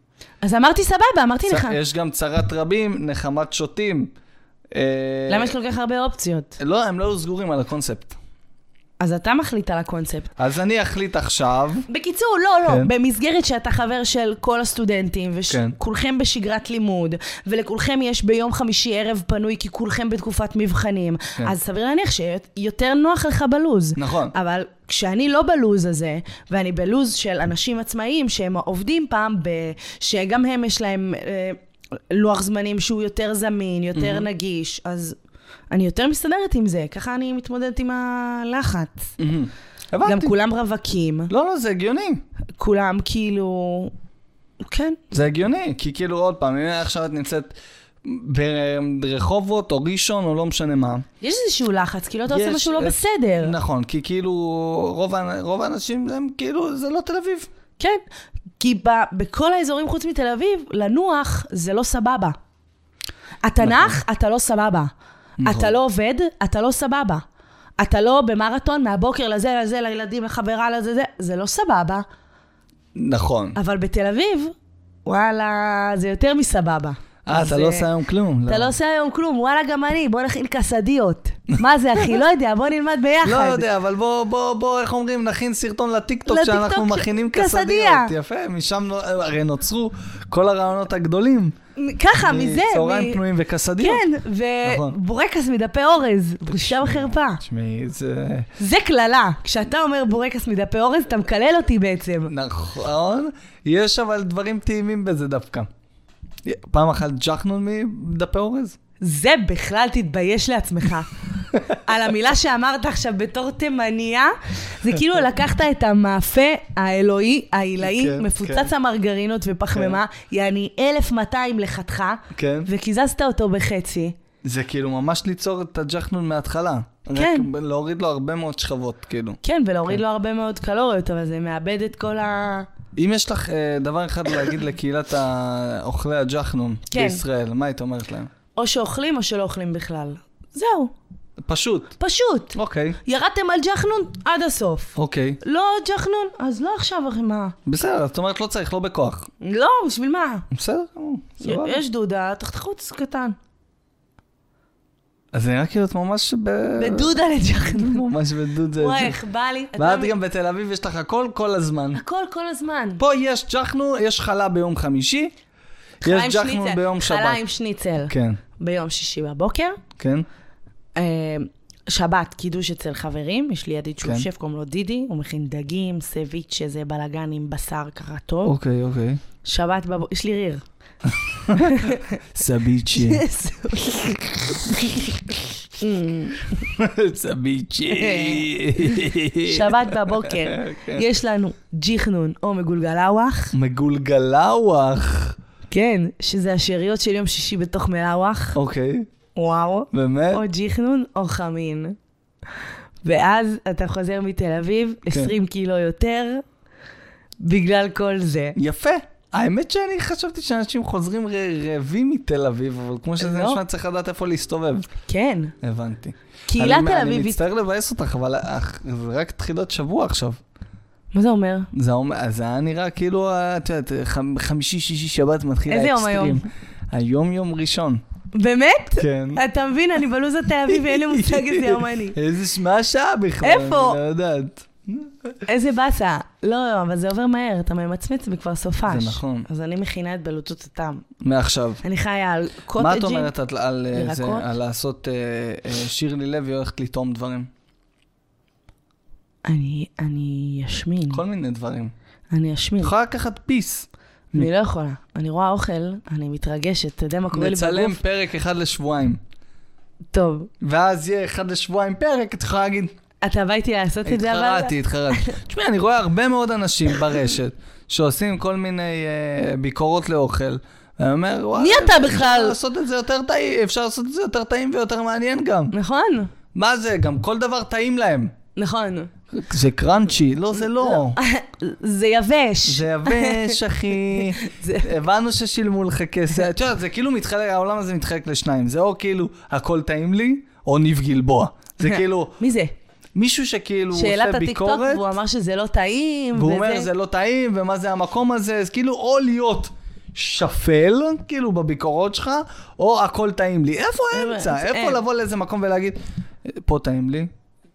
A: אז אמרתי סבבה, אמרתי
B: צ...
A: לך.
B: יש גם צרת רבים, נחמת שוטים. אה,
A: למה יש כל כך הרבה אופציות?
B: לא, הם לא היו סגורים על הקונספט.
A: אז אתה מחליט על הקונספט.
B: אז אני אחליט עכשיו,
A: בקיצור, לא, לא,
B: כן.
A: כן. במסגרת שאתה חבר של כל הסטודנטים,
B: כן.
A: וכולכם כן. בשגרת לימוד, ולכולכם יש ביום חמישי ערב פנוי, כי כולכם בתקופת מבחנים,
B: כן.
A: כן. אז סביר להניח שיותר נוח לך בלוז.
B: נכון.
A: אבל כשאני לא בלוז הזה, ואני בלוז של אנשים עצמאיים שהם עובדים פעם ב... שגם הם יש להם אה, לוח זמנים שהוא יותר זמין, יותר mm-hmm. נגיש, אז אני יותר מסתדרת עם זה, ככה אני מתמודדת עם הלחץ.
B: מהמם.
A: גם
B: הבנתי.
A: כולם רווקים,
B: לא, לא, זה הגיוני.
A: כולם כאילו... כן.
B: זה הגיוני, כי כאילו עוד פעם, אם עכשיו את נמצאת ברחובות או ראשון או לא משנה מה.
A: יש איזשהו לחץ, כאילו אתה עושה
B: יש-
A: משהו לא
B: אה,
A: בסדר.
B: נכון, כי כאילו רוב האנ- רוב האנשים הם כאילו, זה לא תל אביב.
A: כן. כי ב- בכל האזורים חוץ מתל אביב, לנוח זה לא סבבה. אתה נח,
B: נכון.
A: אתה לא סבבה. אתה לא עובד, אתה לא סבבה. אתה לא במרתון מהבוקר לזה, לזה, לילדים, לחברה, לזה, זה, זה לא סבבה.
B: נכון.
A: אבל בתל אביב, וואלה, זה יותר מסבבה.
B: אה, אתה
A: אז,
B: לא עושה היום כלום.
A: אתה לא עושה היום כלום, וואלה, גם אני, בוא נכין קסדיות. מה זה, אחי? לא יודע, בוא נלמד ביחד.
B: לא יודע, אבל בוא, בוא, בוא, איך אומרים, נכין סרטון לטיקטוק
A: לטיקטוק
B: שאנחנו
A: ש-
B: מכינים
A: קסדיה.
B: קסדיות. יפה, משם נו- הרי נוצרו כל הרעיונות הגדולים.
A: ככה, אה, מזה.
B: צהריים
A: מ-
B: פנויים וקסדיות.
A: כן,
B: נכון.
A: ובורקס מדפי אורז, בושה וחרפה.
B: תשמעי, זה...
A: זה קללה. כשאתה אומר בורקס מדפי אורז, אתה מקלל אותי בעצם.
B: נכון, יש אבל דברים טעימים בזה דווקא. פעם אחת ג'חנון מדפי אורז?
A: זה בכלל תתבייש לעצמך. על המילה שאמרת עכשיו בתור תימניה, זה כאילו לקחת את המאפה האלוהי, העילאי,
B: כן,
A: מפוצץ
B: כן.
A: המרגרינות ופחמימה, יעני 1200 לחתך,
B: כן.
A: וקיזזת אותו בחצי.
B: זה כאילו ממש ליצור את הג'חנון מההתחלה.
A: כן.
B: רק להוריד לו הרבה מאוד שכבות, כאילו.
A: כן, ולהוריד לו הרבה מאוד קלוריות, אבל זה מאבד את כל ה...
B: אם יש לך אה, דבר אחד להגיד לקהילת ה- אוכלי הג'חנון
A: כן.
B: בישראל, מה היית אומרת להם?
A: או שאוכלים או שלא אוכלים בכלל. זהו,
B: פשוט.
A: פשוט.
B: אוקיי,
A: ירדתם על ג'חנון עד הסוף.
B: אוקיי.
A: לא ג'חנון, אז לא עכשיו, אחי, מה?
B: בסדר, זאת אומרת לא צריך, לא בכוח.
A: לא, בשביל מה?
B: בסדר, גמור, סבבה. אה.
A: יש דודה, תחתכו את זה קטן.
B: אז זה נראה כאילו את ממש ב...
A: בדודה לג'חנון.
B: ממש בדוד זה.
A: וואי, איך בא לי. אתה
B: ואת
A: מבין?
B: גם בתל אביב יש לך הכל כל הזמן.
A: הכל כל הזמן.
B: פה יש ג'חנו, יש חלה ביום חמישי,
A: חלה עם
B: יש ג'חנו
A: שניצל.
B: ביום שבת.
A: חלה עם שניצל.
B: כן,
A: ביום שישי בבוקר.
B: כן.
A: אה, שבת, קידוש אצל חברים, יש לי ידיד שהוא
B: כן.
A: שף, קוראים לו דידי, הוא מכין דגים, סביץ', שזה בלאגן עם בשר ככה טוב.
B: אוקיי, אוקיי.
A: שבת בבוקר, יש לי ריר.
B: סביצ'י.
A: Mm.
B: סביצ'י.
A: שבת בבוקר,
B: כן.
A: יש לנו ג'יחנון או מגולגלאווח,
B: מגולגלאווח.
A: כן, שזה השאריות של יום שישי בתוך מלאווח,
B: אוקיי,
A: וואו,
B: באמת?
A: או ג'יחנון או חמין. ואז אתה חוזר מתל אביב,
B: כן.
A: 20 קילו יותר, בגלל כל זה.
B: יפה. האמת שאני חשבתי שאנשים חוזרים ר- רעבים מתל אביב, אבל כמו שזה
A: לא.
B: נשמע, צריך לדעת איפה להסתובב.
A: כן,
B: הבנתי.
A: קהילה
B: אני-
A: תל
B: אני
A: אביבית.
B: מצטער לבאס אותך, אבל אך, זה רק תחילת שבוע עכשיו.
A: מה זה אומר?
B: זה, אומר, זה היה נראה כאילו, אה, את יודעת, חמ- חמישי, שישי, שבת מתחיל
A: איזה יום
B: האקסטרים.
A: היום?
B: היום יום ראשון.
A: באמת?
B: כן.
A: אתה מבין, אני בלו"ז התל אביב ואין לי מושג איזה יום אני.
B: איזה, ש- מה השעה בכלל?
A: איפה?
B: אני לא יודעת.
A: איזה באסה. לא, אבל זה עובר מהר, אתה ממצמץ וכבר סופש.
B: זה נכון.
A: אז אני מכינה את בלוטות הטעם.
B: מעכשיו.
A: אני חיה על קוטג'ים.
B: מה את אומרת על, על, אה, זה,
A: ירקות?
B: על לעשות אה, אה, שירלי לוי הולכת לטעום דברים?
A: Mm. אני, אני אשמין.
B: כל מיני דברים.
A: אני
B: את
A: אשמין.
B: יכולה לקחת פיס.
A: אני לא יכולה. אני רואה אוכל, אני מתרגשת. אתה יודע מה קורה לי
B: נצלם
A: בגוף?
B: פרק אחד לשבועיים.
A: טוב.
B: ואז יהיה אחד לשבועיים פרק, את יכולה להגיד,
A: אתה בא איתי לעשות את זה, אבל...
B: התחרתי, התחרתי. תשמעי, אני רואה הרבה מאוד אנשים ברשת שעושים כל מיני אה, ביקורות לאוכל. אני אומר, וואלה,
A: מי אתה
B: אפשר
A: בכלל?
B: לעשות את זה יותר טעים, אפשר לעשות את זה יותר טעים ויותר מעניין גם.
A: נכון,
B: מה זה, גם כל דבר טעים להם.
A: נכון.
B: זה קראנצ'י, לא, זה לא.
A: זה יבש.
B: זה יבש, אחי.
A: זה-
B: הבנו ששילמו לך כסף. את יודעת, זה כאילו מתחלק, העולם הזה מתחלק לשניים. זה או כאילו, הכל טעים לי, או ניב גלבוע. זה כאילו,
A: מי זה?
B: מישהו שכאילו
A: שאלת
B: עושה
A: הטיקטוק,
B: ביקורת.
A: והוא אמר שזה לא טעים,
B: והוא
A: וזה-
B: אומר, זה לא טעים, ומה זה המקום הזה, אז כאילו, או להיות שפל, כאילו, בביקורות שלך, או הכל טעים לי. איפה
A: אין,
B: האמצע?
A: אין.
B: איפה לבוא לאיזה מקום ולהגיד, פה טעים לי,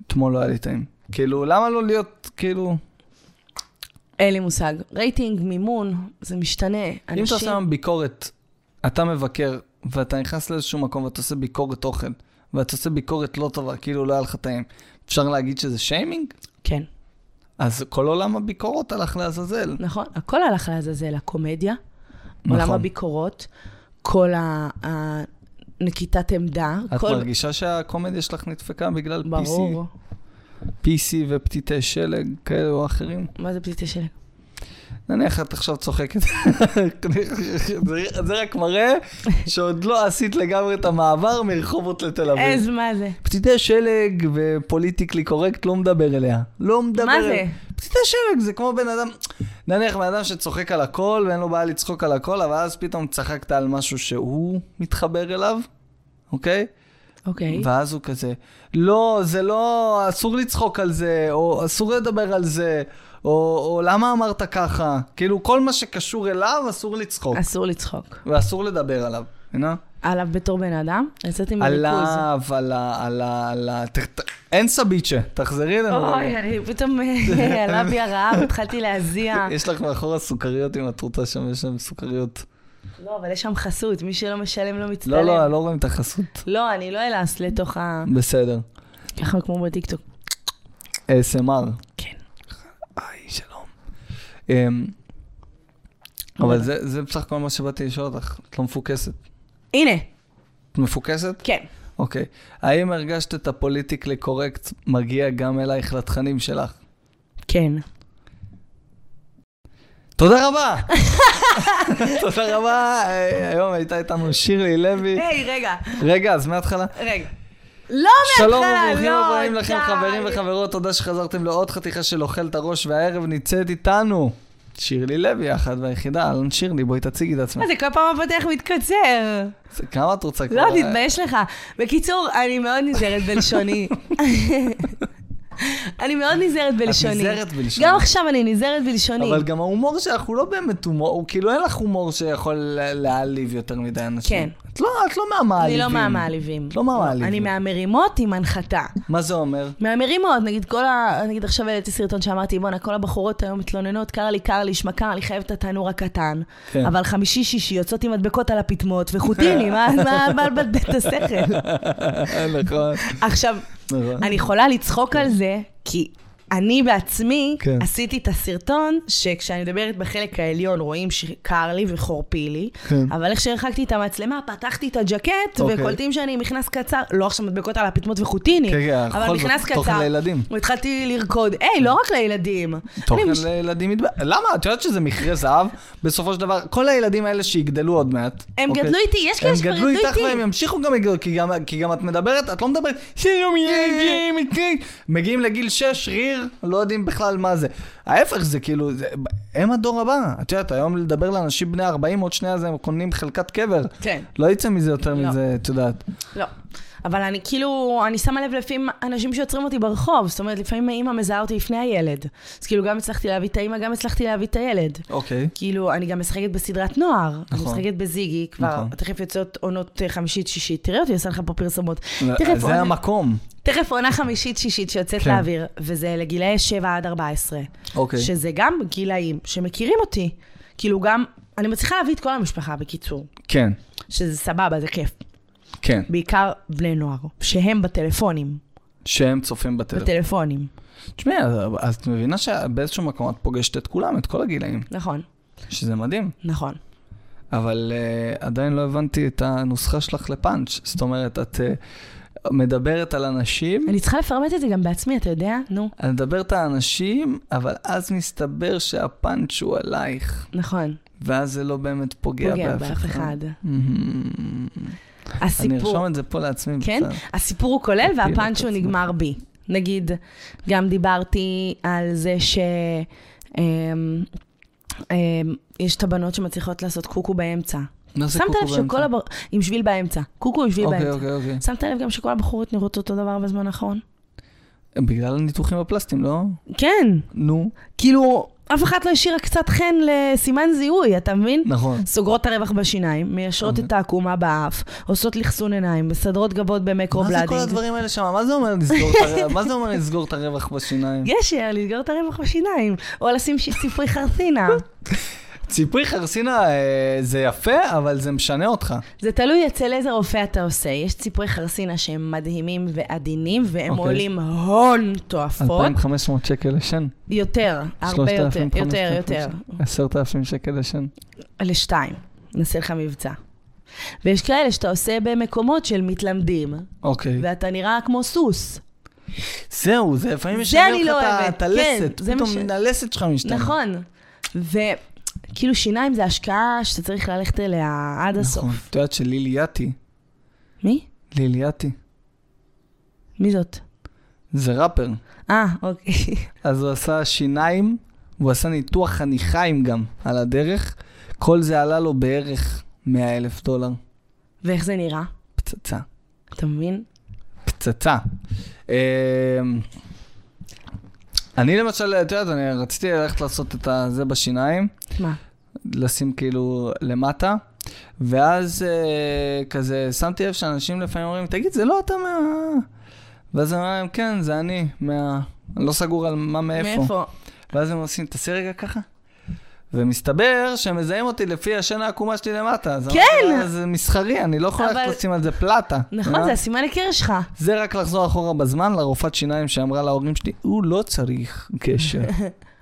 B: אתמול לא היה לי טעים. כאילו, למה לא להיות, כאילו,
A: אין לי מושג. רייטינג, מימון, זה משתנה.
B: לא-" אם אתה
A: אנשים...
B: עושה היום ביקורת, אתה מבקר, ואתה נכנס לאיזשהו מקום ואתה עושה ביקורת אוכל, ואתה עושה ביקורת לא טובה, כאילו לא היה לך טעים, אפשר להגיד שזה שיימינג?
A: כן,
B: אז כל עולם הביקורות הלך לעזאזל.
A: נכון. הכל הלך לעזאזל, הקומדיה,
B: נכון.
A: עולם הביקורות, כל ה- הנקיטת עמדה,
B: את
A: כל...
B: מרגישה שהקומדיה שלך נדפקה בגלל
A: ברור.
B: PC, PC ופתיתי שלג כאלה או אחרים?
A: מה זה פליטי שלג?
B: נניח את עכשיו צוחקת. זה- זה רק מראה שעוד לא עשית לגמרי את המעבר מרחובות לתל אביב.
A: איז, מה זה?
B: פתיתי שלג ופוליטיקלי קורקט לא מדבר אליה. לא מדבר
A: מה
B: אליה.
A: זה?
B: פתיתי שלג זה כמו בן אדם, נניח בן אדם שצוחק על הכל ואין לו בעיה לצחוק על הכל, אבל אז פתאום צחקת על משהו שהוא מתחבר אליו, אוקיי?
A: אוקיי.
B: ואז הוא כזה, לא, זה לא, אסור לצחוק על זה, או אסור לדבר על זה, או, או למה אמרת ככה? כאילו, כל מה שקשור אליו אסור לצחוק,
A: אסור לצחוק.
B: ואסור לדבר עליו, הנה?
A: עליו בתור בן אדם? יצאתי מריכוז.
B: עליו, על ה... על ה... על ה... ת- ת- אין סביצ'ה, תחזרי אלינו.
A: אוי, אני פתאום אה, עלה בי הרעב, התחלתי להזיע.
B: יש לך מאחורה סוכריות אם את רוצה שם, יש שם סוכריות.
A: לא, אבל יש שם חסות, מי שלא משלם לא מצטלם.
B: לא, לא, לא רואים את החסות.
A: לא, אני לא אלעס לתוך ה...
B: בסדר.
A: ככה כמו בטיקטוק.
B: ASMR.
A: כן.
B: היי, שלום. אמ, אבל
A: לא.
B: זה זה בסך הכל מה שבאתי לשאול אותך, את לא מפוקסת.
A: הנה,
B: את מפוקסת?
A: כן.
B: אוקיי. האם הרגשת את הפוליטיקלי קורקט מגיע גם אלייך לתכנים שלך?
A: כן.
B: תודה רבה! תודה רבה, אה, היום הייתה איתנו שירלי לוי.
A: היי, רגע,
B: רגע, אז מההתחלה?
A: רגע. לא מההתחלה, לא,
B: שלום וברוכים הבאים לכם,
A: די.
B: חברים וחברות, תודה שחזרתם לעוד חתיכה של אוכל את הראש, והערב נמצאת איתנו שירלי לוי, האחת והיחידה, אלון שירלי, בואי תציגי את
A: מה
B: עצמך.
A: זה, כל פעם הפותח מתקצר.
B: זה- כמה את רוצה כבר?
A: לא, תתבייש לך. בקיצור, אני מאוד נזהרת בלשוני. אני מאוד נזהרת בלשוני.
B: נזהרת בלשוני.
A: גם עכשיו אני נזהרת בלשוני.
B: אבל גם ההומור שלך הוא לא באמת הומור, הוא כאילו אין לך הומור שיכול לה- להעליב יותר מדי אנשים.
A: כן.
B: את לא, את לא מהמעליבים.
A: אני לא מהמעליבים.
B: את לא מהמעליבים.
A: אני מהמרימות עם הנחתה.
B: מה זה אומר?
A: מהמרימות, נגיד כל ה... נגיד עכשיו העליתי סרטון שאמרתי, בואנה, כל הבחורות היום מתלוננות, קר לי, קר לי, שמע קר, אני חייבת את התנור הקטן.
B: כן.
A: אבל חמישי-שישי יוצאות עם מדבקות על הפטמות, וחוטיני, מה מה- מה לבלבל את השכל?
B: נכון,
A: עכשיו,
B: נכון.
A: אני יכולה לצחוק על זה, כי אני בעצמי
B: כן.
A: עשיתי את הסרטון, שכשאני מדברת בחלק העליון רואים שקר לי וחורפי לי,
B: כן.
A: אבל איך שהרחקתי את המצלמה, פתחתי את הג'קט,
B: אוקיי.
A: וקולטים שאני עם מכנס קצר, לא עכשיו מדבקות על הפטמות וחוטיני,
B: כן, כן,
A: אבל
B: בכל
A: מכנס
B: זאת, תוכן
A: קצר.
B: לילדים.
A: והתחלתי לרקוד, היי, לא רק לילדים. אני
B: תוכן
A: מש-
B: לילדים יתבע... למה? את יודעת שזה מכרה זהב? בסופו של דבר, כל הילדים האלה שיגדלו עוד מעט.
A: הם גדלו איתי, יש כאלה שכבר
B: אוקיי. הם גדלו
A: גדלו
B: איתך
A: איתי.
B: והם ימשיכו גם לגדול, כי גם- כי גם את מדברת, את לא מדברת,
A: כן.
B: שלום ילדים, איתי." מגיעים לגיל 6, ריר, לא יודעים בכלל מה זה. ההפך זה כאילו, זה- הם הדור הבא. את יודעת, היום לדבר לאנשים בני 40, עוד שנייה זה הם קונים חלקת קבר.
A: כן.
B: לא יצא מזה יותר
A: לא.
B: מזה, את יודעת.
A: לא. אבל אני כאילו, אני שמה לב לפעמים אנשים שעוצרים אותי ברחוב, זאת אומרת, לפעמים האימא מזהה אותי לפני הילד. אז כאילו, גם הצלחתי להביא את האימא, גם הצלחתי להביא את הילד.
B: אוקיי.
A: כאילו, אני גם משחקת בסדרת נוער. נכון. אני
B: נכון.
A: משחקת בזיגי, כבר
B: נכון.
A: תכף יוצאות עונות אה, חמישית, שישית. תראה אותי, עושה לך פה פרסומות. תכף,
B: אה, זה
A: עונה,
B: המקום.
A: תכף עונה חמישית, שישית שיוצאת
B: כן.
A: לאוויר, וזה לגילאי 7 עד 14.
B: אוקיי.
A: שזה גם גילאים שמכירים אותי. כאילו, גם, אני מצליחה להביא את כל המשפחה, בקיצור.
B: כן,
A: שזה סבבה, זה כיף.
B: כן.
A: בעיקר בני נוער, שהם בטלפונים.
B: שהם צופים בטלפון.
A: בטלפונים.
B: תשמעי, אז- אז את מבינה שבאיזשהו מקום את פוגשת את כולם, את כל הגילאים,
A: נכון,
B: שזה מדהים.
A: נכון.
B: אבל uh, עדיין לא הבנתי את הנוסחה שלך לפאנץ'. זאת אומרת, את uh, מדברת על אנשים,
A: אני צריכה לפרמט את זה גם בעצמי, אתה יודע? נו,
B: את מדברת על אנשים, אבל אז מסתבר שהפאנץ' הוא עלייך,
A: נכון.
B: ואז זה לא באמת פוגע,
A: פוגע באף אחד.
B: מהמם. אני
A: הסיפור,
B: ארשום את זה פה לעצמי.
A: כן?
B: בסדר.
A: הסיפור הוא כולל
B: תפיל את
A: והפאנץ' הוא
B: עצמך.
A: נגמר בי. נגיד, גם דיברתי על זה ש... אמ, אמ, יש את הבנות שמצליחות לעשות קוקו באמצע.
B: מה זה
A: שמת
B: קוקו
A: לב שכל
B: באמצע?
A: הבר... עם שביל באמצע. קוקו עם שביל
B: אוקיי,
A: באמצע.
B: אוקיי, אוקיי.
A: שמת לב גם שכל הבחורות נראות אותו דבר בזמן האחרון?
B: אוקיי. בגלל הניתוחים הפלסטיים, לא?
A: כן.
B: נו.
A: כאילו, אף אחת לא השאירה קצת חן לסימן זיהוי, אתה מבין?
B: נכון.
A: סוגרות את הרווח בשיניים, מיישרות את העקומה באף, עושות לחסון עיניים, מסדרות גבות
B: מה זה כל
A: במקרובלדינג.
B: הדברים האלה שם? מה זה אומר לסגור את הרווח- מה זה אומר לסגור את הרווח בשיניים?
A: גשר, אה, לסגור את הרווח בשיניים, או לשים ש- ציפוי חרסינה.
B: ציפרי חרסינה אה, זה יפה, אבל זה משנה אותך.
A: זה תלוי אצל איזה רופא אתה עושה. יש ציפוי חרסינה שהם מדהימים ועדינים, והם
B: אוקיי.
A: עולים הון תועפות.
B: 2,500 שקל לשן.
A: יותר, הרבה יותר, יותר, יותר.
B: 10,000 שקל לשן.
A: לשתיים, נעשה לך מבצע. ויש כאלה שאתה עושה במקומות של מתלמדים,
B: אוקיי.
A: ואתה נראה כמו סוס.
B: זהו, זה לפעמים
A: זה
B: משנה
A: אני
B: לך
A: לא
B: את ה-
A: אוהבת.
B: את
A: כן,
B: הלסת.
A: זה
B: פתאום
A: מה ש-
B: הלסת שלך משתנה.
A: נכון. וכאילו שיניים זה השקעה שאתה צריך ללכת אליה עד הסוף.
B: נכון. את יודעת שלילי יתי,
A: מי?
B: לילי יתי,
A: מי זאת?
B: זה ראפר.
A: אה, אוקיי.
B: אז הוא עשה שיניים, הוא עשה ניתוח חניכיים גם על הדרך. כל זה עלה לו בערך 100 אלף דולר.
A: ואיך זה נראה?
B: פצצה.
A: אתה מבין?
B: פצצה. אמ, אני למשל, את יודעת, אני רציתי ללכת לעשות את זה בשיניים,
A: מה?
B: לשים כאילו למטה, ואז אה, כזה שמתי לב שאנשים לפעמים אומרים, תגיד, זה לא אתה מה... ואז אני אומר להם, כן, זה אני, מה... אני לא סגור על מה מאיפה. ואז הם עושים, תעשי רגע ככה. ומסתבר שהם מזהים אותי לפי השן העקומה שלי למטה. אז אמרתי,
A: כן!
B: "אה, זה מסחרי, אני לא יכול
A: אבל-
B: ללכת לשים על זה פלטה.
A: נכון,
B: אה?
A: זה הסימן הכיר שלך.
B: זה רק לחזור אחורה בזמן לרופאת שיניים שאמרה להורים שלי, הוא לא צריך קשר.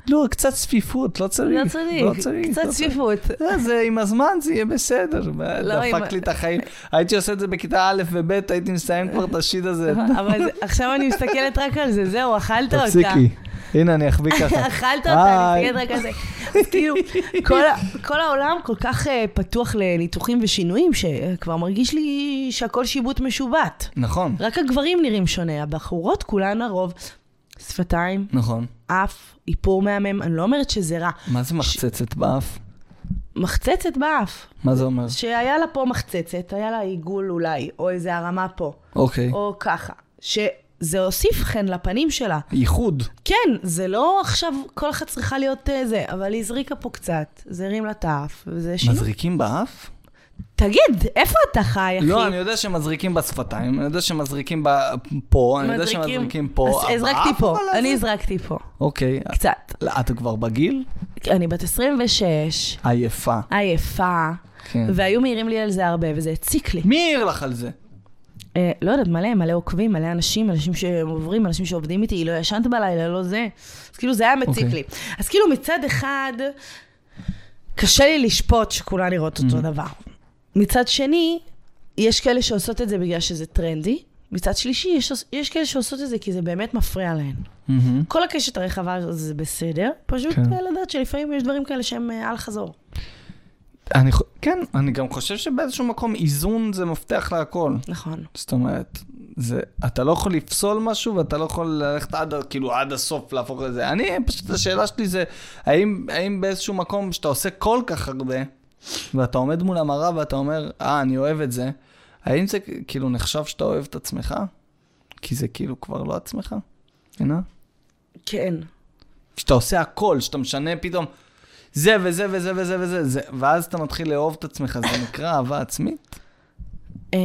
B: לא, קצת צפיפות, לא צריך.
A: לא צריך, קצת
B: לא צריך."
A: צפיפות.
B: "אה, זה עם הזמן זה יהיה בסדר,
A: לא, עם-
B: דפק לי את החיים. הייתי עושה את זה בכיתה א' וב', הייתי מסיים כבר את השיט הזה.
A: אבל זה- עכשיו אני מסתכלת רק על זה, זהו, אכלת אותה.
B: תפסיקי. הנה, אני אחביא ככה.
A: אכלת אותה,
B: היי.
A: אני מסתכלת רק על זה. אז כאילו, כל ה- כל העולם כל כך אה, פתוח לניתוחים ושינויים, שכבר מרגיש לי שהכל שיבוט משובט.
B: נכון,
A: רק הגברים נראים שונה, הבחורות כולן הרוב. שפתיים,
B: נכון.
A: אף, איפור מהמם, אני לא אומרת שזה רע.
B: מה זה מחצצת באף?
A: מחצצת באף,
B: מה זה אומר?
A: שהיה לה פה מחצצת, היה לה עיגול אולי, או איזה הרמה פה,
B: אוקיי.
A: או ככה. שזה הוסיף חן לפנים שלה.
B: ייחוד.
A: כן, זה לא עכשיו כל אחת צריכה להיות אה, זה, אבל היא הזריקה פה קצת, זה הרים לה את האף, וזה שינוי.
B: מזריקים באף?
A: תגיד, איפה אתה חי, אחי?
B: לא, אני יודע שמזריקים בשפתיים, אני יודע שמזריקים ב- פה, אני יודע
A: מזריקים-
B: שמזריקים פה.
A: אז הזרקתי
B: אבל-
A: פה,
B: אבל
A: אני
B: זה-
A: הזרקתי פה,
B: אוקיי,
A: קצת.
B: לא, את כבר בגיל?
A: אני בת 26,
B: עייפה.
A: עייפה,
B: כן.
A: והיו מעירים לי על זה הרבה, וזה הציק לי.
B: מי העיר לך על זה?
A: אה, לא יודעת, מלא, מלא עוקבים, מלא אנשים, אנשים שעוברים, אנשים שעובדים איתי, לא ישנת בלילה, לא זה. אז כאילו זה היה מציק
B: אוקיי.
A: לי. אז כאילו מצד אחד, קשה לי לשפוט שכולן נראות אותו דבר. מצד שני, יש כאלה שעושות את זה בגלל שזה טרנדי. מצד שלישי, יש, יש כאלה שעושות את זה כי זה באמת מפריע להן.
B: מהמם.
A: כל הקשת הרחבה הזאת זה בסדר, פשוט
B: כן.
A: כן. לדעת שלפעמים יש דברים כאלה שהם אה, על חזור.
B: אני חו- כן, אני גם חושב שבאיזשהו מקום איזון זה מפתח להכל.
A: נכון.
B: זאת אומרת, זה, אתה לא יכול לפסול משהו ואתה לא יכול ללכת עד, ה- כאילו, עד הסוף להפוך לזה. אני, פשוט השאלה שלי זה, האם, האם באיזשהו מקום שאתה עושה כל כך הרבה, ואתה עומד מול המראה ואתה אומר, אה, אני אוהב את זה, האם זה כאילו נחשב שאתה אוהב את עצמך? כי זה כאילו כבר לא עצמך, הנה?
A: כן.
B: כשאתה עושה הכל, שאתה משנה פתאום, זה וזה וזה וזה וזה, זה, ואז אתה מתחיל לאהוב את עצמך, זה נקרא אהבה עצמית?
A: אמ,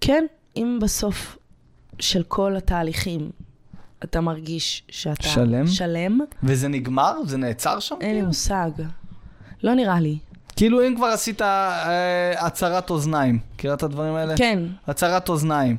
A: כן, אם בסוף של כל התהליכים אתה מרגיש שאתה
B: שלם?
A: שלם
B: וזה נגמר? זה נעצר שם?
A: אין לי
B: כאילו?
A: מושג. לא נראה לי.
B: כאילו אם כבר עשית אה, הצהרת אוזניים, מכירה את הדברים האלה?
A: כן,
B: הצהרת אוזניים,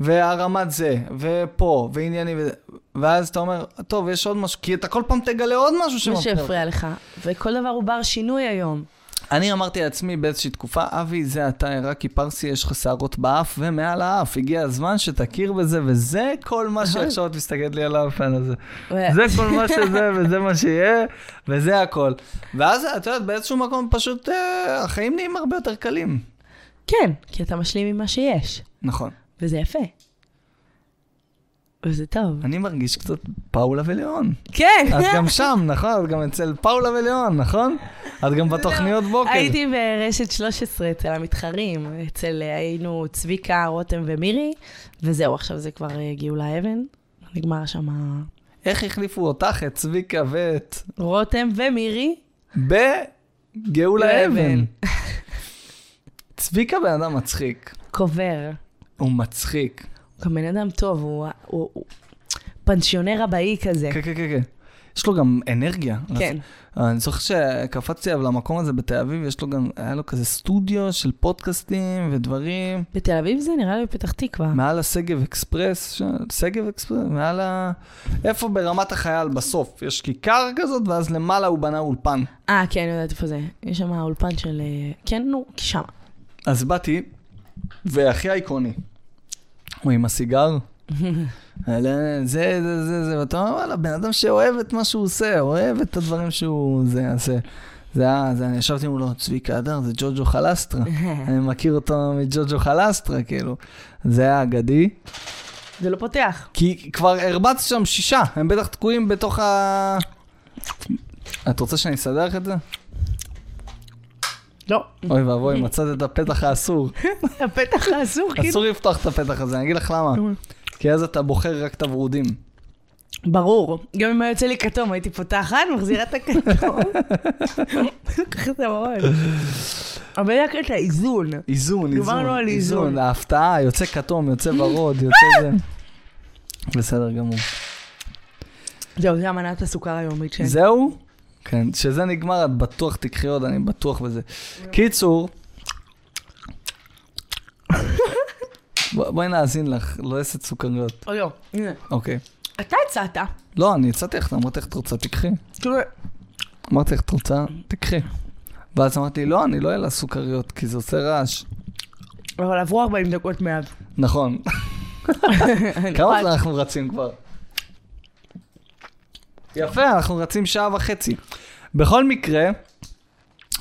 B: והרמת זה, ופה, וענייני וזה, ואז אתה אומר, טוב, יש עוד משהו, כי אתה כל פעם תגלה עוד משהו
A: מה
B: שמפריע. לך."
A: שהפריע לך. וכל דבר הוא בר שינוי היום.
B: אני אמרתי לעצמי באיזושהי תקופה, אבי, זה אתה עיראקי פרסי, יש לך שערות באף ומעל האף, הגיע הזמן שתכיר בזה, וזה כל מה שעכשיו את מסתכלת לי על האפן הזה. זה כל מה שזה, וזה מה שיהיה, וזה הכל. ואז, את יודעת, באיזשהו מקום פשוט אה, החיים נהיים הרבה יותר קלים.
A: כן, כי אתה משלים עם מה שיש,
B: נכון.
A: וזה יפה. וזה טוב.
B: אני מרגיש קצת פאולה וליאון.
A: כן.
B: את גם שם, נכון? את גם אצל פאולה וליאון, נכון? את גם בתוכניות בוקר.
A: הייתי ברשת 13 אצל המתחרים, אצל אה, היינו צביקה, רותם ומירי, וזהו, עכשיו זה כבר אה, גאולה אבן. נגמר שם ה-
B: איך החליפו אותך, את צביקה ואת...
A: רותם ומירי,
B: בגאולה
A: לאבן.
B: אבן. צביקה בן אדם מצחיק.
A: קובר.
B: הוא מצחיק.
A: הוא גם בן אדם טוב, הוא- הוא הוא פנסיונר אבאי כזה.
B: כן, כן, כן, כן. יש לו גם אנרגיה.
A: כן.
B: אוקיי. אז- אה, אני זוכר שקפצתי עליו למקום הזה בתל אביב, יש לו גם, היה לו כזה סטודיו של פודקאסטים ודברים.
A: בתל אביב זה נראה לי בפתח תקווה.
B: מעל השגב אקספרס, ש- שגב אקספרס, מעל ה... איפה ברמת החייל בסוף? יש כיכר כזאת, ואז למעלה הוא בנה אולפן.
A: אה, כן, אני יודעת איפה זה. יש שם אולפן של... אה, כן, נו, שם.
B: אז באתי, והכי איקוני. הוא עם הסיגר. אלה- זה, זה, זה, זה, ואתה אומר, וואלה, בן אדם שאוהב את מה שהוא עושה, אוהב את הדברים שהוא זה, עושה. זה היה, זה, אני ישבתי מולו, צביקה הדר, זה ג'וג'ו חלסטרה. אני מכיר אותו מג'וג'ו חלסטרה, כאילו. זה היה אגדי.
A: זה לא פותח.
B: כי כבר הרבצת שם שישה, הם בטח תקועים בתוך ה... את רוצה שאני אסדר לך את זה?
A: לא.
B: אוי ואבוי, מצאת את הפתח האסור.
A: הפתח האסור, כאילו.
B: אסור לפתוח את הפתח הזה, אני אגיד לך למה. כי אז אתה בוחר רק את הוורודים.
A: ברור. גם אם היה יוצא לי כתום, הייתי פותחת, מחזירה את הכתום. לוקחת את המרון. אבל זה רק את האיזון.
B: איזון, איזון.
A: דיברנו על איזון.
B: ההפתעה, יוצא כתום, יוצא ורוד, יוצא זה. בסדר גמור.
A: זהו, זה אמנת הסוכר היומית שלי.
B: זהו? כן, שזה נגמר, את בטוח תקחי עוד, אני בטוח בזה. קיצור... בוא- בואי נאזין לך, לא אעשה סוכריות.
A: או לא, הנה.
B: אוקיי.
A: אתה הצעת.
B: לא, אני הצעתי לך, אמרתי לך, את רוצה, תקחי.
A: כאילו,
B: אמרתי לך, את רוצה, תקחי. ואז אמרתי, לא, אני לא אעלה סוכריות, כי זה עושה רעש.
A: אבל עברו 40 דקות מאז. נכון.
B: נכון. כמה זמן אנחנו רצים כבר? יפה, אנחנו רצים שעה וחצי. בכל מקרה,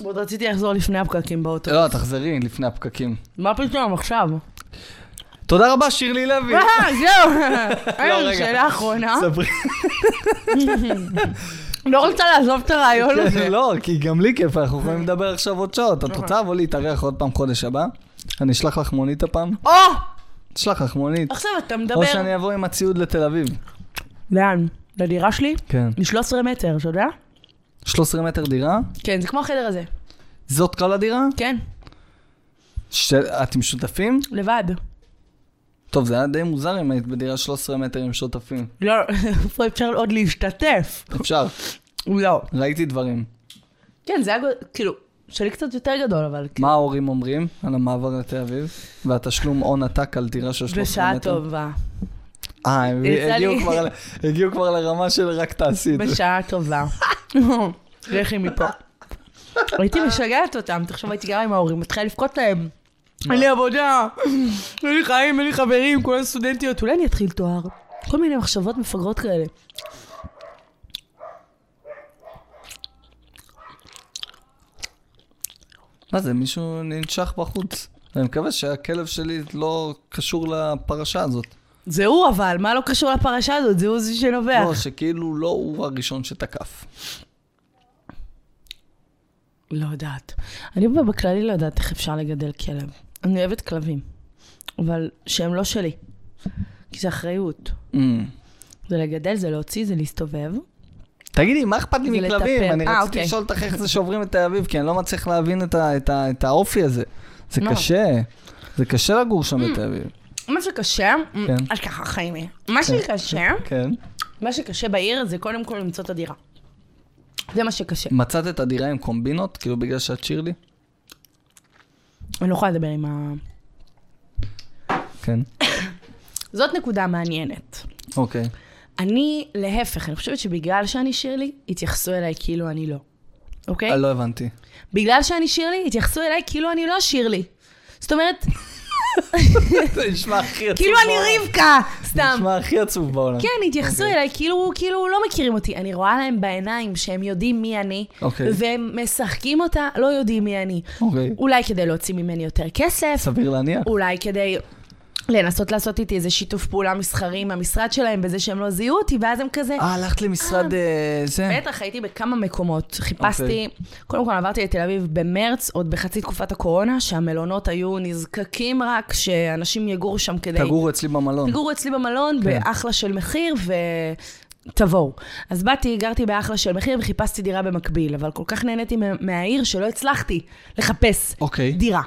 A: עוד רציתי לחזור לפני הפקקים באוטו.
B: לא, תחזרי לפני הפקקים.
A: מה פתאום, עכשיו?
B: תודה רבה, שירלי לוי.
A: אה, זהו. אה,
B: לא, רגע.
A: שאלה אחרונה.
B: ספרי.
A: לא רוצה לעזוב את הרעיון הזה.
B: לא, כי גם לי כיף, אנחנו יכולים לדבר עכשיו עוד שעות. את רוצה לבוא להתארח עוד פעם חודש הבא? אני אשלח לך מונית הפעם?
A: או!
B: אשלח לך מונית.
A: עכשיו אתה
B: או
A: מדבר.
B: שאני אבוא עם הציוד לתל אביב.
A: לאן? לדירה שלי?
B: כן.
A: מ-13 מטר, אתה יודע?
B: 13 מטר דירה?
A: כן, זה כמו החדר הזה.
B: זאת כל הדירה?
A: כן,
B: ש- אתם שותפים?
A: לבד.
B: טוב, זה היה די מוזר אם היית בדירה 13 מטר עם שותפים.
A: לא, איפה אפשר עוד להשתתף?
B: אפשר,
A: לא.
B: ראיתי דברים.
A: כן, זה היה גו- כאילו, שלי קצת יותר גדול, אבל כאילו,
B: מה ההורים אומרים על המעבר לתל אביב? והתשלום הון עתק על דירה של 13 מטר?
A: בשעה טובה.
B: אה, הם
A: יצא
B: הגיעו
A: לי-
B: כבר ל- הגיעו כבר לרמה של רק תעשי את זה.
A: בשעה טובה. לכי מפה. הייתי משגעת אותם, תחשוב הייתי גרה עם ההורים, מתחילה לבכות להם. אין לי עבודה, אין לי חיים, אין לי חברים, כולן סטודנטיות, אולי אני אתחיל תואר. כל מיני מחשבות מפגרות כאלה.
B: מה זה, מישהו ננשך בחוץ. אני מקווה שהכלב שלי לא קשור לפרשה הזאת.
A: זה הוא אבל, מה לא קשור לפרשה הזאת? זה הוא זה שנובח.
B: לא, שכאילו לא הוא הראשון שתקף.
A: לא יודעת. אני בכללי לא יודעת איך אפשר לגדל כלב. אני אוהבת כלבים, אבל שהם לא שלי. כי זה אחריות.
B: Mm.
A: זה לגדל, זה להוציא, זה להסתובב.
B: תגידי, מה אכפת לי
A: זה
B: מכלבים?
A: לטפל.
B: אני
A: אה,
B: רציתי
A: אוקיי.
B: לשאול אותך איך זה שעוברים את תל אביב, כי אני לא מצליח להבין את ה- את ה- את האופי הזה. זה
A: לא.
B: קשה. זה קשה לגור שם
A: Mm.
B: בתל אביב.
A: מה שקשה,
B: כן.
A: אז ככה חיים לי. מה שקשה,
B: כן.
A: מה שקשה בעיר זה קודם כל למצוא את הדירה. זה מה שקשה.
B: מצאת את הדירה עם קומבינות? כאילו בגלל שאת שירלי?
A: אני לא יכולה לדבר עם ה...
B: כן.
A: זאת נקודה מעניינת.
B: אוקיי.
A: אני, להפך, אני חושבת שבגלל שאני שירלי, התייחסו אליי כאילו אני לא. אוקיי?
B: אה, לא הבנתי.
A: בגלל שאני שירלי, התייחסו אליי כאילו אני לא שירלי. זאת אומרת,
B: זה נשמע הכי עצוב
A: כאילו אני רבקה, סתם.
B: נשמע הכי עצוב בעולם.
A: כן, התייחסו אליי כאילו, כאילו לא מכירים אותי. אני רואה להם בעיניים שהם יודעים מי אני,
B: אוקיי.
A: והם משחקים אותה, לא יודעים מי אני.
B: אוקיי.
A: אולי כדי להוציא ממני יותר כסף,
B: סביר להניח.
A: אולי כדי לנסות לעשות איתי איזה שיתוף פעולה מסחרי עם המשרד שלהם בזה שהם לא זיהו אותי, ואז הם כזה...
B: אה, הלכת למשרד אה, זה?
A: בטח הייתי בכמה מקומות, חיפשתי, קודם כל עברתי לתל אביב במרץ, עוד בחצי תקופת הקורונה, שהמלונות היו נזקקים רק שאנשים יגורו שם כדי...
B: נכון. תגורו אצלי במלון.
A: תגורו אצלי במלון,
B: כן.
A: באחלה של מחיר, תבואו. אז באתי, גרתי באחלה של מחיר וחיפשתי דירה במקביל, אבל כל כך נהניתי מה- מהעיר שלא הצלחתי לחפש
B: אוקיי.
A: דירה.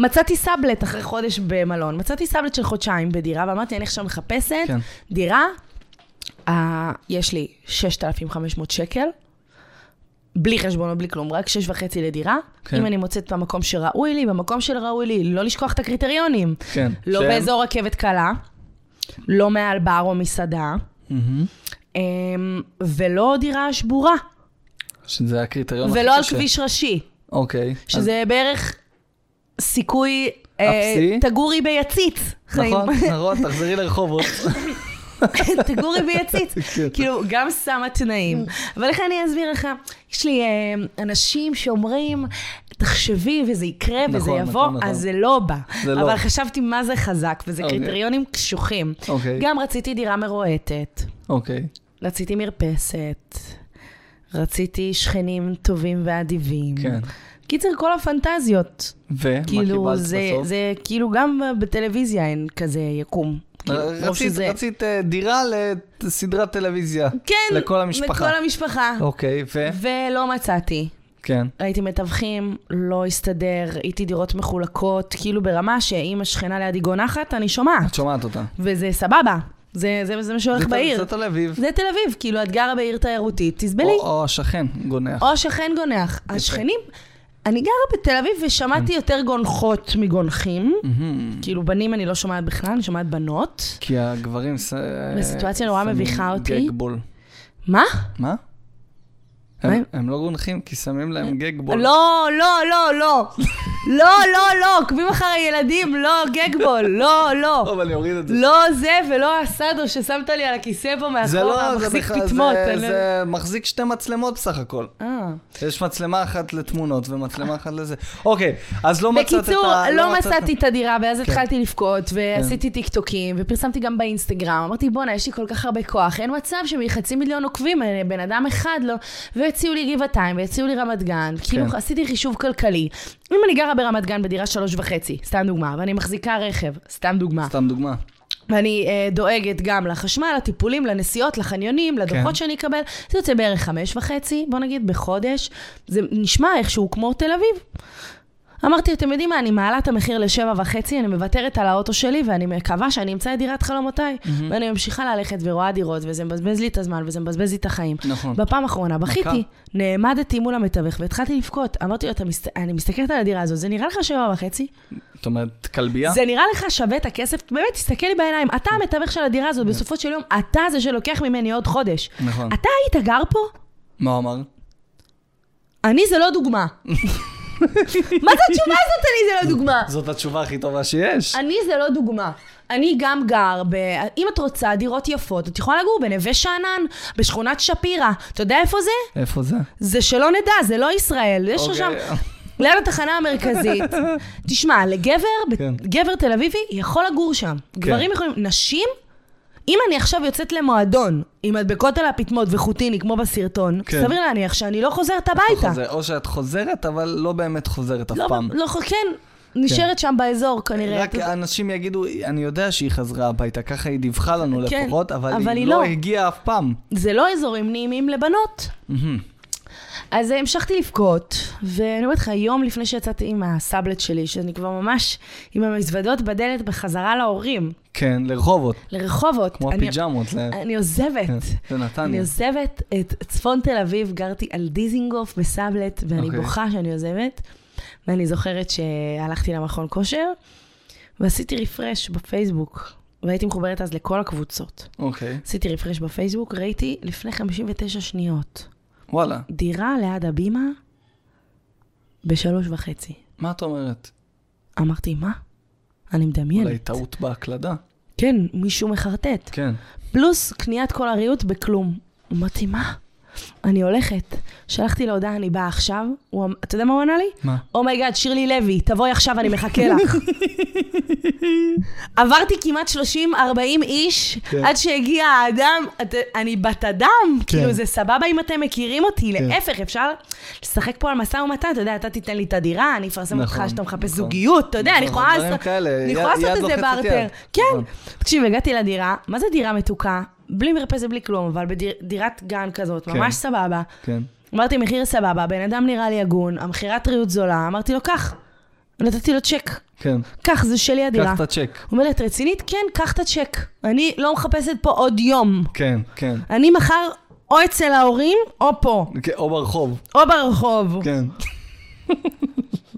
A: מצאתי סאבלט אחרי חודש במלון, מצאתי סאבלט של חודשיים בדירה, ואמרתי, אני עכשיו מחפשת
B: כן.
A: דירה, uh, יש לי 6,500 שקל, בלי חשבון ובלי כלום, רק 6.5 לדירה.
B: כן.
A: כן. אם אני מוצאת במקום שראוי לי, במקום של ראוי לי, לא לשכוח את הקריטריונים.
B: כן.
A: לא
B: שהם-
A: באזור רכבת קלה, לא מעל בר או מסעדה.
B: מהמם.
A: אמ, ולא דירה שבורה,
B: שזה הקריטריון הכי
A: ולא על
B: קשה.
A: כביש ראשי,
B: אוקיי. לא, אז-
A: שזה בערך סיכוי אה,
B: אפסי.
A: תגורי ביצית. חיים.
B: נכון, נכון, תחזרי לרחובות. נכון.
A: תגורי ביצית.
B: כן.
A: כאילו, גם שמה תנאים. אבל איך אני אסביר לך? יש לי אה, אנשים שאומרים, תחשבי וזה יקרה וזה
B: נכון,
A: יבוא,
B: נכון, נכון.
A: אז זה לא בא.
B: זה לא.
A: אבל חשבתי מה זה חזק, וזה
B: אוקיי.
A: קריטריונים קשוחים.
B: אוקיי.
A: גם רציתי דירה מרועטת.
B: אוקיי.
A: רציתי מרפסת, רציתי שכנים טובים ואדיבים.
B: כן.
A: קיצר, כל הפנטזיות.
B: ומה
A: כאילו,
B: קיבלת
A: זה,
B: בסוף?
A: זה כאילו גם בטלוויזיה אין כזה יקום. כאילו, מרוב
B: רצית,
A: שזה-
B: רצית אה, דירה לסדרת טלוויזיה.
A: כן,
B: לכל המשפחה.
A: לכל המשפחה.
B: אוקיי, ו...
A: ולא מצאתי.
B: כן.
A: ראיתי מתווכים, לא הסתדר, הייתי דירות מחולקות, כאילו ברמה שאם השכנה לידי גונחת, אני
B: את
A: שומעת.
B: שומעת אותה.
A: וזה סבבה, זה, זה, זה מה שהולך
B: זה-
A: בעיר.
B: זה תל אביב.
A: זה תל אביב, כאילו, את גרה בעיר תיירותית, תסבלי.
B: או או השכן גונח.
A: או שכן גונח. השכנים, אני גרה בתל אביב ושמעתי יותר גונחות מגונחים.
B: מהמם.
A: כאילו, בנים אני לא שומעת בכלל, אני שומעת בנות.
B: כי הגברים... ס- אה,
A: בסיטואציה נורא
B: שמים
A: מביכה אותי.
B: גג בול.
A: מה?
B: מה? הם-
A: מה?
B: הם לא גונחים כי שמים להם גג בול.
A: לא, לא, לא, לא. לא, לא, לא, עוקבים אחרי ילדים, לא, גגבול, לא,
B: טוב,
A: לא.
B: אני אוריד את זה.
A: לא זה ולא הסאדו ששמת לי על הכיסא פה
B: זה
A: מאחורה,
B: לא, זה
A: מחזיק
B: בכלל-
A: פטמות.
B: זה-
A: אני לא-
B: זה מחזיק שתי מצלמות בסך הכל.
A: אה.
B: יש מצלמה אחת לתמונות ומצלמה אחת לזה. אוקיי, אז לא מצאת את ה... כן.
A: בקיצור, לא
B: מצאת-
A: מצאתי את הדירה, ואז התחלתי לבכות, ועשיתי טיקטוקים, ופרסמתי גם באינסטגרם. אמרתי, בואנה, יש לי כל כך הרבה כוח, אין מצב שמחצי מיליון עוקבים, אה, בן אדם אחד לא... והציעו לי גבעתיים, והציעו לי רמת גן, כאילו
B: כן.
A: עשיתי חישוב כלכלי. אם אני גרה ברמת גן בדירה שלוש וחצי, סתם דוגמה, ואני מחזיקה רכב, סתם דוגמה,
B: סתם דוגמה.
A: ואני אה, דואגת גם לחשמל, לטיפולים, לנסיעות, לחניונים, לדוחות
B: כן.
A: שאני אקבל, זה יוצא בערך חמש וחצי, בוא נגיד, בחודש. זה נשמע איכשהו כמו תל אביב. אמרתי, אתם יודעים מה, אני מעלה את המחיר לשבע וחצי, אני מוותרת על האוטו שלי, ואני מקווה שאני אמצא את דירת חלומותיי. Mm-hmm. ואני ממשיכה ללכת ורואה דירות, וזה מבזבז לי את הזמן, וזה מבזבז לי את החיים.
B: נכון.
A: בפעם האחרונה בכיתי, נעמדתי מול המתווך, והתחלתי לבכות. אמרתי לו, "אתה מסת... אני מסתכלת על הדירה הזאת, זה נראה לך שבע וחצי?
B: זאת אומרת, כלבייה?
A: זה נראה לך שווה את הכסף? באמת, תסתכל לי בעיניים. אתה המתווך של הדירה הזאת, בסופו של יום, אתה זה שלוקח ממני עוד חודש.
B: נכון.
A: אתה היית גר פה?
B: מה הוא אמר?
A: אני זה לא דוגמה. מה זה התשובה הזאת, אני זה לא דוגמה?
B: זאת התשובה הכי טובה שיש.
A: אני זה לא דוגמה. אני גם גר ב... אם את רוצה דירות יפות, את יכולה לגור בנווה שאנן, בשכונת שפירא. אתה יודע איפה זה?
B: איפה זה?
A: זה שלא נדע, זה לא ישראל. יש לך שם...
B: אוקיי.
A: ליד התחנה המרכזית. תשמע, לגבר,
B: כן.
A: כן. גבר תל אביבי יכול לגור שם. כן. גברים יכולים... נשים? אם אני עכשיו יוצאת למועדון עם מדבקות על הפטמות וחוטיני, כמו בסרטון,
B: כן.
A: כן. סביר להניח שאני לא חוזרת הביתה.
B: חוזר- או שאת חוזרת, אבל לא באמת חוזרת אף
A: לא,
B: פעם.
A: לא, חו- כן, נשארת שם באזור כנראה.
B: רק אנשים יגידו, אני יודע שהיא חזרה הביתה, ככה היא דיווחה לנו
A: כן,
B: לפחות, אבל
A: אבל
B: היא
A: היא
B: לא
A: לא.
B: הגיעה אף פעם.
A: זה לא אזורים נעימים לבנות.
B: מהמם.
A: אז אה, המשכתי לבכות, ואני אומרת לך, יום לפני שיצאתי עם הסאבלט שלי, שאני כבר ממש עם המזוודות בדלת בחזרה להורים,
B: כן, לרחובות,
A: לרחובות.
B: כמו
A: אני-
B: הפיג'מות. ל-
A: אני עוזבת.
B: כן, לנתניה.
A: אני עוזבת את צפון תל אביב, גרתי על דיזינגוף בסבלט, ואני
B: אוקיי.
A: בוכה שאני עוזבת. ואני זוכרת שהלכתי למכון כושר, ועשיתי רפרש בפייסבוק, והייתי מחוברת אז לכל הקבוצות.
B: אוקיי,
A: עשיתי רפרש בפייסבוק, ראיתי לפני 59 שניות,
B: וואלה,
A: דירה ליד הבימה בשלוש וחצי.
B: מה את אומרת?
A: אמרתי, מה? אני
B: אולי
A: מדמיינת.
B: טעות בהקלדה.
A: כן, מישהו מחרטט.
B: כן.
A: פלוס קניית כל הריהוט בכלום. אמרתי, מה? אני הולכת. שלחתי לו הודעה, אני באה עכשיו. הוא אמר, אתה יודע מה הוא ענה לי?
B: מה?
A: אומייגאד, Oh שירלי לוי, תבואי עכשיו, אני מחכה לך. עברתי כמעט 30-40 איש,
B: כן.
A: עד שהגיע האדם, את- אני בת אדם, כאילו זה סבבה אם אתם מכירים אותי,
B: כן.
A: להפך, אפשר לשחק פה על משא ומתן, אתה יודע, אתה תיתן לי את הדירה, אני אפרסם אותך
B: נכון,
A: שאתה מחפש
B: נכון.
A: זוגיות, אתה יודע, אני
B: נכון,
A: יכולה
B: דברים
A: לעשות
B: כאלה,
A: אני
B: יד-
A: יכולה לעשות
B: יד
A: את זה
B: לוחצת יד.
A: בארטר. כן,
B: נכון.
A: תקשיב, הגעתי לדירה, מה זה דירה מתוקה? בלי מרפסת, בלי כלום, אבל בדירת גן כזאת,
B: כן.
A: ממש סבבה.
B: כן.
A: אמרתי, מחיר סבבה, בן אדם נראה לי הגון, המכירת ריהוט זולה, אמרתי לו, קח. נתתי לו צ'ק.
B: כן.
A: קח, זה שלי הדירה.
B: קח את הצ'ק.
A: הוא אומר לי, את רצינית? כן, קח את הצ'ק. אני לא מחפשת פה עוד יום.
B: כן, כן.
A: אני מחר או אצל ההורים, או פה,
B: כן, או ברחוב.
A: או ברחוב.
B: כן.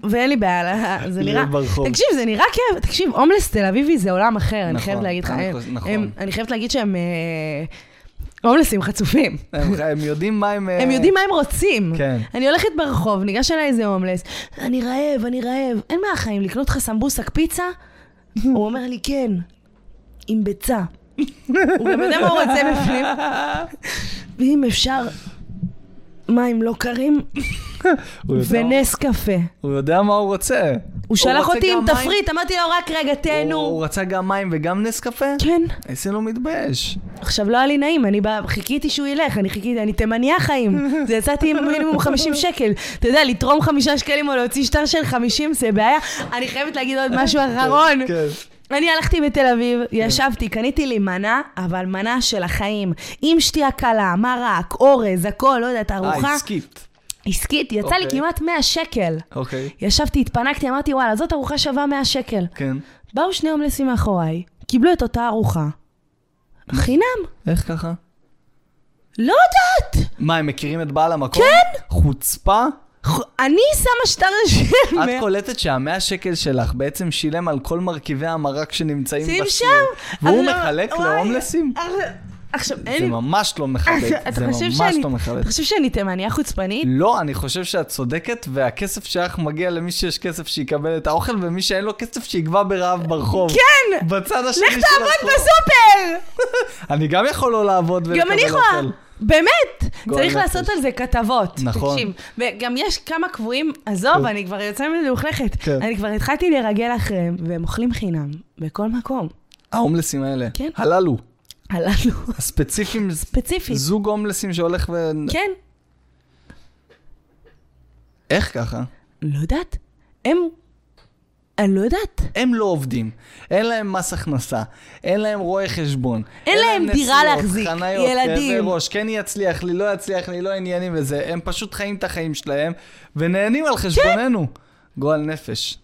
A: ואין לי בעיה, לה- זה
B: להיות
A: נראה...
B: לא ברחוב.
A: תקשיב, זה נראה כאב, תקשיב, הומלס תל אביבי זה עולם אחר, אני
B: נכון,
A: חייבת להגיד לך.
B: נכון,
A: הם-
B: נכון.
A: הם- אני חייבת להגיד שהם אה, הומלסים חצופים.
B: הם הם יודעים מה הם...
A: הם יודעים מה הם רוצים.
B: אה, כן.
A: אני הולכת ברחוב, ניגש אליי איזה הומלס, אני רעב, אני רעב, אין מה החיים, לקנות לך סמבוסק פיצה? הוא אומר לי, כן, עם ביצה. הוא גם יודע מה הוא רוצה בפנים. ואם אפשר, מים לא קרים
B: אה, הוא יודע-
A: ונס קפה.
B: הוא יודע מה לא הוא רוצה.
A: הוא שלח
B: רוצה
A: אותי עם
B: גם מים-
A: תפריט, אמרתי לו, רק רגע,
B: הוא-
A: תהנו.
B: הוא רצה גם מים וגם נס קפה?
A: כן.
B: איזה לא מתבייש.
A: עכשיו, לא היה לי נעים, אני באה, חיכיתי שהוא ילך, אני חיכיתי, אני תימניה חיים. זה יצאתי עם מינימום 50 שקל. אתה יודע, לתרום חמישה שקלים או להוציא שטר של 50 זה בעיה. אני חייבת להגיד עוד משהו אחרון.
B: כן.
A: אני הלכתי בתל אביב, ישבתי, קניתי לי מנה, אבל מנה של החיים. עם שתייה קלה, מרק, אורז, הכל, לא יודעת,
B: אה,
A: ארוחה.
B: עסקית.
A: עסקית, יצא לי
B: אוקיי.
A: כמעט 100 שקל.
B: אוקיי.
A: ישבתי, התפנקתי, אמרתי, וואלה, זאת ארוחה שווה 100 שקל.
B: כן.
A: באו שני הומלסים מאחוריי, קיבלו את אותה ארוחה. חינם.
B: איך ככה?
A: לא יודעת!
B: מה, הם מכירים את בעל המקום?
A: כן.
B: חוצפה?
A: ח- אני שמה שטר של...
B: את קולטת שהמאה שקל שלך בעצם שילם על כל מרכיבי המרק שנמצאים
A: שים
B: בסיר,
A: שם.
B: והוא
A: אז לא-
B: מחלק
A: וואי.
B: להומלסים?
A: עכשיו, אין
B: זה
A: לי... אה,
B: ממש לא מכבד.
A: אתה
B: זה
A: חושב
B: ממש
A: שאני-
B: לא מכבד.
A: אתה חושב שאני תימניה חוצפנית?
B: לא, אני חושב שאת צודקת, והכסף שלך מגיע למי שיש כסף שיקבל את האוכל, ומי שאין לו כסף שיגבה ברעב ברחוב.
A: כן!
B: בצד השני
A: לך
B: של
A: תעבוד
B: הסחורה.
A: בסופר!
B: אני גם יכול לא לעבוד ולקבל
A: גם
B: אוכל.
A: אני יכולה. באמת,
B: גועל
A: צריך
B: נפש.
A: לעשות על זה כתבות.
B: נכון.
A: תקשיב, וגם יש כמה קבועים, עזוב, אני כבר יוצאה מלוכלכת.
B: כן.
A: אני כבר התחלתי לרגל אחריהם, והם אוכלים חינם, בכל מקום.
B: ההומלסים האלה.
A: כן.
B: הללו.
A: הללו,
B: הספציפיים,
A: ספציפית.
B: זוג הומלסים שהולך ו...
A: כן,
B: איך ככה?
A: לא יודעת. הם... אני לא יודעת.
B: הם לא עובדים, אין להם מס הכנסה, אין להם רואה חשבון.
A: אין להם דירה
B: נסיעות,
A: להחזיק,
B: חניות,
A: ילדים.
B: כאבי ראש, כן יצליח לי, לא יצליח לי, לא עניינים וזה. הם פשוט חיים את החיים שלהם, ונהנים
A: כן.
B: על חשבוננו. גועל נפש.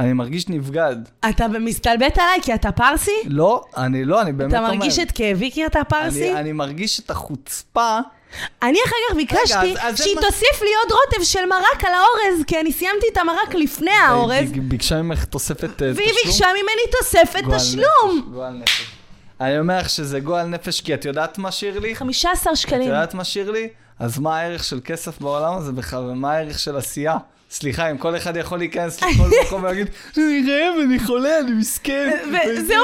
B: אני מרגיש נבגד.
A: אתה מסתלבט עליי כי אתה פרסי?
B: לא, אני לא, אני באמת
A: אתה
B: אומר.
A: מרגיש את כאבי כי אתה פרסי?
B: אני, אני מרגיש את החוצפה.
A: אני אחר כך ביקשתי
B: אז- אז זה
A: שהיא
B: מה-
A: תוסיף לי עוד רוטב של מרק על האורז, כי אני סיימתי את המרק לפני האורז,
B: היא ביקשה ממך תוספת אה, תשלום.
A: אה, והיא ביקשה ממני תוספת
B: גועל
A: תשלום.
B: נפש, גועל נפש. אני אומר לך שזה גועל נפש, כי את יודעת מה, שירלי?
A: 15
B: את
A: שקלים.
B: יודעת מה, שירלי? אז מה הערך של כסף בעולם הזה בכלל, ומה הערך של עשייה? סליחה, אם כל אחד יכול להיכנס לכל מקום ולהגיד, אני רעב, אני חולה, אני מסכן.
A: ו-
B: אני
A: זה
B: אתן לה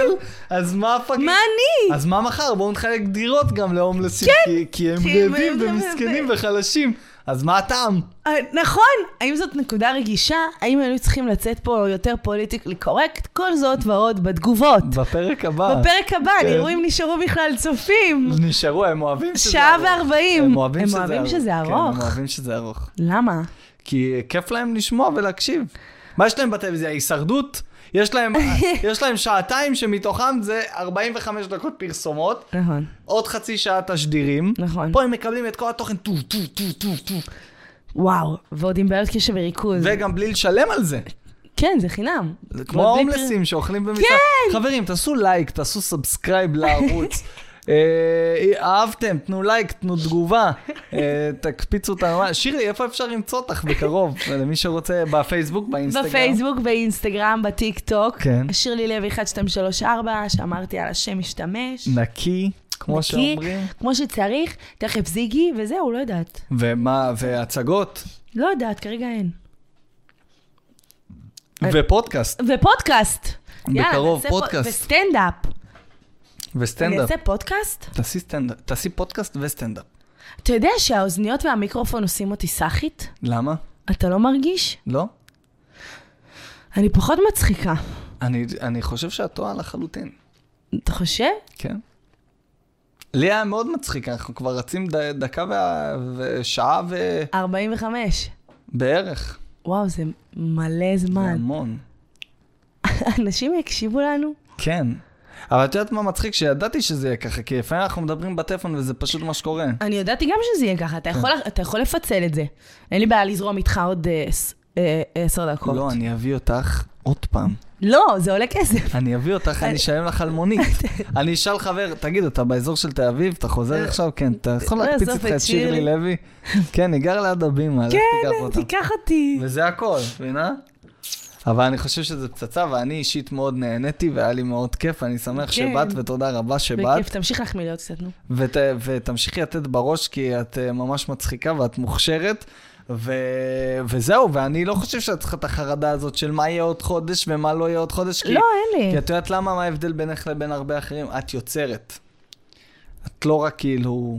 A: עובד!
B: אוכל." אז מה הפאקינג...
A: מה אני?
B: אז מה מחר? בואו נחלק דירות גם להומלסים, כי- כי הם
A: כן! כי הם-
B: רעבים
A: הם-
B: ומסכנים
A: ו-
B: וחלשים. אז מה הטעם?
A: אה, נכון, האם זאת נקודה רגישה? האם היינו צריכים לצאת פה יותר פוליטיקלי קורקט? כל זאת ועוד בתגובות.
B: בפרק הבא.
A: בפרק הבא,
B: כן.
A: נראו אם נשארו בכלל צופים.
B: נשארו, הם אוהבים שזה
A: שעה
B: ארוך.
A: וארבעים.
B: הם אוהבים
A: הם
B: שזה
A: אוהבים
B: ארוך.
A: שזה
B: כן, הם
A: ארוך.
B: אוהבים שזה ארוך.
A: למה?
B: כי כיף להם לשמוע ולהקשיב. מה יש להם בטלוויזיה? הישרדות? יש להם, יש להם שעתיים שמתוכם זה 45 דקות פרסומות,
A: נכון,
B: עוד חצי שעה תשדירים.
A: נכון.
B: פה הם מקבלים את כל התוכן טו טו טו טו טו,
A: וואו, ועוד עם בעיות קשב וריכוז.
B: וגם בלי לשלם על זה.
A: כן, זה חינם.
B: זה כמו ההומלסים שאוכלים במיטה. כן! חברים, תעשו לייק, תעשו סאבסקרייב לערוץ. אה, אהבתם, תנו לייק, תנו תגובה, אה, תקפיצו אותנו. שירלי, איפה אפשר למצוא אותך בקרוב? למי שרוצה, בפייסבוק, באינסטגרם.
A: בפייסבוק, באינסטגרם, בטיק טוק.
B: כן.
A: שירלי לוי 1234, שאמרתי על השם משתמש.
B: נקי, כמו
A: נקי,
B: שאומרים.
A: כמו שצריך, תכף זיגי, וזהו, לא יודעת.
B: ומה, והצגות,
A: לא יודעת, כרגע אין. אה.
B: ופודקאסט,
A: ופודקאסט. יאללה,
B: בקרוב
A: נעשה
B: פודקאסט.
A: וסטנדאפ. אני
B: וסטנדאפ.
A: אעשה פודקאסט?
B: תעשי סטנדאפ, תעשי פודקאסט וסטנדאפ.
A: אתה יודע שהאוזניות והמיקרופון עושים אותי סאחית?
B: למה?
A: אתה לא מרגיש?
B: לא?
A: אני פחות מצחיקה.
B: אני, אני חושב שאת טועה לחלוטין.
A: אתה חושב?
B: כן. לי היה מאוד מצחיק, אנחנו כבר רצים ד, דקה וה, ושעה ו...
A: 45.
B: בערך.
A: וואו, זה מלא
B: זה
A: זמן.
B: המון.
A: אנשים יקשיבו לנו?
B: כן. אבל את יודעת מה מצחיק? שידעתי שזה יהיה ככה, כי לפעמים אנחנו מדברים בטלפון וזה פשוט מה שקורה.
A: אני ידעתי גם שזה יהיה ככה, אתה יכול- אתה יכול לפצל את זה. אין לי בעיה לזרום איתך עוד אה, ס- אה, עשר דקות.
B: לא, אני אביא אותך עוד פעם.
A: לא, זה עולה כסף.
B: אני אביא אותך, אני אשלם לך על מונית. אני אשאל חבר, תגיד, אתה באזור של תל אביב? אתה חוזר עכשיו? כן, אתה יכול
A: לא,
B: להקפיץ
A: עזוב את
B: איתך את שירלי
A: שירלי.
B: לוי? כן, היא גרה ליד הבימה, לך
A: כן,
B: תיקח אותה.
A: תיקח אותי.
B: וזה הכל, מבינה? אבל אני חושב שזה פצצה, ואני אישית מאוד נהניתי, והיה לי מאוד כיף, אני שמח שבאת, ותודה רבה שבאת.
A: כן. בכיף, תמשיך להחמיא לי עוד קצת, נו.
B: ות, ותמשיכי לתת בראש, כי את אה, ממש מצחיקה ואת מוכשרת. ו... וזהו, ואני לא חושב שאת צריכה את החרדה הזאת של מה יהיה עוד חודש ומה לא יהיה עוד חודש. כי...
A: לא, אין לי.
B: כי את יודעת למה, מה ההבדל בינך לבין הרבה אחרים? את יוצרת. את לא רק כאילו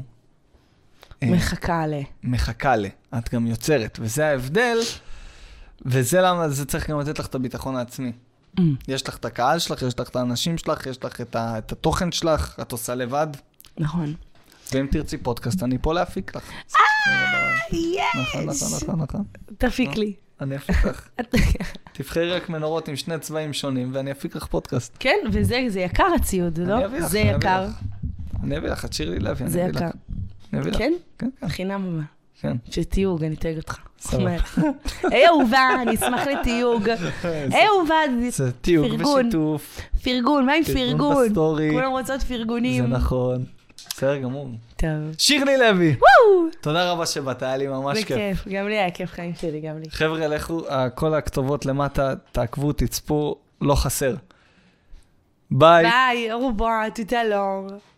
B: אה,
A: מחכה ל...
B: מחכה ל, את גם יוצרת. וזה ההבדל, וזה למה זה צריך גם לתת לך את הביטחון העצמי.
A: Mm.
B: יש לך את הקהל שלך, יש לך את האנשים שלך, יש לך את, ה... את התוכן שלך, את עושה לבד.
A: נכון.
B: ואם תרצי פודקאסט, אני פה להפיק לך. נכון, נכון,
A: יש!
B: נכון, נכון.
A: אה, תפיק לי.
B: אני אפיק לך. תבחרי רק מנורות עם שני צבעים שונים, ואני אפיק לך פודקאסט.
A: כן, וזה זה יקר הציוד, לא?
B: אני אביא לך,
A: זה
B: אני אביא
A: יקר.
B: לך. אני אביא לך, את שירלי לוי,
A: זה
B: אני אביא
A: יקר.
B: לך. אני אביא לך.
A: כן?
B: כן, כן,
A: חינם אבל.
B: כן.
A: שתיוג, אני אתייג אותך.
B: סבבה.
A: מהר. היי אהובה, אני אשמח לתיוג. היי
B: אה,
A: אהובה,
B: זה תיוג
A: פרגון.
B: ושיתוף,
A: פרגון, מה עם
B: פרגון
A: פרגון?
B: בסטורי.
A: כולם רוצות פרגונים.
B: זה נכון. בסדר גמור.
A: טוב.
B: שירלי לוי,
A: וואו!
B: תודה רבה שבאת, היה לי ממש
A: זה
B: כיף.
A: כיף, גם לי היה כיף חיים שלי, גם לי.
B: חבר'ה, לכו, אה, כל הכתובות למטה, תעקבו, תצפו, לא חסר. ביי.
A: ביי, רובו, תודה לור.